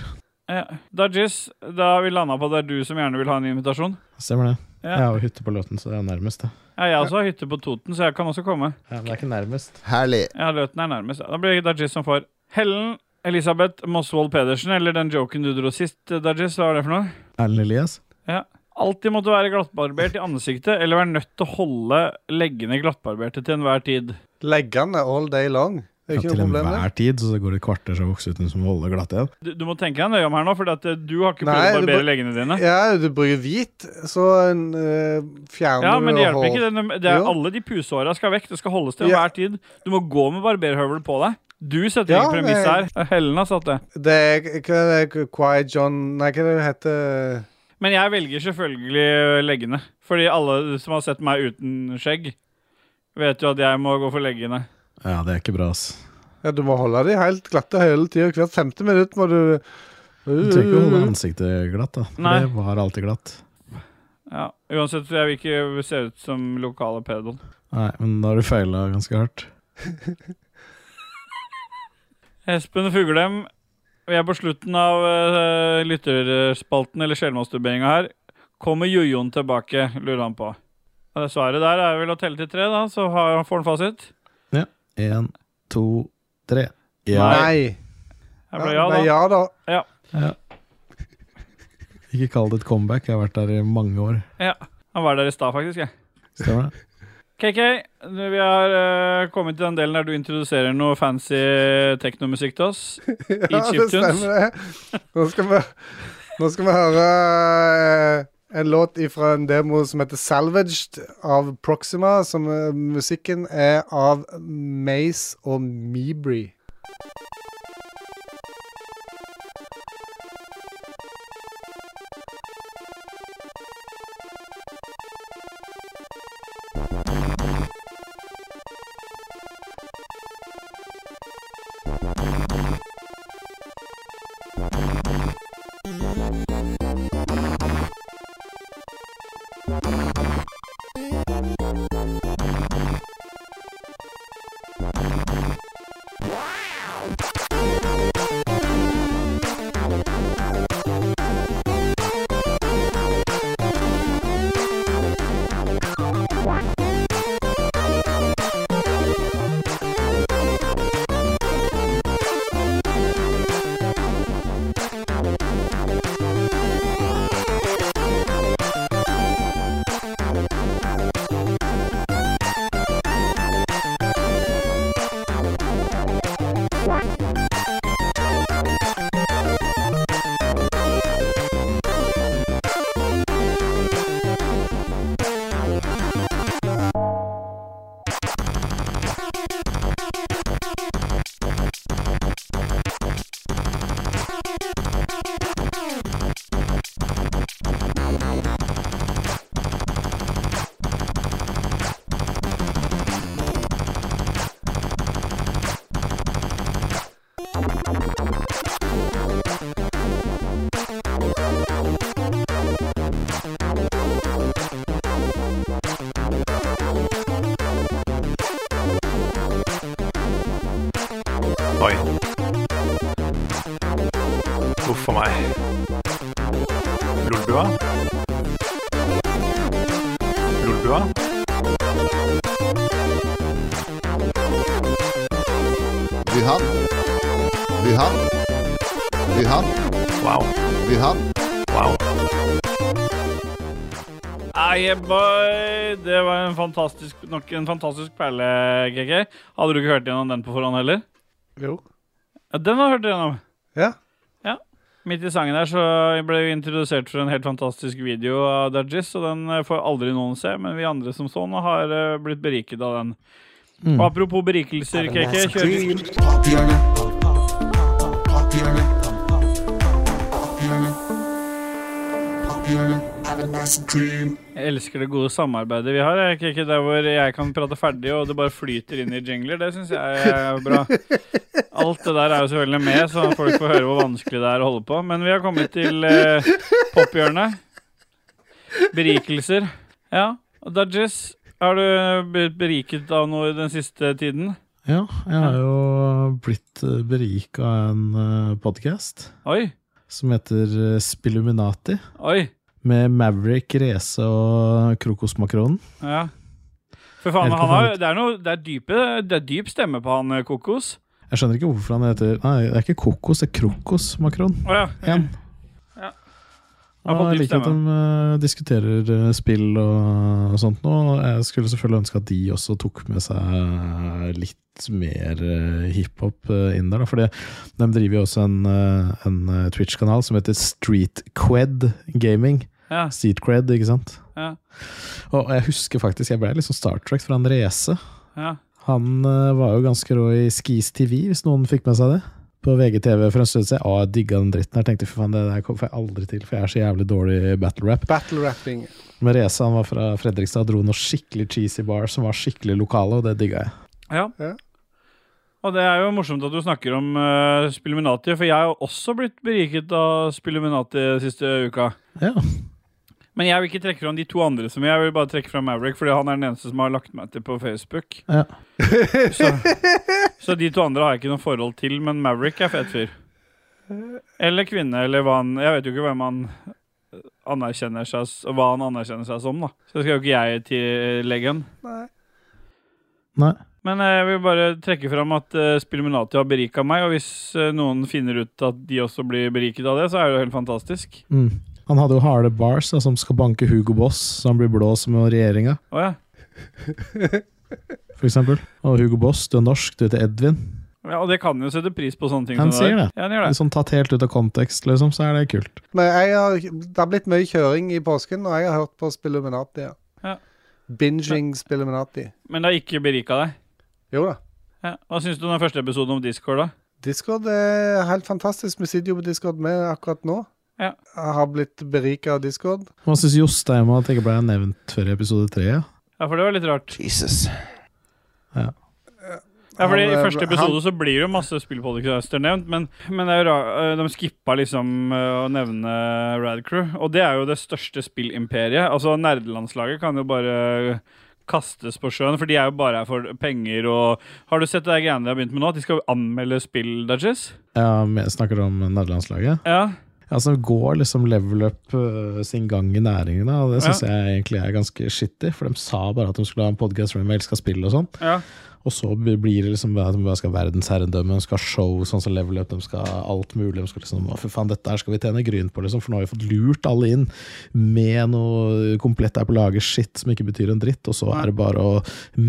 Speaker 3: ja. Dajis, da har vi landa på at det er du som gjerne vil ha en invitasjon.
Speaker 2: Stemmer det.
Speaker 3: Ja.
Speaker 2: Jeg har jo hytte på Løten, så det er nærmest, det.
Speaker 3: Ja, jeg også har hytte på Toten, så jeg kan også komme.
Speaker 2: Ja, men det er ikke nærmest.
Speaker 9: Herlig.
Speaker 3: Ja, Løten er nærmest. Da blir det Dajis som får. Helen Elisabeth Mosvold Pedersen, eller den joken du dro sist, Dajis, hva var det for noe?
Speaker 2: Erlend Elias?
Speaker 3: Ja. Alltid måtte være glattbarbert i ansiktet eller være nødt til å holde leggene glattbarberte til enhver tid.
Speaker 1: Leggende all day long. Det er
Speaker 2: Ja,
Speaker 1: ikke
Speaker 2: til
Speaker 1: noe problem, det.
Speaker 2: enhver tid, så det går et kvarter så vokser ut sånn en som holder glatt igjen.
Speaker 3: Du, du må tenke deg nøye om her nå, for at eh, du har ikke prøvd
Speaker 1: Nei,
Speaker 3: å
Speaker 1: du
Speaker 3: barbere
Speaker 1: bare-
Speaker 3: leggene dine.
Speaker 1: Ja, du bruker hvit, så eh, fjerner
Speaker 3: Ja, men det
Speaker 1: du
Speaker 3: hjelper ikke. Det, er- det er,
Speaker 1: Jo.
Speaker 3: alle de pusehåra skal vekk. Det skal holdes til
Speaker 1: Ja.
Speaker 3: enhver tid. Du må gå med barberhøvel på deg. Du setter
Speaker 1: Ja,
Speaker 3: ikke premiss her.
Speaker 1: det-
Speaker 3: Helen har satt det.
Speaker 1: Det er hva er det Quiet John Nei, hva er det det heter?
Speaker 3: Men jeg velger selvfølgelig leggene. Fordi alle som har sett meg uten skjegg, vet jo at jeg må gå for leggene.
Speaker 2: Ja, det er ikke bra, ass.
Speaker 1: Ja, du må holde de helt glatte hele tida. Hvert femte minutt må du Uh,
Speaker 2: Du trenger ikke å holde ansiktet glatt, da.
Speaker 3: Nei.
Speaker 2: Det var alltid glatt.
Speaker 3: Ja, Uansett, jeg vil ikke se ut som lokale pedoen.
Speaker 2: Nei, men da har du feila ganske hardt.
Speaker 3: Espen Fuglem, vi er på slutten av eh, lytterspalten, eller sjelmasturberinga her. Kommer jojoen tilbake, lurer han på. Ja, Det svaret der er vel å telle til tre, da, så har, får han fasit.
Speaker 2: Én, to, tre.
Speaker 1: Nei.
Speaker 2: Ja.
Speaker 3: Jeg ble ja,
Speaker 1: Nei,
Speaker 3: da.
Speaker 1: ja da.
Speaker 2: Ikke kall det et comeback, jeg har vært der i mange år.
Speaker 3: Han var der i stad, faktisk. jeg.
Speaker 2: Stemmer det?
Speaker 3: KK, nå vi har eh, kommet til den delen der du introduserer noe fancy teknomusikk til oss.
Speaker 1: *laughs* Ja, det
Speaker 3: chiptunes.
Speaker 1: stemmer det. Nå skal vi, nå skal vi høre eh, en låt fra en demo som heter 'Salvaged' av Proxima. Som eh, musikken er av Mace og Mebry.
Speaker 5: Oi. Huff a meg. Lolbua? Lolbua?
Speaker 12: Wuhan. Wuhan. Wuhan.
Speaker 5: Wow.
Speaker 12: Wuhan.
Speaker 5: Wow.
Speaker 3: Ah, yeah, boy. Det var en fantastisk, nok en fantastisk perle, KK. Hadde du ikke hørt gjennom den på forhånd heller?
Speaker 1: Jo.
Speaker 3: Ja, den har jeg hørt gjennom.
Speaker 1: Ja.
Speaker 3: Ja. Midt i sangen der så ble vi introdusert for en helt fantastisk video av Dajis, og den eh, får aldri noen se, men vi andre som sånn har eh, blitt beriket av den.
Speaker 2: Mm.
Speaker 3: Og apropos berikelser, KK, kjører Jeg elsker det gode samarbeidet vi har. Jeg er ikke der hvor jeg kan prate ferdig, og det bare flyter inn i jingler. Det syns jeg er bra. Alt det der er jo selvfølgelig med, så folk får høre hvor vanskelig det er å holde på. Men vi har kommet til eh, pophjørnet. Berikelser. Ja. Og Dodges, har du blitt beriket av noe i den siste tiden?
Speaker 2: Ja, jeg har jo blitt berika av en podkast
Speaker 3: Oi.
Speaker 2: som heter eh, Spilluminati.
Speaker 3: Oi.
Speaker 2: Med Maverick, Reze og Krokosmakronen.
Speaker 3: Ja. For faen,
Speaker 2: Helt
Speaker 3: han har,
Speaker 2: konfirmert.
Speaker 3: det, er noe, det, er dype, det er dyp stemme på han eh, Kokos.
Speaker 2: Jeg skjønner ikke hvorfor han heter Nei, det er ikke kokos, det er krokosmakron.
Speaker 3: Å ja.
Speaker 2: Igjen.
Speaker 3: Ja. Han
Speaker 2: Og
Speaker 3: har fått
Speaker 2: Mm. Jeg
Speaker 3: dyp
Speaker 2: liker at de
Speaker 3: stemme.
Speaker 2: eh, diskuterer eh, spill og sånt nå. og Jeg skulle selvfølgelig ønske at de også tok med seg eh, litt mer eh, hiphop eh, inn der. da, Fordi de driver jo også en, eh, en eh, Twitch-kanal som heter Streetcred Gaming.
Speaker 3: Ja.
Speaker 2: Streetcred, ikke sant?
Speaker 3: Ja.
Speaker 2: Og jeg husker faktisk, jeg ble litt sånn starstruck fra en race.
Speaker 3: Ja.
Speaker 2: Han eh, var jo ganske rå i Skis TV, hvis noen fikk med seg det. På VGTV for en stund siden. Å, jeg digga den dritten her. Tenkte fy faen, det der får jeg aldri til, for jeg er så jævlig dårlig i battle rap.
Speaker 1: Battle rapping.
Speaker 2: Men Reza han var fra Fredrikstad, dro noen skikkelig cheesy bar som var skikkelig lokale, og det digga jeg.
Speaker 3: Ja. Og det er jo morsomt at du snakker om uh, Spilluminati, for jeg har jo også blitt beriket av Spilluminati siste uka.
Speaker 2: Ja.
Speaker 3: Men jeg vil ikke trekke fram de to andre som jeg vil bare trekke fram Maverick, fordi han er den eneste som har lagt meg til på Facebook.
Speaker 2: Ja.
Speaker 3: Så, så de to andre har jeg ikke noe forhold til, men Maverick er fet fyr. Eller kvinne, eller hva han Jeg vet jo ikke hvem han anerkjenner seg s- Hva han anerkjenner seg som, da. Så det skal jo ikke jeg tillegge han.
Speaker 1: Nei.
Speaker 2: Nei.
Speaker 3: Men eh, jeg vil bare trekke fram at uh, Spilluminati har berika meg, og hvis eh, noen finner ut at de også blir beriket av det, så er det jo helt fantastisk.
Speaker 2: Mm. Han hadde jo harde bars da, som skal banke Hugo Boss, så han blir blå som regjeringa,
Speaker 3: Å ja.
Speaker 2: for eksempel. Og Hugo Boss, du er norsk, du heter Edvin.
Speaker 3: ja. Og det kan jo sette pris på sånne ting.
Speaker 2: Han
Speaker 3: som
Speaker 2: sier det.
Speaker 3: der. Ja, han gjør det.
Speaker 2: Sånn tatt helt ut av kontekst, liksom, så er det kult.
Speaker 1: Men jeg har, det har blitt mye kjøring i påsken, og jeg har hørt på Spilluminati. Ja.
Speaker 3: Ja.
Speaker 1: Binging Spilluminati.
Speaker 3: Men det har ikke berika deg?
Speaker 1: Jo da.
Speaker 3: Ja. Hva syns du om den første episoden om Discord, da?
Speaker 1: Discord er helt fantastisk. Vi sitter jo på Discord med akkurat nå.
Speaker 3: Ja.
Speaker 1: Jeg har blitt berika av Discord.
Speaker 2: Hva syns Jostein om at jeg ikke ble nevnt før i episode tre? ja?
Speaker 3: Ja, for det var litt rart. Jesus.
Speaker 2: Ja.
Speaker 3: Ja, fordi I
Speaker 1: Han, eh,
Speaker 3: første episode
Speaker 1: han-
Speaker 3: så blir det jo masse spillpodcaster nevnt, men, men det er jo ra- eh, de skippa liksom eh, å nevne Radcrew. Og det er jo det største spillimperiet. Altså Nerdelandslaget kan jo bare kastes på sjøen, for de er jo bare her for penger og Har du sett det der greiene de har begynt med nå? At de skal anmelde spill, Dudges?
Speaker 2: Ja, men jeg snakker om nederlandslaget.
Speaker 3: Ja.
Speaker 2: Altså, går liksom level up øh, sin gang i næringen, da, og det syns
Speaker 3: Ja.
Speaker 2: jeg egentlig er ganske shitty. For de sa bare at de skulle ha en podkast hvor de elska spill og sånn.
Speaker 3: Ja.
Speaker 2: Og så blir blir det liksom at de bare skal ha verdensherredømme, de skal ha show sånn som level up, de skal ha alt mulig. De skal liksom, «Å, Fy faen, dette her skal vi tjene gryn på, liksom, for nå har vi fått lurt alle inn med noe komplett der på laget shit som ikke betyr en dritt. Og så er det bare å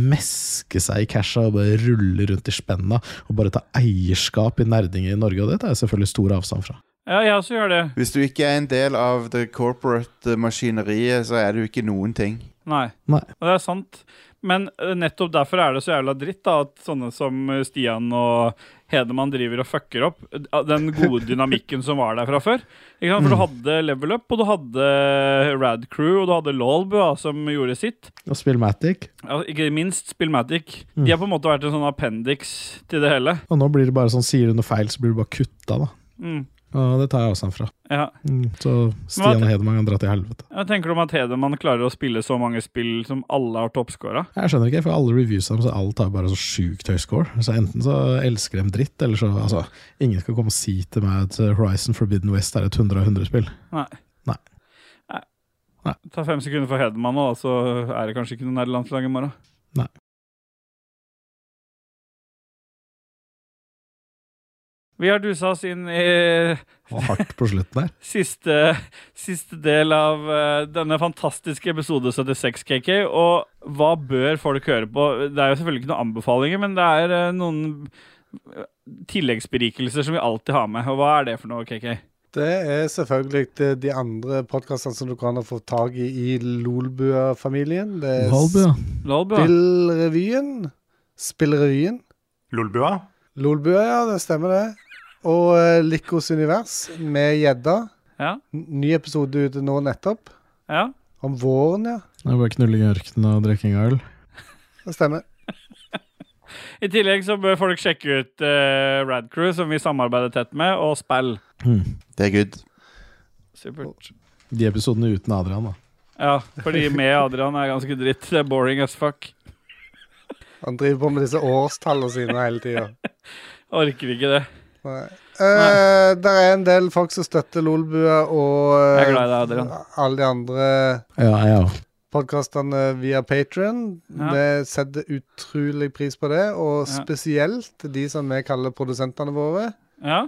Speaker 2: meske seg i casha og bare rulle rundt i spenna og bare ta eierskap i nerdinger i Norge, og det tar jeg selvfølgelig stor avstand fra.
Speaker 3: Ja, jeg også gjør det.
Speaker 11: Hvis du ikke er en del av det corporate maskineriet, så er du ikke noen ting.
Speaker 3: Nei. Og det er sant. Men eh, nettopp derfor er det så jævla dritt da, at sånne som eh, Stian og Hedemann driver og fucker opp eh, den gode dynamikken som var der fra før. Ikke sant? For du hadde Level Up, og du hadde Rad Crew, og du hadde Lolbua som gjorde sitt.
Speaker 2: Og Spillmatic.
Speaker 3: Ja, ikke minst Spillmatic.
Speaker 2: Mm.
Speaker 3: De har på en måte vært en sånn appendix til det hele.
Speaker 2: Og nå blir det bare sånn, sier du noe feil, så blir du bare kutta, da.
Speaker 3: Mm.
Speaker 2: Og det tar jeg avstand fra.
Speaker 3: Ja.
Speaker 2: Mm, så
Speaker 3: Men
Speaker 2: Stian og
Speaker 3: hva-
Speaker 2: Hedman kan dra til helvete.
Speaker 3: Jeg tenker du om at Hedemann klarer å spille så mange spill som alle har toppscora?
Speaker 2: Jeg skjønner ikke, for alle reviews av dem, så alt har bare så sjukt høy score. Så enten så elsker de dritt, eller så altså, Ingen skal komme og si til meg at eh, Horizon Forbidden West er et 100 av 100-spill.
Speaker 3: Nei.
Speaker 2: Nei.
Speaker 3: Ta fem sekunder for Hedemann nå, da, så er det kanskje ikke noe nærlandslag i morgen. Vi har dusa oss inn i
Speaker 2: Og hardt på slutten der.
Speaker 3: siste, siste del av eh, denne fantastiske episode 76, KK. Og hva bør folk høre på? Det er jo selvfølgelig ikke noen anbefalinger, men det er eh, noen eh, tilleggsberikelser som vi alltid har med. Og hva er det for noe, KK?
Speaker 1: Det er selvfølgelig de- de andre podkastene som du kan få tak i i Lolbua-familien. Det er
Speaker 2: Lolbua.
Speaker 3: Lolbua.
Speaker 1: Spillrevyen. Spillrevyen.
Speaker 5: Lolbua?
Speaker 1: Lolbua, ja, det stemmer det. Og eh, Likos univers med gjedda.
Speaker 3: Ja.
Speaker 1: N- Ny episode ute nå nettopp.
Speaker 3: Ja.
Speaker 1: Om våren, ja.
Speaker 2: Det er bare knulling i ørkenen og drikking av øl.
Speaker 1: Det stemmer.
Speaker 3: I tillegg så bør folk sjekke ut eh, Radcrew, som vi samarbeider tett med, og spill.
Speaker 2: Mm.
Speaker 11: Det er good.
Speaker 3: Supert.
Speaker 2: De episodene uten Adrian, da.
Speaker 3: Ja, fordi med Adrian er ganske dritt. Det er boring as fuck.
Speaker 1: Han driver på med disse årstallene sine hele tida.
Speaker 3: Orker ikke det.
Speaker 1: Nei. Eh, der er en del folk som støtter Lolbua og eh,
Speaker 3: Jeg er glad i deg, Adrian.
Speaker 1: alle de andre
Speaker 2: Ja, jeg òg.
Speaker 1: podkastene via Patron.
Speaker 2: Ja.
Speaker 1: Vi setter utrolig pris på det, og spesielt de som vi kaller produsentene våre.
Speaker 3: Ja.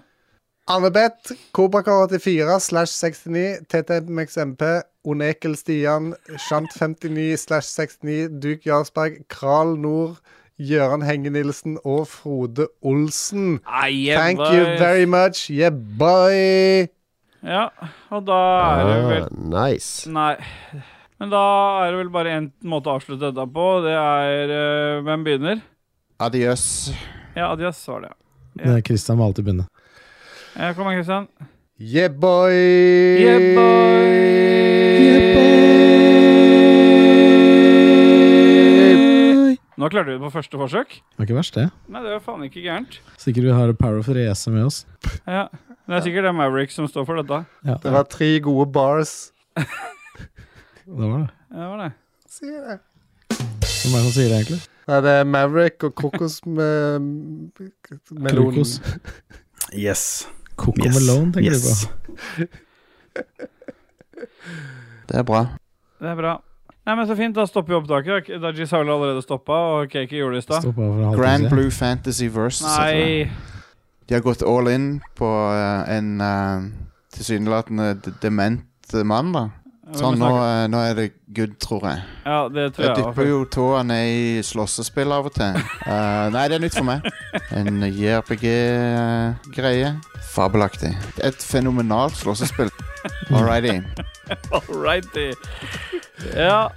Speaker 1: Anne-Beth, Kobrakar84 slash 69, TTMXMP, Onekel Stian, Shant59 slash 69, Duke Jarlsberg, Kral Nord, Gjøran Henge-Nilsen og Frode Olsen.
Speaker 3: Ah, yeah,
Speaker 1: Thank
Speaker 3: boy.
Speaker 1: you very much. Yeah, boy!
Speaker 3: Ja, og da er det vel
Speaker 9: Ah, nice.
Speaker 3: Nei. Men da er det vel bare én måte å avslutte dette på. Det er eh, Hvem begynner?
Speaker 11: Adiøs.
Speaker 3: Ja, Adias var det.
Speaker 2: Men Christian må alltid begynne.
Speaker 3: Ja, Eh, kom igjen, Kristian.
Speaker 1: Yeah, boy!
Speaker 3: Yeah, boy! Nå klarte vi det på første forsøk.
Speaker 2: Det var ikke verst, det.
Speaker 3: Nei, det var faen ikke gærent.
Speaker 2: Sikkert vi har Power of Race med oss.
Speaker 3: Ja. Det er sikkert det er Maverick som står for dette.
Speaker 2: Ja,
Speaker 1: Det var tre gode bars.
Speaker 2: det var det.
Speaker 3: Ja, det var det.
Speaker 1: Sier det.
Speaker 2: Hvem er det som sier det, egentlig?
Speaker 1: Nei, det er Maverick og kokosmelon.
Speaker 2: Krokos.
Speaker 13: Yes.
Speaker 2: Coco Melon, tenker du på?
Speaker 11: Det er bra.
Speaker 3: Det er bra. Nei, men Så fint, da stopper vi opptaket. Dajis har vel allerede stoppa, og Kaki gjorde det i stad.
Speaker 11: Grand Blue Fantasy Versus. heter
Speaker 3: Nei.
Speaker 11: det. De har gått all in på eh, en eh, tilsynelatende d- dement eh, mann, da.
Speaker 3: men
Speaker 11: Sånn,
Speaker 3: vi
Speaker 11: nå,
Speaker 3: snakker-
Speaker 11: eh, nå er det good, tror jeg.
Speaker 3: Ja, det tror jeg
Speaker 11: Jeg
Speaker 3: også.
Speaker 11: dypper jo tåa ned i slåssespill av og
Speaker 3: *laughs*
Speaker 11: til. Eh, nei, det er nytt for meg. En JRPG-greie. Fabelaktig. eh, Et fenomenalt slåssespill. Alrighty.
Speaker 3: Alrighty. Ja.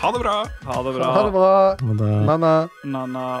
Speaker 4: Ha det bra.
Speaker 3: Ha det bra.
Speaker 1: Ha det bra.
Speaker 2: Og da-
Speaker 1: Nanna.
Speaker 3: Nanna.